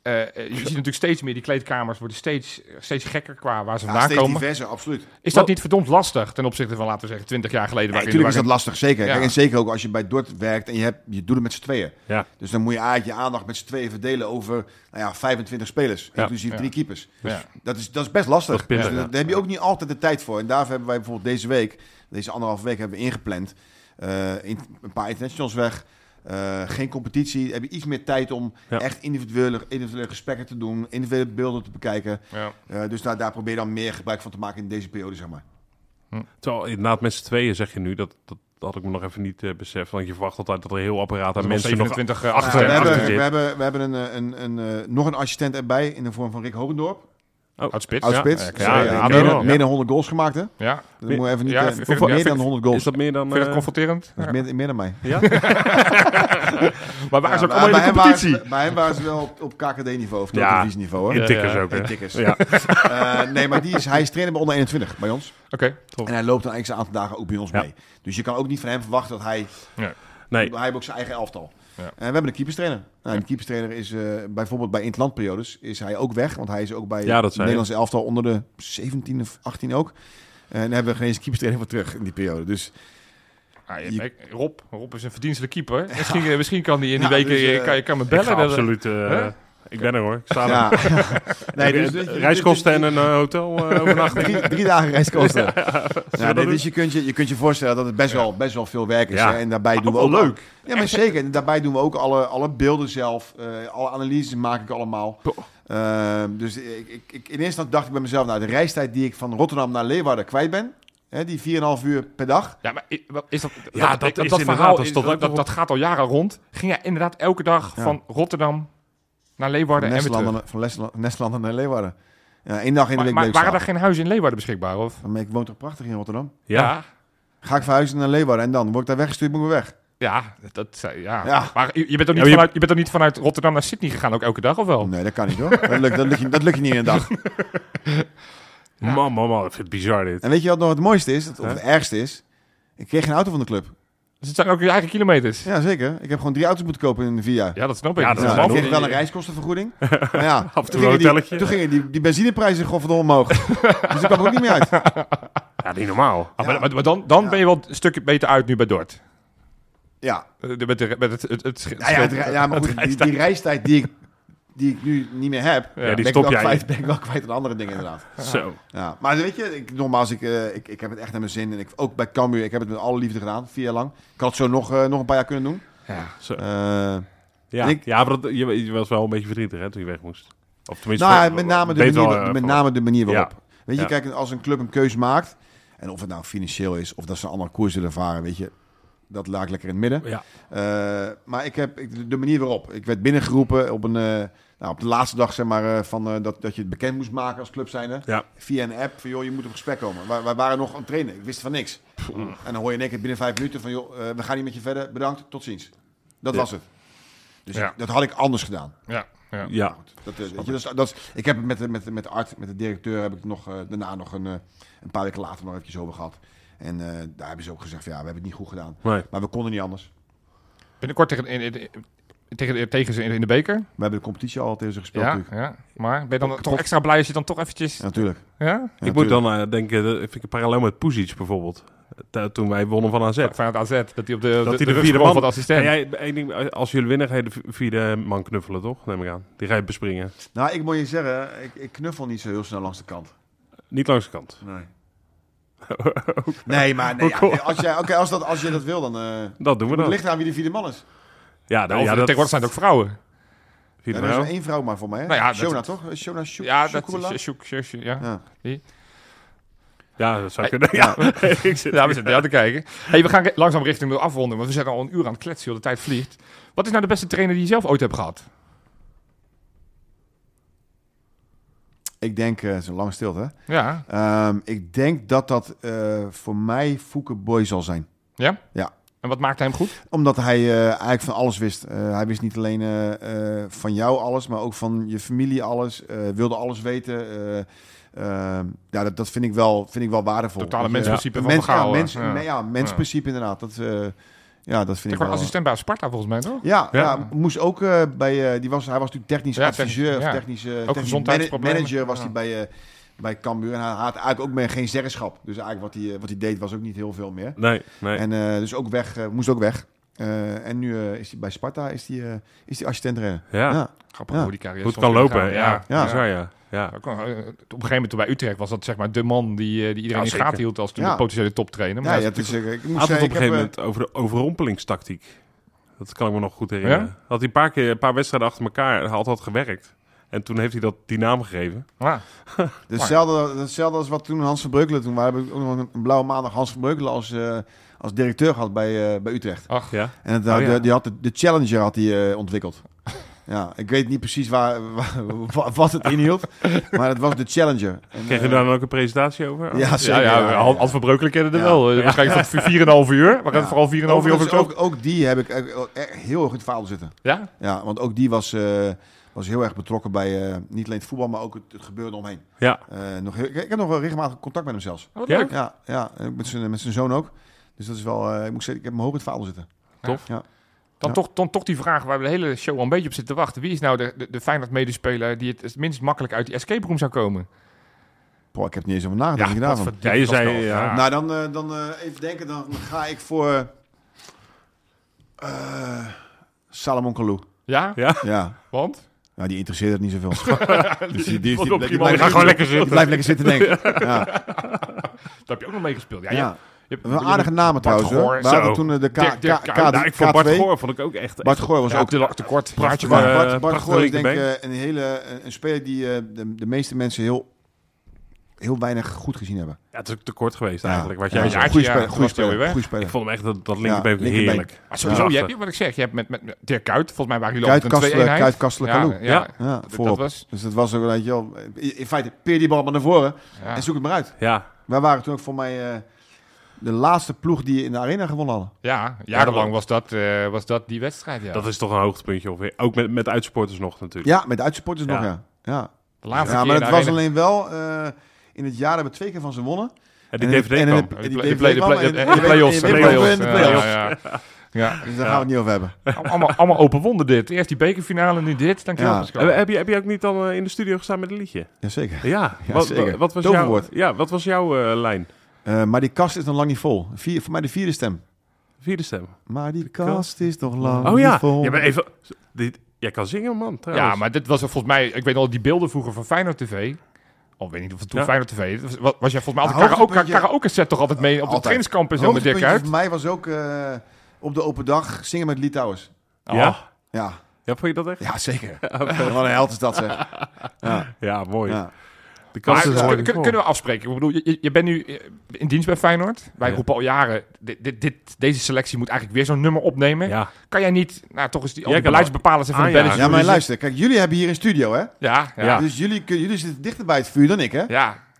Eh, eh, je ziet natuurlijk steeds meer, die kleedkamers worden steeds, steeds gekker qua waar ze
ja,
vandaan
steeds
komen.
diverser, absoluut.
Is dat niet verdomd lastig ten opzichte van, laten we zeggen, 20 jaar geleden?
Ja,
waarin-
natuurlijk is dat
waarin-
lastig, zeker.
Ja.
Kijk, en zeker ook als je bij Dort werkt en je, hebt, je doet het met z'n tweeën.
Ja.
Dus dan moet je eigenlijk je aandacht met z'n tweeën verdelen over nou ja, 25 spelers,
Ja.
inclusief
Ja.
drie keepers.
Ja.
Dat is, dat is best lastig.
Dat is pittig,
Dus
ja.
daar heb je ook niet altijd de tijd voor. En daarvoor hebben wij bijvoorbeeld deze week, deze anderhalve week, hebben we ingepland. eh, in- een paar internationals weg. eh, geen competitie. Heb je iets meer tijd om
Ja.
echt individuele, individuele gesprekken te doen, individuele beelden te bekijken.
Ja.
Eh, dus daar, daar probeer je dan meer gebruik van te maken in deze periode, zeg maar.
Terwijl inderdaad met z'n tweeën zeg je nu, dat, dat, dat had ik me nog even niet eh, beseft. Want je verwacht altijd dat er een heel apparaat aan
Dat
mensen nog...
27
nog-
achter.
Ja, we,
achter
hebben,
zit.
we, hebben, we hebben een, eh, een, een, eh, nog een assistent erbij in de vorm van Rick Hogendorp.
Oudspits.
Oudspits.
Ja,
Ja,
ja, ja,
ja,
aan de
meer, dan-
hand.
meer dan 100 goals gemaakt, hè?
Ja. Ja.
Dat moet je even niet...
Ja,
eh,
vind- vind-
meer
vind-
dan 100 goals.
Is dat meer dan...
Vind je dat
eh,
confronterend?
Dat is meer, meer dan mij.
ja?
Maar waar is
Ja,
ook allemaal
bij
in de
hem waren ze-
competitie?
bij hem waren ze wel op, op KKD-niveau of
Ja.
televisieniveau, hoor.
In tikkers
Ja, ja.
ook, hè?
En tikkers.
Ja.
Eh, nee, maar die is, hij is trainer bij onder 21 bij ons.
Oké.
En hij loopt dan eigenlijk een aantal dagen ook bij ons
Ja.
mee. Dus je kan ook niet van hem verwachten dat hij...
Nee,
Hij heeft ook zijn eigen elftal.
Ja.
En we hebben een keeperstrainer. Nou, en Die keeperstrainer is eh, bijvoorbeeld bij interlandperiodes is hij ook weg. Want hij is ook bij
Ja, dat
het
zei
Nederlandse elftal onder de 17 of 18 ook. En daar hebben we geen eens keeperstrainer voor terug in die periode. Dus
Ah, je-
Je-
ik- Rob, Rob is een verdienstelijke keeper. Misschien, eh, misschien kan hij in die
Ja,
weken...
dus, eh,
kan, je kan me
Nou, ik
bellen.
ga
dat-
absoluut... eh,
Hè?
Ik ben er hoor, ik sta er.
ja.
Ah,
dus-
Nee, reiskosten en een eh, hotel eh overnachting.
Drie, drie dagen reiskosten.
dat
ja, nee, dus je kunt je, je kunt je voorstellen dat het best wel, best wel veel werk is.
Ja.
hè. En daarbij doen we
ook
ook
wel leuk.
Ja, maar zeker. En daarbij doen we ook alle, alle beelden zelf. eh, alle analyses maak ik allemaal. Eh,
Boah.
Ehm, dus ik, ik, ik, in eerste instantie dacht ik bij mezelf, nou, de reistijd die ik van Rotterdam naar Leeuwarden kwijt ben, Hè, die 4,5 uur per dag.
Ja, maar i- wat is dat,
Ja, dat is inderdaad, dat is
is-
toch ook
dat,
nog
dat,
op-
gaat al jaren rond. Ging hij inderdaad elke dag
Ja.
van Rotterdam naar Leeuwarden en weer terug.
Nestlanden, van Lesla- Nestlanden naar Leeuwarden. Ja, één dag in de
Maar,
week
maar
bleef
waren er
slapen.
geen huizen in Leeuwarden beschikbaar? Of?
Maar ik woon toch prachtig in Rotterdam?
Ja,
Ga ik verhuizen naar Leeuwarden en dan? Word ik daar weggestuurd, moet ik weer weg.
Ja, dat- dat, zei- ja.
Ja.
Maar je, je bent toch niet
Ja, maar je-
vanuit, je bent toch niet vanuit Rotterdam naar Sydney gegaan, ook elke dag of wel?
Nee, dat kan niet hoor. Dat lukt, dat lukt, je, dat lukt je niet in een dag.
man, man, man, ik vind het bizar dit.
En weet je wat nog het mooiste is? Of het ergste is? Ik kreeg geen auto van de club.
Dus het zijn ook je eigen kilometers. Ja,
Ja, zeker. Ik heb gewoon drie auto's moeten kopen in vier jaar.
dat snap ik.
Ja, dat is
Ja,
wel
ik kreeg
goed.
wel een reiskostenvergoeding. Maar ja,
en toe
toen
een
gingen, die,
hotelletje.
toen gingen die, die benzineprijzen godverdomme omhoog. dus ik kwam er ook niet meer uit.
Ja, niet normaal.
Ah, maar, maar- maar dan, dan
Ja.
ben je wel een stukje beter uit nu bij Dort.
Ja, nou
Eh, de- Met, de, met het, het, het,
ja, ja, het re- ja maar goed, die, die reistijd die ik, die ik nu niet meer heb,
Ja, die
ben,
stop
ik wel
jij
kwijt, ben ik wel kwijt aan andere dingen inderdaad.
Zo.
Ja, maar weet je, ik, nogmaals, ik, eh, ik, ik heb het echt naar mijn zin. En ik, ook bij Cambuur, ik heb het met alle liefde gedaan, vier jaar lang. Ik had het zo nog, eh, nog een paar jaar kunnen doen.
Ja.
zo.
Eh,
Ja,
ik-
ja maar dat, je, je was wel een beetje verdrietig hè, toen je weg moest. Of tenminste,
nou, ja,
wel-
met name de
weet
manier,
wel, eh,
met
van-
name de manier
Ja.
waarop. Weet je,
Ja.
kijk, als een club een keuze maakt, en of het nou financieel is, of dat ze een andere koers willen varen, weet je, dat laat ik lekker in het midden.
Ja.
Eh, maar ik heb ik, de manier waarop. Ik werd binnengeroepen op, een, eh, nou, op de laatste dag zeg maar, eh, van, eh, dat, dat je het bekend moest maken als club zijnde.
Ja.
Via een app van joh, je moet op gesprek komen. Wij, wij waren nog aan het trainen. Ik wist van niks. En dan hoor je in één keer binnen vijf minuten van joh, eh, we gaan niet met je verder. Bedankt, tot ziens. Dat
Ja.
was het. Dus
Ja.
ik- dat had ik anders gedaan.
Ja, ja.
Ja,
Dat, eh, weet je, dat, is- dat is- ik heb het met, met, met Art, met de directeur, heb ik nog, eh, daarna nog een, eh, een paar weken later nog eventjes over gehad. En eh, daar hebben ze ook gezegd van ja, we hebben het niet goed gedaan.
nee.
Maar we konden niet anders.
Binnenkort tegen, in, in- in- tegen, eh, tegen ze in, in de beker.
We hebben de competitie al tegen ze gespeeld
Ja,
natuurlijk.
ja. Maar ben je dan toch extra blij als je dan toch eventjes...
Ja, natuurlijk.
Ja?
Ja,
ik moet
natuurlijk.
dan eh, denken, dat vind ik een parallel met Puzic bijvoorbeeld. T- toen wij wonnen van AZ.
Vanuit AZ, dat hij op de,
hij de
de, de
vierde
vierde man
man-
van de assistent...
En jij, één ding, als jullie winnen, ga je de v- vierde man knuffelen, toch? Neem ik aan. Die ga je bespringen.
Nou, ik moet je zeggen, ik, ik knuffel niet zo heel snel langs de kant.
Niet langs de kant.
Nee. nee, maar nee, ja, nee, als, jij, oké, als, dat, als je dat wil, dan... eh
Dat doen we
het
dan.
ligt aan wie de vierde man is.
Ja,
Ja,
nou,
of-
ja, dat,
tegenwoordig zijn het ook vrouwen.
Ja,
vierde
er is
man.
maar één vrouw maar voor mij, hè?
Nou ja, dat-
Shona, toch? Eh, Shona Shuk
Ja, dat
Shukula?
is... Sjoek, sjoek, sjoek, ja.
Ja.
Ja, dat zou
Hey,
kunnen. Ja, ik zit
Ja, we zitten daar te kijken. Hey, we gaan re- langzaam richting de afronden, want we zijn al een uur aan het kletsen, joh. de tijd vliegt. Wat is nou de beste trainer die je zelf ooit hebt gehad?
Ik denk, eh, zo'n lang stilte, hè?
Ja,
Ehm, ik denk dat dat eh, voor mij Fouke Boy zal zijn.
ja?
Ja.
En wat maakte hem goed?
Omdat hij eh, eigenlijk van alles wist. Eh, hij wist niet alleen eh, eh, van jou alles, maar ook van je familie alles. Eh, wilde alles weten. Eh, ehm, ja, dat, dat vind, ik wel, vind ik wel waardevol.
Totale
Weet je,
mensprincipe
een
van
mens,
Van Gaal,
ja,
hè?
mens,
Ja.
ja. ja, mensprincipe inderdaad. Dat, eh, ja, dat vind
Ik
ik
was
wel...
assistent bij Sparta volgens mij, toch?
Ja, ja.
Ja.
moest ook eh, bij... eh, die was, hij was natuurlijk technisch
Ja,
adviseur.
technisch,
of
ja.
Technisch, eh, technisch mana-
gezondheidsproblemen.
manager was
Ja.
hij bij, eh, bij Cambuur. En hij had eigenlijk ook meer geen zeggenschap. Dus eigenlijk wat hij, eh, wat hij deed was ook niet heel veel meer.
Nee, nee.
En eh, dus ook weg, eh, moest ook weg. Eh, en nu eh, is hij bij Sparta, is hij eh, is hij assistent trainer.
Ja,
Ja.
Grappig
Ja.
hoe die carrière
hoe het
soms
kan
weer
lopen.
gaat.
Ja,
Ja.
bizar, ja. ja.
Ook, eh, Op een gegeven moment toen bij Utrecht was dat zeg maar de man die, eh, die iedereen
Ja,
in de
zeker.
gaten hield als toen
Ja.
de potentiële toptrainer.
Ja,
Maar
ja,
dat is
dus, eh, ik moest
Had het
zeggen,
op
ik
een
heb,
gegeven
eh,
moment over de overrompelingstactiek. Dat kan ik me nog goed herinneren. Had hij een paar, keer, een paar wedstrijden achter elkaar eh, had dat gewerkt. En toen heeft hij dat die naam gegeven.
natuurlijk- Ja.
hetzelfde, hetzelfde als wat toen Hans van Breukelen toen waren. Heb ik ook nog een, een blauwe maandag Hans van Breukelen als, eh, als directeur gehad bij, eh, bij Utrecht.
Ach,
Ja,
En het, eh,
Oh, ja.
de, die had de, de Challenger had hij eh, ontwikkeld. Ja, ik weet niet precies waar, waar- wa- wat het inhield, maar het was de Challenger. En,
kreeg je
eh,
daar dan ook een presentatie over?
Ja,
ja,
zeker.
ja, Hans Hans van Breukelen kende er
Ja.
wel. Eh, Waarschijnlijk tot 4,5 uur. Maar
Ja.
vooral 4,5 uur over
Overigens,
de klok.
ook, ook die heb ik eh, echt heel erg in het verhaal zitten.
Ja?
Ja, want ook die was, eh, was heel erg betrokken bij eh, niet alleen het voetbal, maar ook het, het gebeurde omheen.
Ja.
Eh, nog heel- ik, ik heb nog wel regelmatig contact met hem zelfs.
Oh, wat
Ja?
leuk.
Ja, ja en ook met zijn, met zijn zoon ook. Dus dat is wel, eh, ik moet zeggen, ik heb hem hoog in het vaandel zitten.
Dan,
Ja.
toch, dan toch die vraag waar we de hele show al een beetje op zitten te wachten. Wie is nou de, de, de Feyenoord-medespeler die het, het minst makkelijk uit die escape room zou komen?
Boah, ik heb er niet eens over nagedacht. Ja,
wat
daarvan.
voor
Ja, je
diep was
zei,
dat?
ja.
Nou, dan, eh, dan eh, even denken, dan ga ik voor eh Salomon Kalou.
Ja?
Ja.
Want?
ja, die interesseert het niet zoveel. Dus die- die-
Vond
die-
op
die-
prima.
die-
Je gaat gewoon lekker
Die
zitten.
blijft lekker zitten denken. Ja,
Daar heb je ook nog mee gespeeld. Ja,
ja.
je hebt- je hebt-
Wel aardige namen trouwens. hoor.
Goor,
We hadden
zo.
toen eh, de K,
Dirk- Dirk-
K,
Nou,
Nou, ik vond Bart
K2.
Goor vond ik ook echt...
Bart Goor was
Ja,
ook...
te, te kort.
Prachtig,
Praatje
Bart,
maar.
eh,
Bart, Bart
prachtige
Goor is denk ik
linkerbeen.
eh, een, hele, een, een speler die eh, de, de meeste mensen heel heel weinig goed gezien hebben.
Ja, het is ook te kort geweest
Ja.
eigenlijk. Wat
Ja,
jij
ja,
zegt.
ja,
goede
ja,
speler,
toen
goede
was hij
speler,
alweer weg.
goede speler.
Ik vond hem echt dat, dat linkerbeen
Ja,
vind ik
linkerbeen. Ah,
heerlijk.
Maar sowieso,
Ja.
je hebt, wat ik zeg, je hebt met, met, met Dirk Kuyt, volgens mij waren jullie altijd een
Kuitkastelen,
twee-eenheid.
kuitkastelen,
ja,
Kalou.
ja, ja.
Ja,
Dat, dat
voorop.
was...
Dus dat was ook, weet je wel, in feite, peer die bal maar naar voren
Ja.
en zoek het maar uit.
Ja,
Wij waren toen ook voor mij eh, de laatste ploeg die in de arena gewonnen hadden.
Ja, jarenlang was dat, eh, was dat die wedstrijd. Ja.
dat is toch een hoogtepuntje ongeveer. Ook met, met uitsporters nog natuurlijk.
Ja, met de uitsupporters
Ja.
nog, ja. Ja,
de laatste
ja
keer
maar
in
het
de
was
arena.
alleen wel... eh, in het jaar hebben we twee keer van ze wonnen.
En die
En in de-
DVD
en in de-
kwam.
Die
die
play-
play-
die play-
play-
de play-
en-
de-
en-
de play-offs.
en-
de
en-
play-offs,
en- en-
ja,
play-offs.
ja, ja. Ja,
Dus daar gaan we het niet over hebben.
allemaal, allemaal open wonden dit. Eerst die bekerfinale, nu dit. Dankjewel,
Ja.
Pascal.
Heb, heb je, heb je ook niet dan eh, in de studio gestaan met een liedje?
Jazeker.
Ja,
Ja,
wat,
zeker.
wat was jouw,
Toverwoord.
ja, wat was jouw eh, lijn?
Eh, maar die kast is nog lang niet vol. Vier, voor mij de vierde stem.
Vierde stem.
Maar die
kast
kast is nog lang
Oh ja,
niet vol.
ja maar even, dit, jij kan zingen man trouwens.
Ja, maar dit was er volgens mij... Ik weet al, die beelden vroeger van Feyenoord TV... Al weet niet of het toen
Ja.
Feyenoord TV... Was, was, was jij volgens mij
Maar
altijd karaoke,
hoogtepuntje-
karaoke set toch altijd mee op de
Altijd.
trainingskamp en zo met
Hoogtepuntje
Dirk uit?
voor mij was ook eh, op de open dag zingen met Litouwers.
Oh. Ja.
Ja?
Ja,
Ja, vond je dat echt?
ja zeker. Wat een held is dat zeg. Ja,
Ja, mooi.
ja.
De kans
Maar
is
kun-
mooi.
kun- kunnen we afspreken? Ik bedoel, je- je, je bent nu eh, in dienst bij Feyenoord. Wij
Ja.
roepen al jaren, dit, dit, dit- deze selectie moet eigenlijk weer zo'n nummer opnemen.
Ja,
Kan jij niet, nou toch eens die, al
Jij
die
kan
beleidsbepalers even een
aanjagen.
belletje
ja, maar
doen?
luister. Kijk, jullie hebben hier een studio hè.
Ja, ja,
Ja.
ja.
Dus jullie, kun- jullie zitten dichter bij het vuur dan ik hè.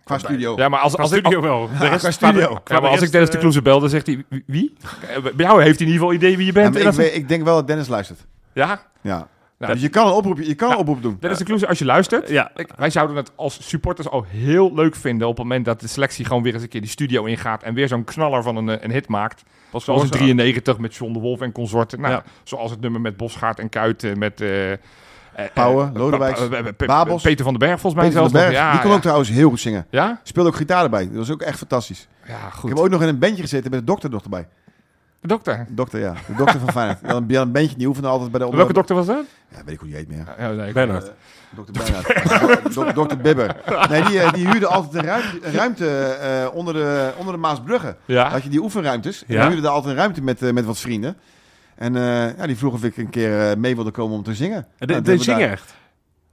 Qua studio.
Ja, maar als,
als
als ik,
studio wel. De rest
qua
staat er-
studio.
ja, maar als ik Dennis de Kloeze bel, dan zegt hij, "Wie- wie? Eh, Bij jou heeft hij in ieder geval idee wie je
Ja,
bent.
maar
En
ik,
dat-
weet- ik denk wel dat Dennis luistert.
Ja,
Ja.
Nou,
dus je kan een oproep, je kan een oproep doen.
Dennis de Kloeze, als je luistert.
Ja,
ik- wij zouden het als supporters al heel leuk vinden op het moment dat de selectie gewoon weer eens een keer die studio ingaat en weer zo'n knaller van een, eh, een hit maakt.
pas
Zoals in 93 met John de Wolf en consorten. Nou,
Ja.
Zoals het nummer met Bosgaard en Kuiten met... eh, eh,
Pauwen,
eh,
Lodewijks,
Pa- pa- pa- pa-
Babels.
Peter van den Berg volgens mij
Peter van
zelfs
den Berg,
nog. Ja,
die kon
ja.
ook trouwens heel goed zingen.
Ja?
Speelde ook gitaar erbij. Dat was ook echt fantastisch.
Ja,
Ik
goed.
heb ook nog in een bandje gezeten met de dokter nog erbij.
De dokter.
De dokter, ja. De dokter van Feyenoord. Dan ben je een bandje, die oefende altijd bij de
Welke dokter was dat?
Ja, weet ik hoe die heet meer.
Ja, nee, ik-
Bernard.
Dokter Bernhard. Dok- Dokter Bibber. Nee, die, eh, die huurde altijd een ruimte, een ruimte eh, onder, de, onder de Maasbrugge.
Ja.
Had je die oefenruimtes. En
Ja.
die huurde daar altijd een ruimte met, eh, met wat vrienden. En eh, ja, die vroeg of ik een keer eh, mee wilde komen om te zingen.
De,
Nou,
de
dat hebben we
zingen
daar-
echt.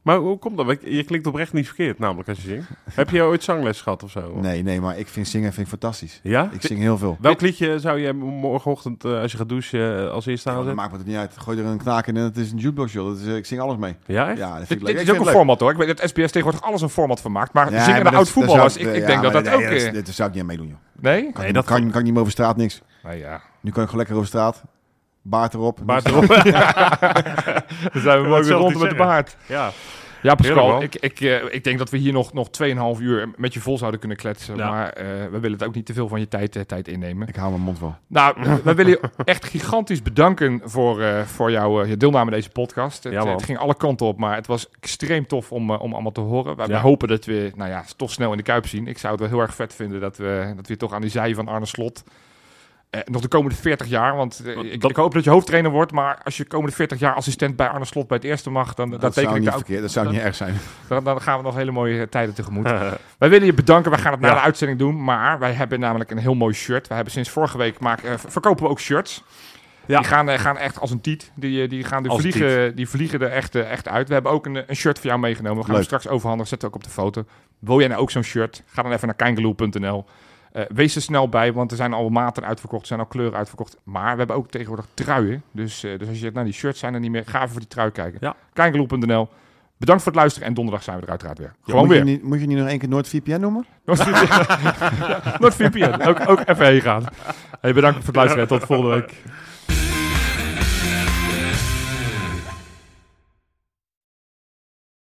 Maar hoe komt dat? Want Je klinkt oprecht niet verkeerd, namelijk als je zingt. Heb je ooit zangles gehad of zo?
Nee, nee, maar ik vind zingen vind ik fantastisch.
Ja?
Ik zing heel veel.
Welk liedje zou je morgenochtend, eh, als je gaat douchen, eh, als eerste
Ja, dat
aanzetten?
maakt me het niet uit. Gooi er een knaak in en het is een jukebox, joh. Dat is, eh, ik zing alles mee.
Ja, echt?
Ja, dat vind
Dit,
ik leuk. Ik
dit is
vind
ook een
het leuk.
format hoor. Ik weet dat SBS tegenwoordig alles een format van maakt. Maar
Ja,
zingen
maar
de
dat-
oud
dat zou
voetballers,
ik-
ik, ik
ja,
denk dat
maar
dat ook...
nee,
eh,
dat- dat zou ik niet aan meedoen, joh.
nee?
Kan,
Nee,
ik-
dat-
kan, kan ik niet meer over straat, niks.
Nee, Nou ja.
Nu kan ik gewoon lekker over straat. Baard erop.
Baard erop.
Dan zijn
mooi
we mooi
weer
weer
zal rond ik met
rond met
de
de
zeggen.
baard.
ja.
Ja,
Heerlijk,
Pascal,
man.
ik, ik, eh, ik denk dat we hier nog, nog 2,5 uur met je vol zouden kunnen kletsen.
Ja.
Maar eh, we willen het ook niet te veel van je tijd, eh, tijd innemen.
Ik hou mijn mond wel.
Nou, we willen je echt gigantisch bedanken voor, eh, voor jouw eh, je deelname aan deze podcast. Het,
Ja, man.
het ging alle kanten op, maar het was extreem tof om, eh, om allemaal te horen. Wij, wij
Ja.
hopen dat we nou ja, toch snel in de Kuip zien. Ik zou het wel heel erg vet vinden dat we, dat we toch aan die zij van Arne Slot... eh, nog de komende 40 jaar, want eh, ik,
dat-
ik hoop dat je hoofdtrainer wordt, maar als je de komende 40 jaar assistent bij Arne Slot bij het eerste mag, dan dat teken
zou
ik
niet
daar ook
verkeerd. Dat zou niet erg zijn.
dan, dan gaan we nog hele mooie eh, tijden tegemoet. wij willen je bedanken. Wij gaan het na
Ja.
de uitzending doen. Maar wij hebben namelijk een heel mooi shirt. Wij hebben sinds vorige week maak, eh, ver- verkopen we ook shirts.
Ja.
Die gaan, eh, gaan echt als een tiet. Die, eh, die, gaan de
Als een
vliegen, die vliegen er echt, eh, echt uit. We hebben ook een, eh, een shirt voor jou meegenomen. We gaan
Leuk.
hem straks overhandigen. Zetten we ook op de foto. Wil jij nou ook zo'n shirt? Ga dan even naar kijngeloel.nl. Eh, wees er snel bij, want er zijn al maten uitverkocht, er zijn al kleuren uitverkocht. Maar we hebben ook tegenwoordig truien. Dus, eh, dus als je zegt, nou die shirts zijn er niet meer, ga even voor die trui kijken.
Ja.
Kijngeloel.nl. Bedankt voor het luisteren en donderdag zijn we er uiteraard weer. Gewoon
moet
weer.
Je niet, moet je niet nog één keer NoordVPN noemen?
NordVPN. NordVPN. Ook, ook even heen gaan. Hey, bedankt voor het luisteren en tot volgende week.